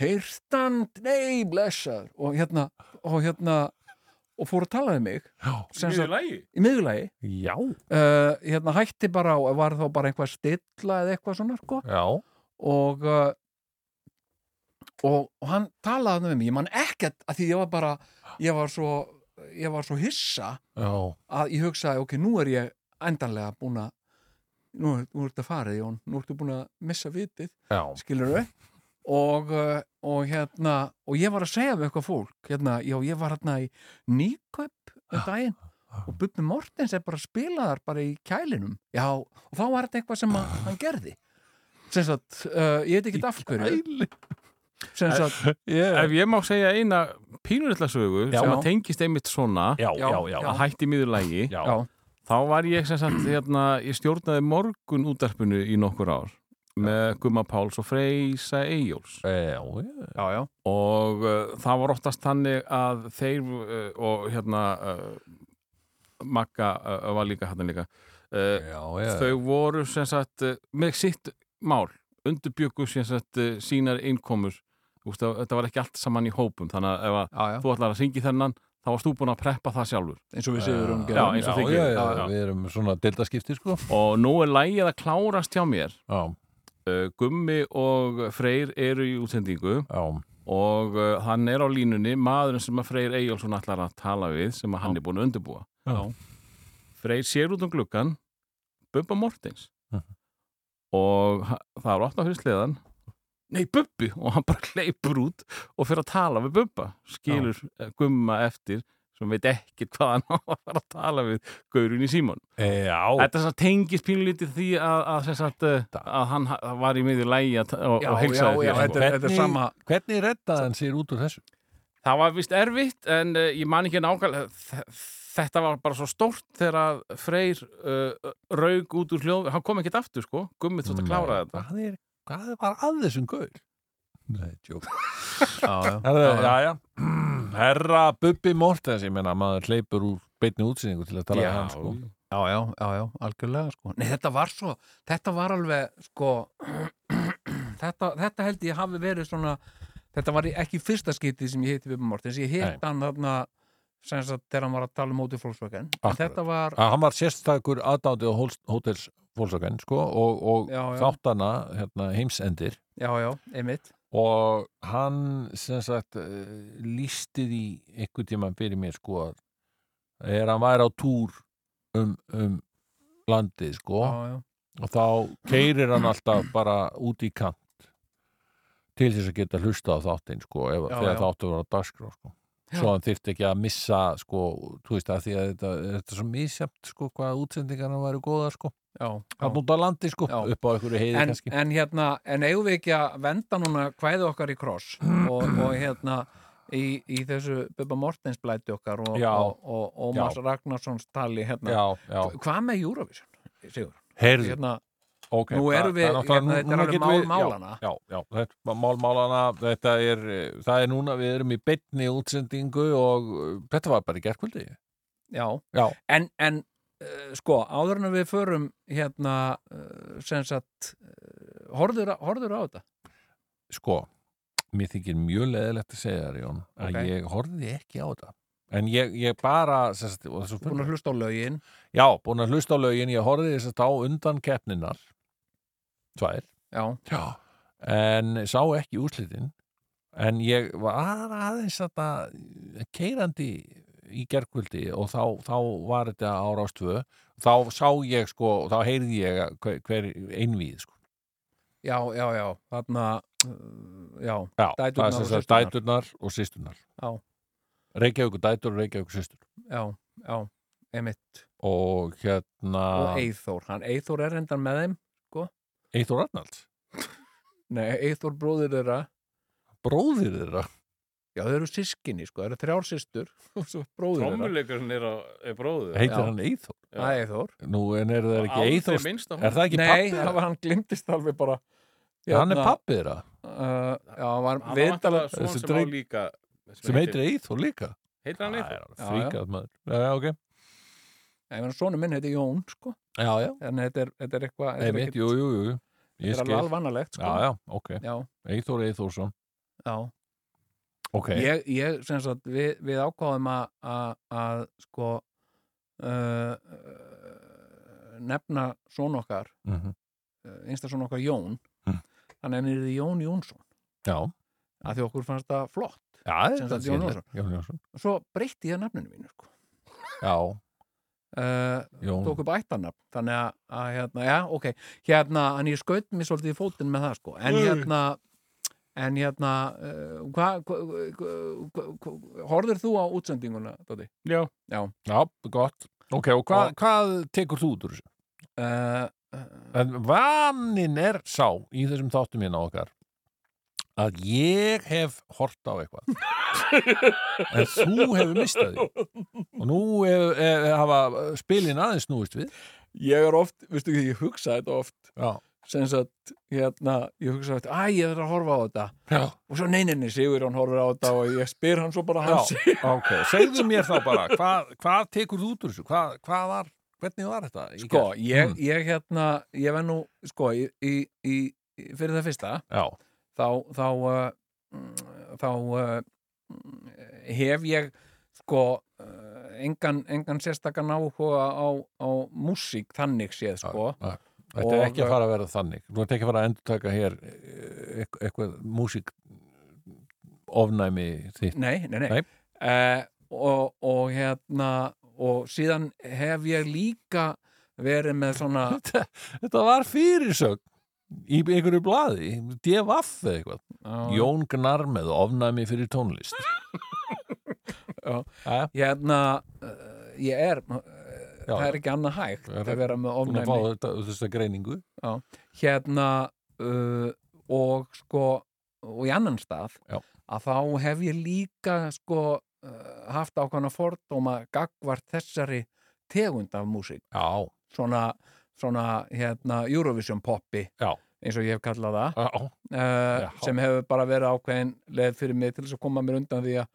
heyrtan, nei, blessar og hérna og hérna og fór að tala við mig sem sagt- Mjög lægi? í miðjulagi já, uh, hérna hætti bara og var þá bara einhvað stilla eða eitthvað svona sko. já. og, uh, og og hann talaði þarna við mig, ég man ekkert að því ég var bara, ég var svo ég var svo hissa Já, að ég hugsaði, ok, nú er ég endanlega búin að nú, er- nú ertu að farið, Jón, nú ertu búin að missa vitið, já, skilur við og, uh, og hérna og ég var að segja við eitthvað fólk hérna, já, ég var hérna í nýkaup um Ah, daginn og Bubbi Mortens er bara að spila þar bara í kælinum já, og þá var þetta eitthvað sem að, hann gerði sem sagt, uh, ég veit ekki af hverju sem sagt, Ef ég má segja eina pínurilla sögu Já. sem að tengist einmitt svona já, Já, já, já, já. að hætti miður lægi já, já, þá var ég sem sagt hérna, ég stjórnaði morgun útarpinu í nokkur ár með Gumma Páls og Freysa Eyjóls já, já, já, og uh, það var oftast þannig að þeir uh, og hérna uh, Magga uh, var líka hann líka uh, já, já, þau voru sem sagt eh, með sitt mál undurbyggu sem sagt eh, sínar innkomur Úst, þetta var ekki allt saman í hópum þannig að ef að já, já þú ætlar að syngi þennan þá varst þú búin að preppa það sjálfur um eins og við séum hún Eh, Já, eins og þið já, gerir. já, Já, já. við erum svona dildaskipti, sko. og nú er lægið að klárast hjá mér Já, Eh, Gummi og Freyr eru í útsendingu já, og eh, hann er á línunni maðurinn sem að Freyr Eyjálsson ætlar að tala við sem að hann er búin að undirbúa já, Freyr sér út um gluggan Bubba Mortens Mhm. og ha- það er opnað fyrir sleðan Nei, Bubbi! Og hann bara hleypur út og fyrir að tala við Bubba skilur Já. gumma eftir sem veit ekkert hvað hann á að fara að tala við gaurinn í síman. já, Þetta sem sagt tengist pínlítið því að, að, sem sagt, eh, að hann ha- var í miður lægi að, og, já, og já, heilsaði já, þér, sko. þetta er- þetta er sama hvernig reddaði hann sér út úr þessu? Það var vist erfitt en uh, ég man ekki nákvæmlega þ- þetta var bara svo stórt þegar að Freyr uh, raug út úr hljóð hann kom ekkert aftur sko, gummið þótt að klára þetta Hvað er, hvað var að þessum gaur? Nei, tjók. já, [laughs] já, Herra, já, já, [clears throat] herra Bubbi Mortens, ég menna, maður hleypur úr beinni útsinningu til að tala við hann, sko. já, já, já, já, algjörlega sko. Nei, þetta var svo, þetta var alveg sko [clears throat] þetta, þetta held ég hafi verið svona þetta var ekki fyrsta skiptið sem ég hitti Bubba Mortens, ég hitt hann þarna sem sagt þegar hann var að tala um mótið Volkswagen en Akkurat. þetta var, að hann var sérstakur aðdándi á Hol- Hotels Volkswagen sko, og, og Já, já. þáttana hérna, heimsendir já, já, einmitt og hann sem sagt eh, lýsti því einhvern tíma fyrir mér sko að er hann væri á túr um, um landið sko já, já, og þá keirir hann alltaf bara út í kant til þess að geta hlusta á þáttinn sko ef, Já, þegar já. þáttu var á dagskrá sko Já. svo hann þyrfti ekki að missa sko, þú veist að því að þetta, þetta er svo misjæmt sko hvað útsendingarna væri góða sko já, hann já. út á landi sko, Já. upp á einhverju heiði En, kannski en hérna, en eigum við ekki að venda núna kvæði okkar í kross og, [clears throat] og hérna í, í þessu Bubba Mortens blæti okkar og, Já. og, og, og Já. Ómars Ragnarssons tali hérna, já, já, hvað með Eurovision? Sigur, heyrðu, hérna, ok Nú það- erum við- það er náttúrulega- hérna, þetta er núna alveg getum mál við- málanna. já, já, já, þetta er mál málana þetta er, eh, það er núna, við erum í beinni útsendingu og eh, þetta var bara í gerkvöldi já, Já. en, en uh, sko, áður en við förum hérna uh, sem sagt uh, horður, á- horður á þetta sko, mér þykir mjög leðilegt að segja þér Jón að Ok. ég horfði ekki á þetta en ég, ég bara sem sagt, og þessu búin að hlusta á lögin já, búin að hlusta á lögin, ég horfði þess að á undan keppninar tvær já, Já. en sá ekki úrslitin en ég var aðeins þetta keirandi í gerkvöldi og þá, þá var þetta ára ástvö þá sá ég sko, þá heyrði ég að hver, hver einvíð sko. já, já, já þarna, uh, já, Já, Dæturnar það er sem og sagt systurnar. dæturnar og sýsturnar Já. Reykjavíkur dætur og Reykjavíkur sýstur já, já Emitt og hérna og Eithór, hann Eithór er hendan með þeim Eithor Arnalds, nei, Eithór bróðir þeirra bróðir þeirra já, þau eru sískinni, sko, þau eru þrjár systur [laughs] og svo bróðir þeirra, Trommuleikurinn er, á- er bróður heitir Já. hann Eithor það er Eithór nú en eru þeir ekki Eithor er það ekki Nei, pappi það var hérna- hann glimtist alveg bara hann er pappi þeirra uh, Já, hann var Hann var viðtalað svona Þessi sem á dreng- líka sem heitir Eithor líka Heitir hann Eithor? Já, fríkað maður já, ok Ég meina, sonu minn heiti Jón, sko já, já Þannig þetta er, þetta er eitthvað Nei, Þetta er mitt, ekkit- jú, jú, jú jú. ég þetta er alveg skil alvanalegt, já, sko já, ok já, Eithor Eithorsson já. ok Ég, ég, sem sagt, við, við ákváðum að- að, að sko uh, nefna son okkar Mhm. uh, einsta son okkar Jón Mm. Þannig hann er þið Jón Jónsson já að því okkur fannst það flott já, Sem þetta sagt skil Jón ég. Jónsson. Jón Jónsson Svo breytti ég nafninu mínu, sko já, uh, Jón tók upp ættarnafn þannig að, að hérna, já, ok hérna, en ég skaut mér svolítið í fótinn með það sko, en hérna en hérna, uh, hvað hva, hva, hva, hva, horður þú á útsendinguna, Dóti? Já Já, gott. Ok, og hvað, hvað tekur þú út úr þessu? Uh, En vanin er sá í þessum þáttum hérna okkar að ég hef hort á eitthvað [laughs] en þú hefur mistað því og nú hef, hef, hafa spilin aðeins snúist við ég er oft, veistu ekki, ég hugsa þetta oft Já, sem sagt, hérna, ég hugsa þetta æ, ég er að horfa á þetta já og svo neyninni Sigurjón horfur á þetta og ég spyr hann svo bara hans Já, ok, segðu mér þá bara hvað, hvað tekur þú út úr þessu? Hvað, hvað var, hvernig var þetta? í sko, gær? ég, Mm. ég hérna ég verð nú, sko, í, í, í, í fyrir það fyrsta Já, þá þá, uh, mm, þá uh, mm, hef ég sko uh, engan, engan sérstakann áhuga á, á músík þannig séð sko já, já. Þetta er Og- ekki að fara að vera þannig. Þú ert ekki að fara að endurtaka hér eh, eit- eitthvað músík ofnæmi þitt. nei, nei, nei, Nei. Eh, og, og hérna og síðan hef ég líka verið með svona Þetta, þetta var fyrirsögn í einhverju blaði, DFF eða eitthvað. Jón Gnar með ofnæmi fyrir tónlist. Já. Jæja, hérna uh, ég er uh, Já, það já. er ekki annað hægt Það er- að vera með búin að ofnæmi fá þetta, þessa greiningu. hérna uh, og sko og í annan stað Já. að þá hef ég líka sko uh, haft ákvæmna fordóma gagvart þessari tegund af músík Já, svona, svona hérna Eurovision poppi Já. eins og ég hef kallað það já, uh, Já. sem hefur bara verið ákveðin leið fyrir mig til þess að koma mér undan því að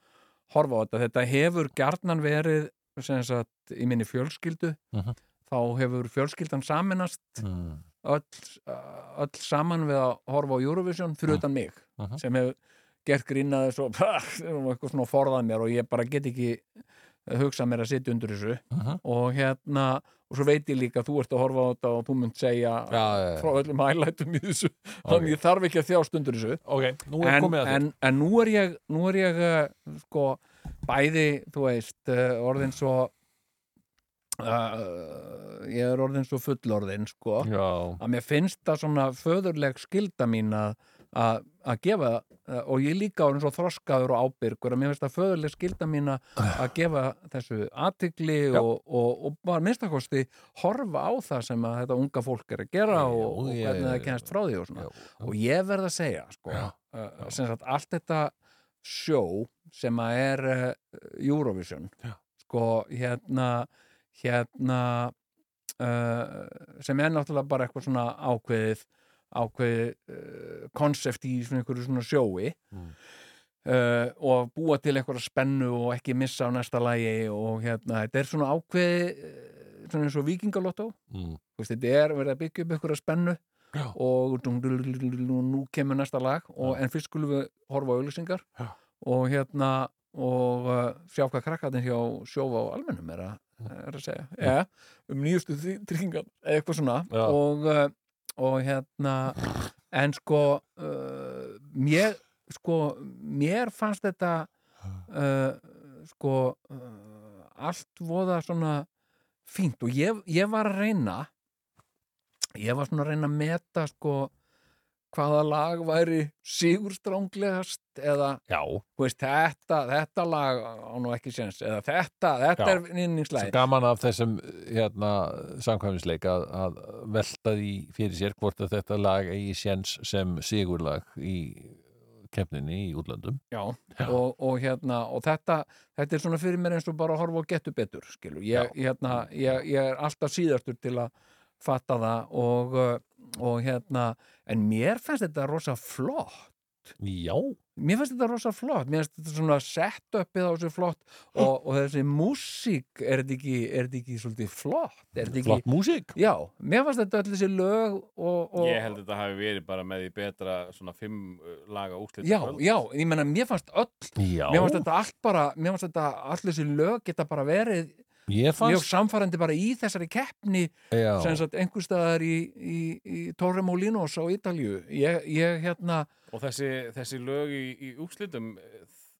horfa á þetta. Þetta hefur gjarnan verið sem sagt í minni fjölskyldu Mhm. þá hefur fjölskyldan saminast mm, öll, eh, öll saman við að horfa á Eurovision fyrir utan mig Mhm. sem hefur gert grínaði [laughs] svo um eitthvað svona forðað mér og ég bara get ekki hugsað mér að sitja undir þessu Mhm. og hérna og svo veit ég líka að þú ert að horfa á þetta og þú munt segja já, já, frá já. öllum hælætum í þessu þannig ég þarf ekki að þjást undir þessu Ok, nú er en, komið að þér. en, en nú er ég, nú er ég uh, sko, bæði, þú veist uh, orðin svo uh, ég er orðin svo fullorðin sko, Já, að mér finnst það svona föðurleg skilda mín að að að gefa, uh, og ég er líka orðin svo þroskaður og ábyrgur, að mér finnst það föðurleg skilda mín að- að gefa þessu athygli Ah. Já. og, og, og bara minnstakosti horfa á það sem að þetta unga fólk er að gera Já, og, og ég- hvernig það kennst frá því og já, svona og ég verð að segja sko, Já, uh, sem sagt, allt þetta sjó sem að er uh, Eurovision Já. sko, hérna hérna uh, sem er náttúrulega bara eitthvað svona ákveðið ákveðið uh, konsept í svona einhverju svona sjói Mm. uh, og búa til einhverja spennu og ekki missa á næsta lagi og hérna, þetta er svona ákveðið uh, svona eins og vikingalottó mm, Þú veist, þetta er verið að byggja upp einhverja spennu Já. og dung, dung, dung, dung, dung, nú kemur næsta lag og, en fyrst skulum við horfa á auðlýsingar Já. og hérna og uh, sjá hvað krakkarnir hjá sjófa á almennum er, a, er að segja ja, um nýjustu þy- tryggingar eða eitthvað svona Já. og, uh, og hérna en sko uh, mér, sko mér fannst þetta uh, sko uh, allt voða svona fínt og ég, ég var að reyna ég var svona að reyna að meta sko hvaða lag væri sigurstránglegast eða Já, þú veist, þetta, þetta lag á nú ekki séns, eða þetta, þetta Já. er svo vinningslagi. gaman af þessum hérna, samkvæmisleik að, að velta því fyrir sér hvort að þetta lag eigi séns sem sigurlag í keppninni í útlöndum Já, og, og hérna, og þetta, þetta er svona fyrir mér eins og bara að horfa og getu betur, skilur. Ég, hérna, ég, ég er alltaf síðastur til að fatta það og, uh, og hérna, en mér fannst þetta rosa flott. Já, Mér fannst þetta rosa flott, mér fannst þetta svona sett uppið á þessu flott Hm. og, og þessi músík, er þetta ekki, er þetta ekki svolítið flott? Er þetta ekki, flott músík já, mér fannst þetta öll þessi lög og, og Ég held að þetta hafi verið bara með því betra svona fimm uh, laga úslita Já, já, ég menna, mér fannst öll Já, mér fannst þetta allt bara, mér fannst þetta allt þessi lög geta bara verið ég mjög fannst samfærandi bara í þessari keppni já, sem sagt einhverstaðar í, í, í Torre Molinos á Ítalju ég, ég hérna, Og þessi, þessi lög í, í úslitum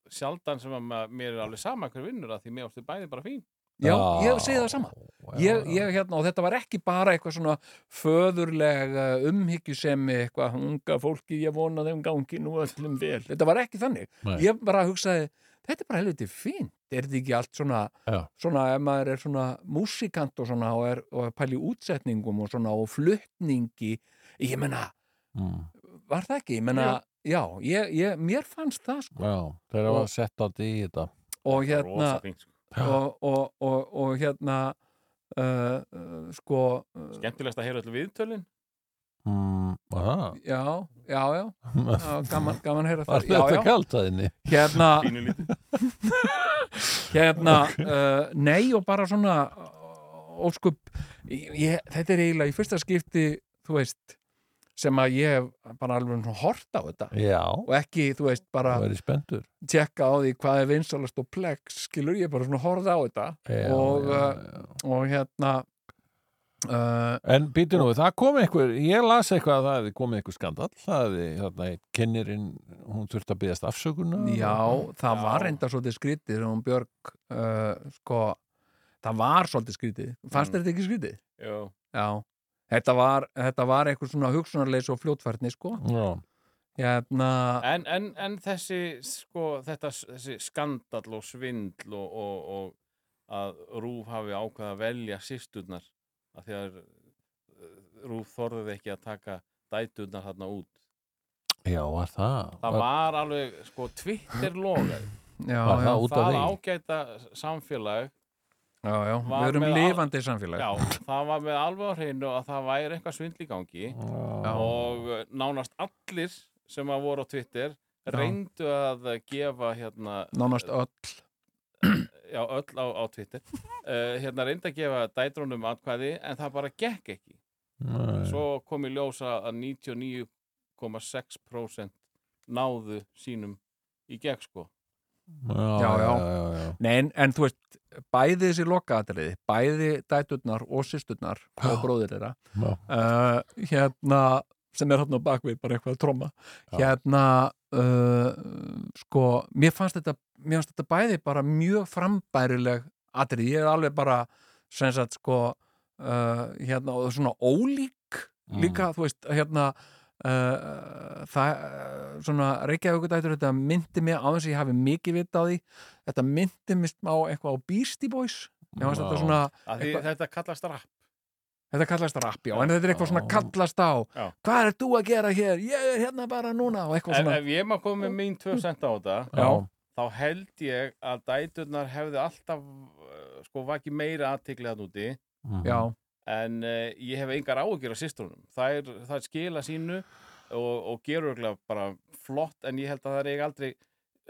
sjaldan sem að ma- mér er alveg sama hver vinnur að því mér ástu bæði bara fín já, ég segi það sama Já, ég, já. ég hérna, og þetta var ekki bara eitthvað svona föðurlega umhyggjusemi eitthvað hunga fólki, ég vona þeim gangi nú öllum vel, þetta var ekki þannig Nei. ég bara hugsaði, þetta er bara helviti fínt er þetta ekki allt svona Já. svona ef maður er svona músikant og svona og er, og er pæli útsetningum og svona og fluttningi ég menna, Mm. var það ekki? ég menna, já, ég, ég, mér fannst það sko. Já, þeir hafa Og- sett átt í þetta og hérna Rosa fín, sko. og, og, og, og hérna uh, uh, sko uh, Skemmtilegast að heyra öllu viðtölin mm, aha. já, já, já, [laughs] já gaman, gaman að heyra Var það já, þetta já, kalt að henni? hérna, Pínu lítið hérna uh, nei og bara svona uh, óskup ég, ég- þetta er eiginlega í fyrsta skipti þú veist, sem að ég hef bara alveg svona hort á þetta Já, og ekki, þú veist, bara það er spenntur tjekka á því hvað er vinsalast og plex skilur, ég bara svona horfði á þetta já, Og, já, uh, já. og hérna uh, En býtu nú, það kom einhver, ég las eitthvað að það hefði komið einhver skandall, það hefði, þarna, kennirinn, hún þurfti að byggast afsökunar. já, það Já. var enda svolítið skrítið þegar hún Björg uh, sko, það var svolítið skrítið fannst Mm. þér þetta ekki skrítið? Já, Já, þetta var, þetta var eitthvað svona hugsunarleis og fljótfærni sko Já, hérna, en, en, en þessi, sko, þetta, þessi skandall og svindl og, og, og að Rúf hafi ákvað að velja sýsturnar að því að uh, Rúf þorðið ekki að taka dæturnar þarna út já, var það. það var alveg, sko, Twitter logaði já, Var já, það út af það því? ágæta samfélag já, já var við erum með al- lifandi samfélag já, það var með alveg á hreinu að það væri eitthvað svindl í gangi Já, og uh, nánast allir sem að voru á Twitter Já. reyndu að uh, gefa hérna, nánast öll já, öll á, á Twitter uh, hérna reyndu að gefa dætrunum atkvæði en það bara gekk ekki Nei. svo kom í ljósa að 99,6% náðu sínum í gegn sko já, Já, já. já, já. Nei, en, en þú veist, bæði þessi lokaðatriði, bæði dæturnar og sýsturnar og bróðir þeirra já. uh, hérna sem er hérna á bakvið, bara eitthvað að tromma Já. hérna uh, sko, mér fannst þetta mér fannst þetta bæði bara mjög frambærileg atrið, ég er alveg bara sem sagt sko uh, hérna, og svona ólík Mm. Mm. líka, þú veist, hérna uh, það uh, svona Reykjavíkudættur, þetta myndi mig á þess að ég hafi mikið vit á því þetta myndi mig smá eitthvað á Beastie Boys mér fannst þetta Já. svona Af því Eitthvað- þetta kallast rap Þetta kallast rap, já, en þetta er eitthvað svona Já. kallast á Já. Hvað er þú að gera hér? Ég er hérna bara núna og eitthvað ef, svona ef ég má koma með mín 2 cent á þetta Já, þá held ég að dæturnar hefði alltaf uh, sko vakið meira aðtikli hann úti Mhm. Já, en uh, ég hef engar áhyggjur af sýstrunum þær, þær skila sínu og, og gerur örugglega bara flott en ég held að það er eiga aldrei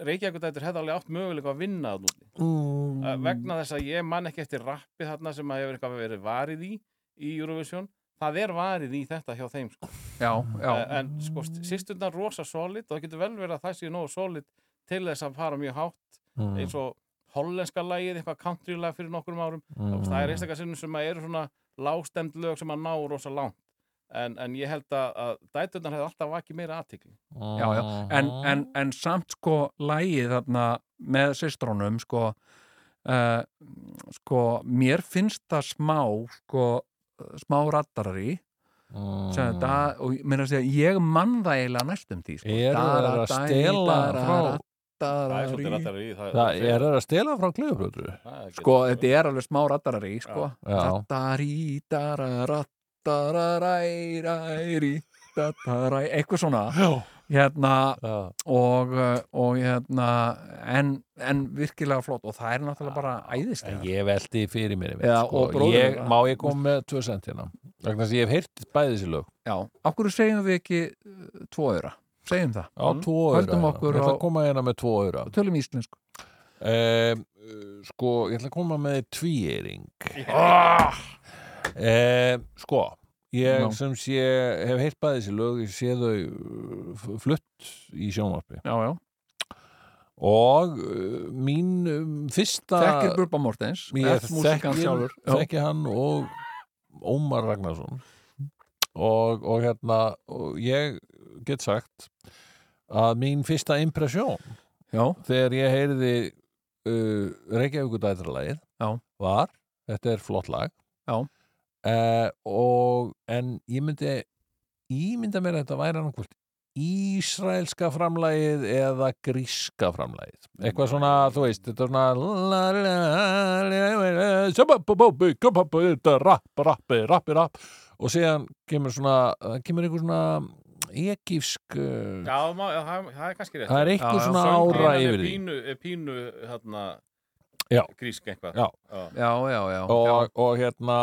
Reykjavíkudætur hefði alveg átt möguleika að vinna hann úti Mm. uh, vegna þess að ég man ekki eftir rappi þarna sem að hefur eitthvað verið varið í í Eurovision það er varið í þetta hjá þeim sko. já, já, uh, en sko sýsturnar rosa solid og það getur vel verið að það séu nógu solid til þess að fara mjög hátt Mm. eins og hollenska lagið, eitthvað country lag fyrir nokkrum árum mm. það er einstakar sinnum sem að eru svona lágstemd lög sem að ná rosa langt en, en ég held að, að dætunar hefði alltaf vakið meira aðtikli já, já, en, Mm. en, en samt sko lægið þarna með systrónum sko uh, sko, mér finnst það smá sko, smá rattarari sem Mm. þetta, og ég meina að segja ég mann það eiginlega næstum því sko. Eru þeir að Dara, stela dara, frá- það er svolítið Rattarari rættari í það, Það er að stela frá klifurblötu það er- sko, þetta er alveg smá rattarari sko. Já. rattarí, dara, rattararæ ræri, rattaræ eitthvað svona hérna, og, uh, og hérna en, en virkilega flott og það er náttúrulega bara æðislega Ég veldi fyrir mér einmitt, Já, sko. og bróðir ég, þeirra. Má ég koma með tvö sent hérna Vegna þess að ég hef heyrt bæði þessi lög já, af hverju segjum við ekki uh, tvo öra, segjum það Á tvo öra Mm. Höldum hérna. okkur Ég ætla á- að koma hérna með tvo öra og tölum íslensku um, Sko, ég ætla að koma með tvíering Ah! um, Sko Ég Já. sem sé, hef heyrt bæði þessi lög Ég sé þau uh, f- flutt í sjónvarpi já, já. Og uh, mín um, fyrsta þekkir Bubba Mortens ég músíkan þekki, sjálfur Já. þekki hann og Ómar Ragnarsson og, og hérna og ég get sagt að mín fyrsta impresjón já, þegar ég heyrði uh, Reykjavíkudætralagið Já. var, þetta er flott lag Já. Eh, og en ég myndi ímynda mér að þetta væri annarkvöld Ísraelska framlagið eða gríska framlagið eitthvað svona, þú veist, þetta er svona rapp, rapp, rapp, rapp og síðan kemur svona það kemur einhver svona ekifsk já, má, já, það, það er kannski rétt það er eitthvað Já, já, svona söngleinan ára Söngleinan er yfir því pínu, er pínu hérna, Já. grísk eitthvað Já. já, já, já, og, og hérna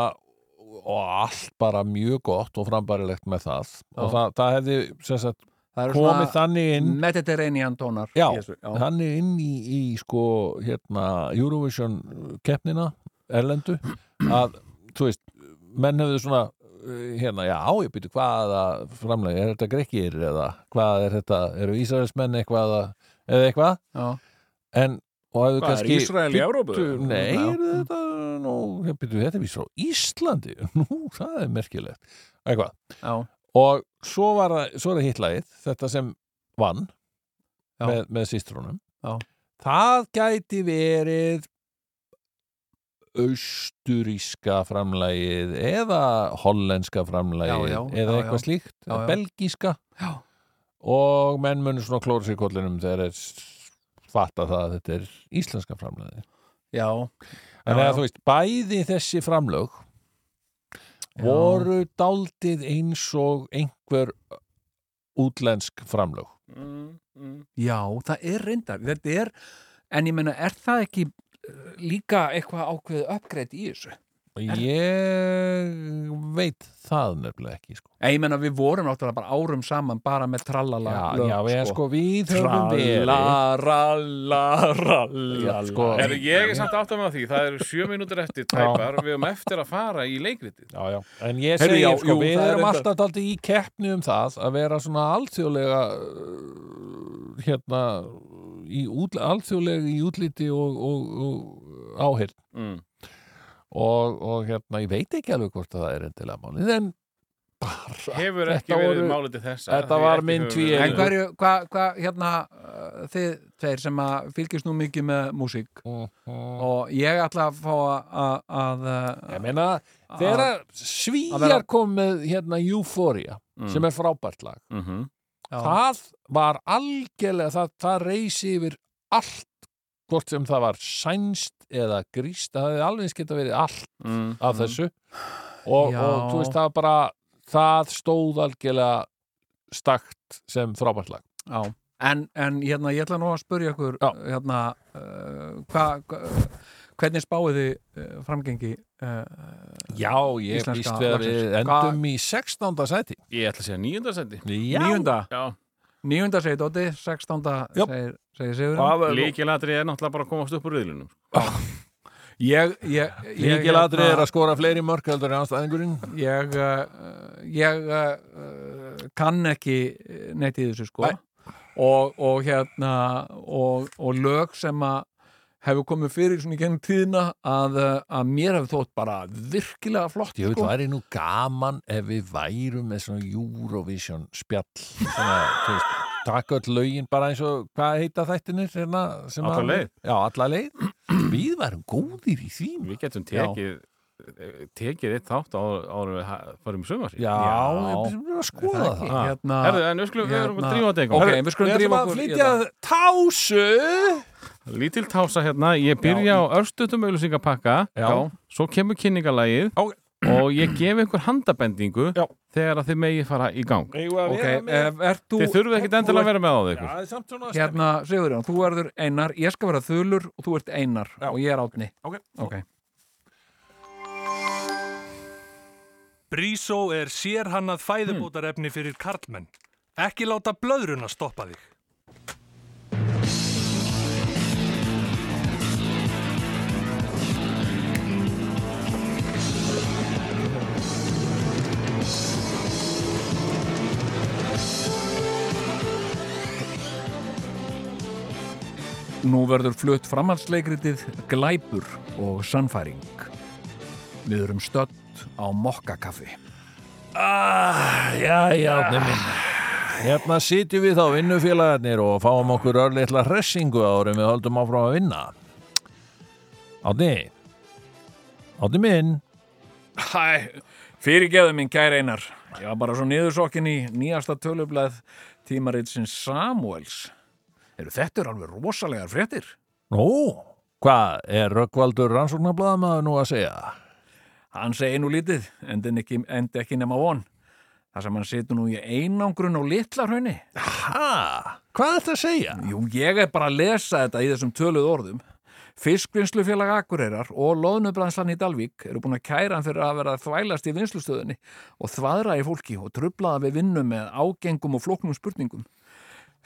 og allt bara mjög gott og frambærilegt með það og Já. það, það hefði sem sagt, það eru komið svona þannig inn mediterranean tónar Já. í þessu, já. þannig inn í, í sko hérna Eurovision keppnina erlendu að þú veist, menn hefðu svona eh, hérna, já, ég byrju hvaða framlega, er þetta grekkir eða hvað er þetta, eru Ísraelsmenn eitthvað að- eða eitthvað Já. en, og hefðu Hvað, er kannski Ísrael í bíddu, Evrópu? Nei, Já. er þetta nú, byrju, þetta er víst frá Íslandi [laughs] nú, það er merkilegt eitthvað, já, og svo var það, svo er það hittlægið, þetta sem vann Já. með, með sýstrunum Já. það gæti verið austuríska framlægið eða hollenska framlægið Já, já, eða já, eitthvað já. slíkt, Já, já. belgíska já, og menn munur svona klóra sér í kollinum þegar er fatta það að þetta er íslenska framlægið já, Þannig að Já, já. þú veist, bæði þessi framlög voru daldið eins og einhver útlensk framlög. Mm, mm. Já, það er reyndar, þetta er en ég meina, er það ekki eh, líka eitthvað ákveðið uppgreitt í þessu? Ég veit það nefnilega ekki, sko. En ég meina, við vorum náttúrulega bara árum saman bara með trallala Já, lög, já, við, sko, við höfum verið. Trallarallaralla Já, sko. Er, ég er samt átt að með því, það eru sjö mínútur eftir tæpar, við höfum eftir að fara í leikritið Já, já. En ég Heyrðu, segi, já, sko, jú, við það er erum reyndar- alltaf daldið í keppni um það að vera svona alþjóðlega uh, hérna í útl alþjóðlega í útliti og, og, og áheyrn. mm. og, og hérna, ég veit ekki alveg hvort að það er endilega málið en bara Hefur ekki Þetta verið voru- málið til þess þetta var minn tvíeyringur. En hverju, hvað, hva, hérna eh, þið tveir sem að fylgjast nú mikið með músík og ég ætla að fá að að, ég að, meina, þegar svíjar að vera- kom með hérna Euphoria sem er frábært lag mm -hmm. já, það var algjörlega, það, það reysi yfir allt hvort sem það var sænst eða gríst, það hefði alveg eins geta verið allt mm, af mm. þessu og, Já. og þú veist, það var bara það stóð algjörlega stakt sem frábært lag já. En, en hérna, ég ætla nú að spurja ykkur Já. hérna, uh, hva, hva, hvernig spáið þið uh, framgengi uh, Já, ég Íslenska býst við að við lagsins. Hvað- endum í 16. sæti Ég ætla að segja nýjöndarsendi Já, Níunda, Já, níunda segir Dóti, sextánda Jú. segir, segir Sigur líkilatri er náttúrulega bara að komast upp úr sko. riðlunum Ég, ég, ég, Líkilatri er að skora fleiri mörk heldur en anstæðingurinn Ég, uh, ég uh, kann ekki neitt í þessu sko Nei. og, og hérna og, og lög sem að hefur komið fyrir svona í gennum tíðina að, eh, að mér hefur þótt bara virkilega flott Ég veit, sko. væri nú gaman ef við værum með svona Eurovision spjall svona, þú veist, taka öll lögin bara eins og, hvað heita þættinir hérna, sem Alla að- leið. Já, alla leið Við værum góðir í því maður. Við getum tekið, tekið eitt þátt áður við ha- förum í sömari. Já, ég við erum að skoða Það það, ekki, það. hérna, Herðu, en við skulum, við erum að drífa þetta Ok, eitthvað. við skulum drífa okkur í þetta. tásu Lítil tása hérna, ég byrja á örstutum auðlýsingapakka, Já. svo kemur kynningalagið Ok. og ég gef ykkur handabendingu Já. þegar að þið megið fara í gang. Ok, ef ert þú Þið þurfið ekkit endilega að vera með á það ykkur. það er samt svona Hérna, Sigurjón, þú verður einar, ég skal vera þulur og þú ert einar Já. og ég er átni Ok. okay. Brísó er sérhannað fæðubótarefni fyrir karlmenn. Ekki láta blöðruna stoppa þig. Nú verður flutt framhaldsleikritið Glæpur og Sannfæring. Við erum stödd á Mokkakaffi. Já, já, nefnir Hérna sitjum við þá vinnufélagarnir og fáum okkur örlitla hressingu árum við höldum áfram að vinna Átni Átni minn Hæ, fyrirgeðu minn kæri einar. Ég var bara svo niðursokkin í nýjasta tölubleð tímaritsins Samuels. Eru þetta eru alveg rosalegar fréttir? Nú, hvað er Röggvaldur rannsóknarbladamaður nú að segja? Hann segi nú lítið, endi ekki, endi ekki nema von. Það sem hann situr nú í einangrun og litlarhaunni. Ha? Hvað er þetta að segja? Jú, ég er bara að lesa þetta í þessum töluð orðum. Fiskvinnslufélag Akureyrar og loðnubrænslan í Dalvík eru búin að kæra hann fyrir að vera að þvælast í vinslustöðinni og þvaðra í fólki og trublaða við vinnu með ágengum og flóknum spurningum.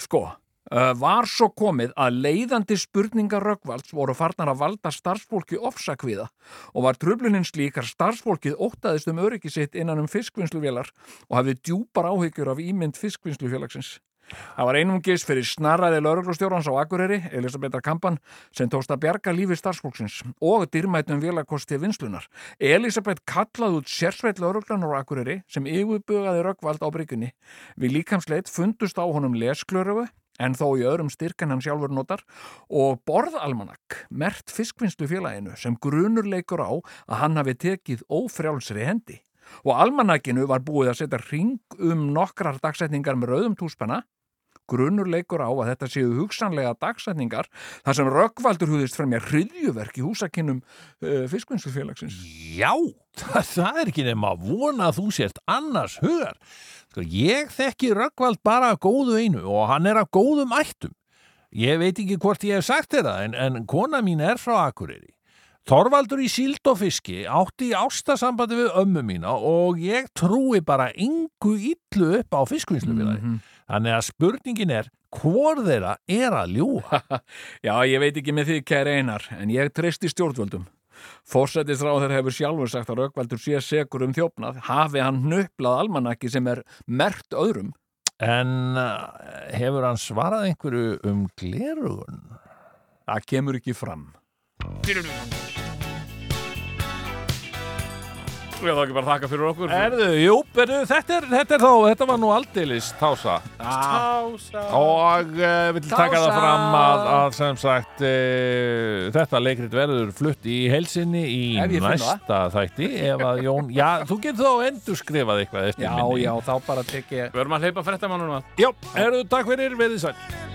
Sko, uh, var svo komið að leiðandi spurningar Röggvalds voru farnar að valda starfsfólki ofsakviða og var trublunin slíkar starfsfólkið óttaðist um öryggi sitt innan um fiskvinnsluvélar og hafði djúpar áhyggjur af ímynd fiskvinnslufélagsins. Það var einungis fyrir snarraði lauruglustjórans á Akureyri, Elisabetta Kampan, sem tókst að bjarga lífi starfsfólksins og dýrmætnum vélakosti vinslunar. Elisabeth kallaði út sérsveit lauruglanar á Akureyri sem yfirbugaði röggvald á bryggjunni. Við líkamsleit fundust á honum lesklörufu, en þó í öðrum styrkan hann sjálfur notar, og borðalmanak, mert fiskvinnslufélaginu sem grunur leikur á að hann hafi tekið ófrjálsri hendi. Og almanakinu var búið að setja ring um nokkrar dagsetningar með rauðum túspenna grunnur leikur á að þetta séu hugsanlega dagsetningar þar sem Röggvaldur húðist fremja hryðjuverk í húsakinnum uh, fiskvinnslufélagsins. Já, það, það er ekki nema að vona að þú sért annars hugar. Sko, ég þekki Röggvald bara að góðu einu og hann er að góðum ættum. Ég veit ekki hvort ég hef sagt þér það, en, en kona mín er frá Akureyri. Þorvaldur í síld og fiski átti í ástasambandi við ömmu mína og ég trúi bara yngu illu upp á fiskvinnslufélagi. Þannig að spurningin er, hvor þeirra er að ljúa? Já, ég veit ekki með því kæri einar, en ég treysti stjórnvöldum. Fórsættisráður hefur sjálfur sagt að Röggvaldur sé segur um þjófnað, hafi hann nöplað almanaki sem er mert öðrum. En eh, hefur hann svarað einhverju um glerugun? Það kemur ekki fram. Við erum ekki bara að þakka fyrir okkur. Erðu, jú, erðu, þetta, er, þetta er þá, þetta var nú aldeilis tása Tása. og uh, vill taka það Tása. fram að, að sem sagt uh, þetta leikrit verður flutt í helsinni í Ef ég finn næsta þætti ef að Jón, já, þú getur þá endur skrifað eitthvað eftir Já, minni já, þá bara tek ég Við erum að hleypa fréttamannunum að. já, erðu, takk fyrir, verið sæl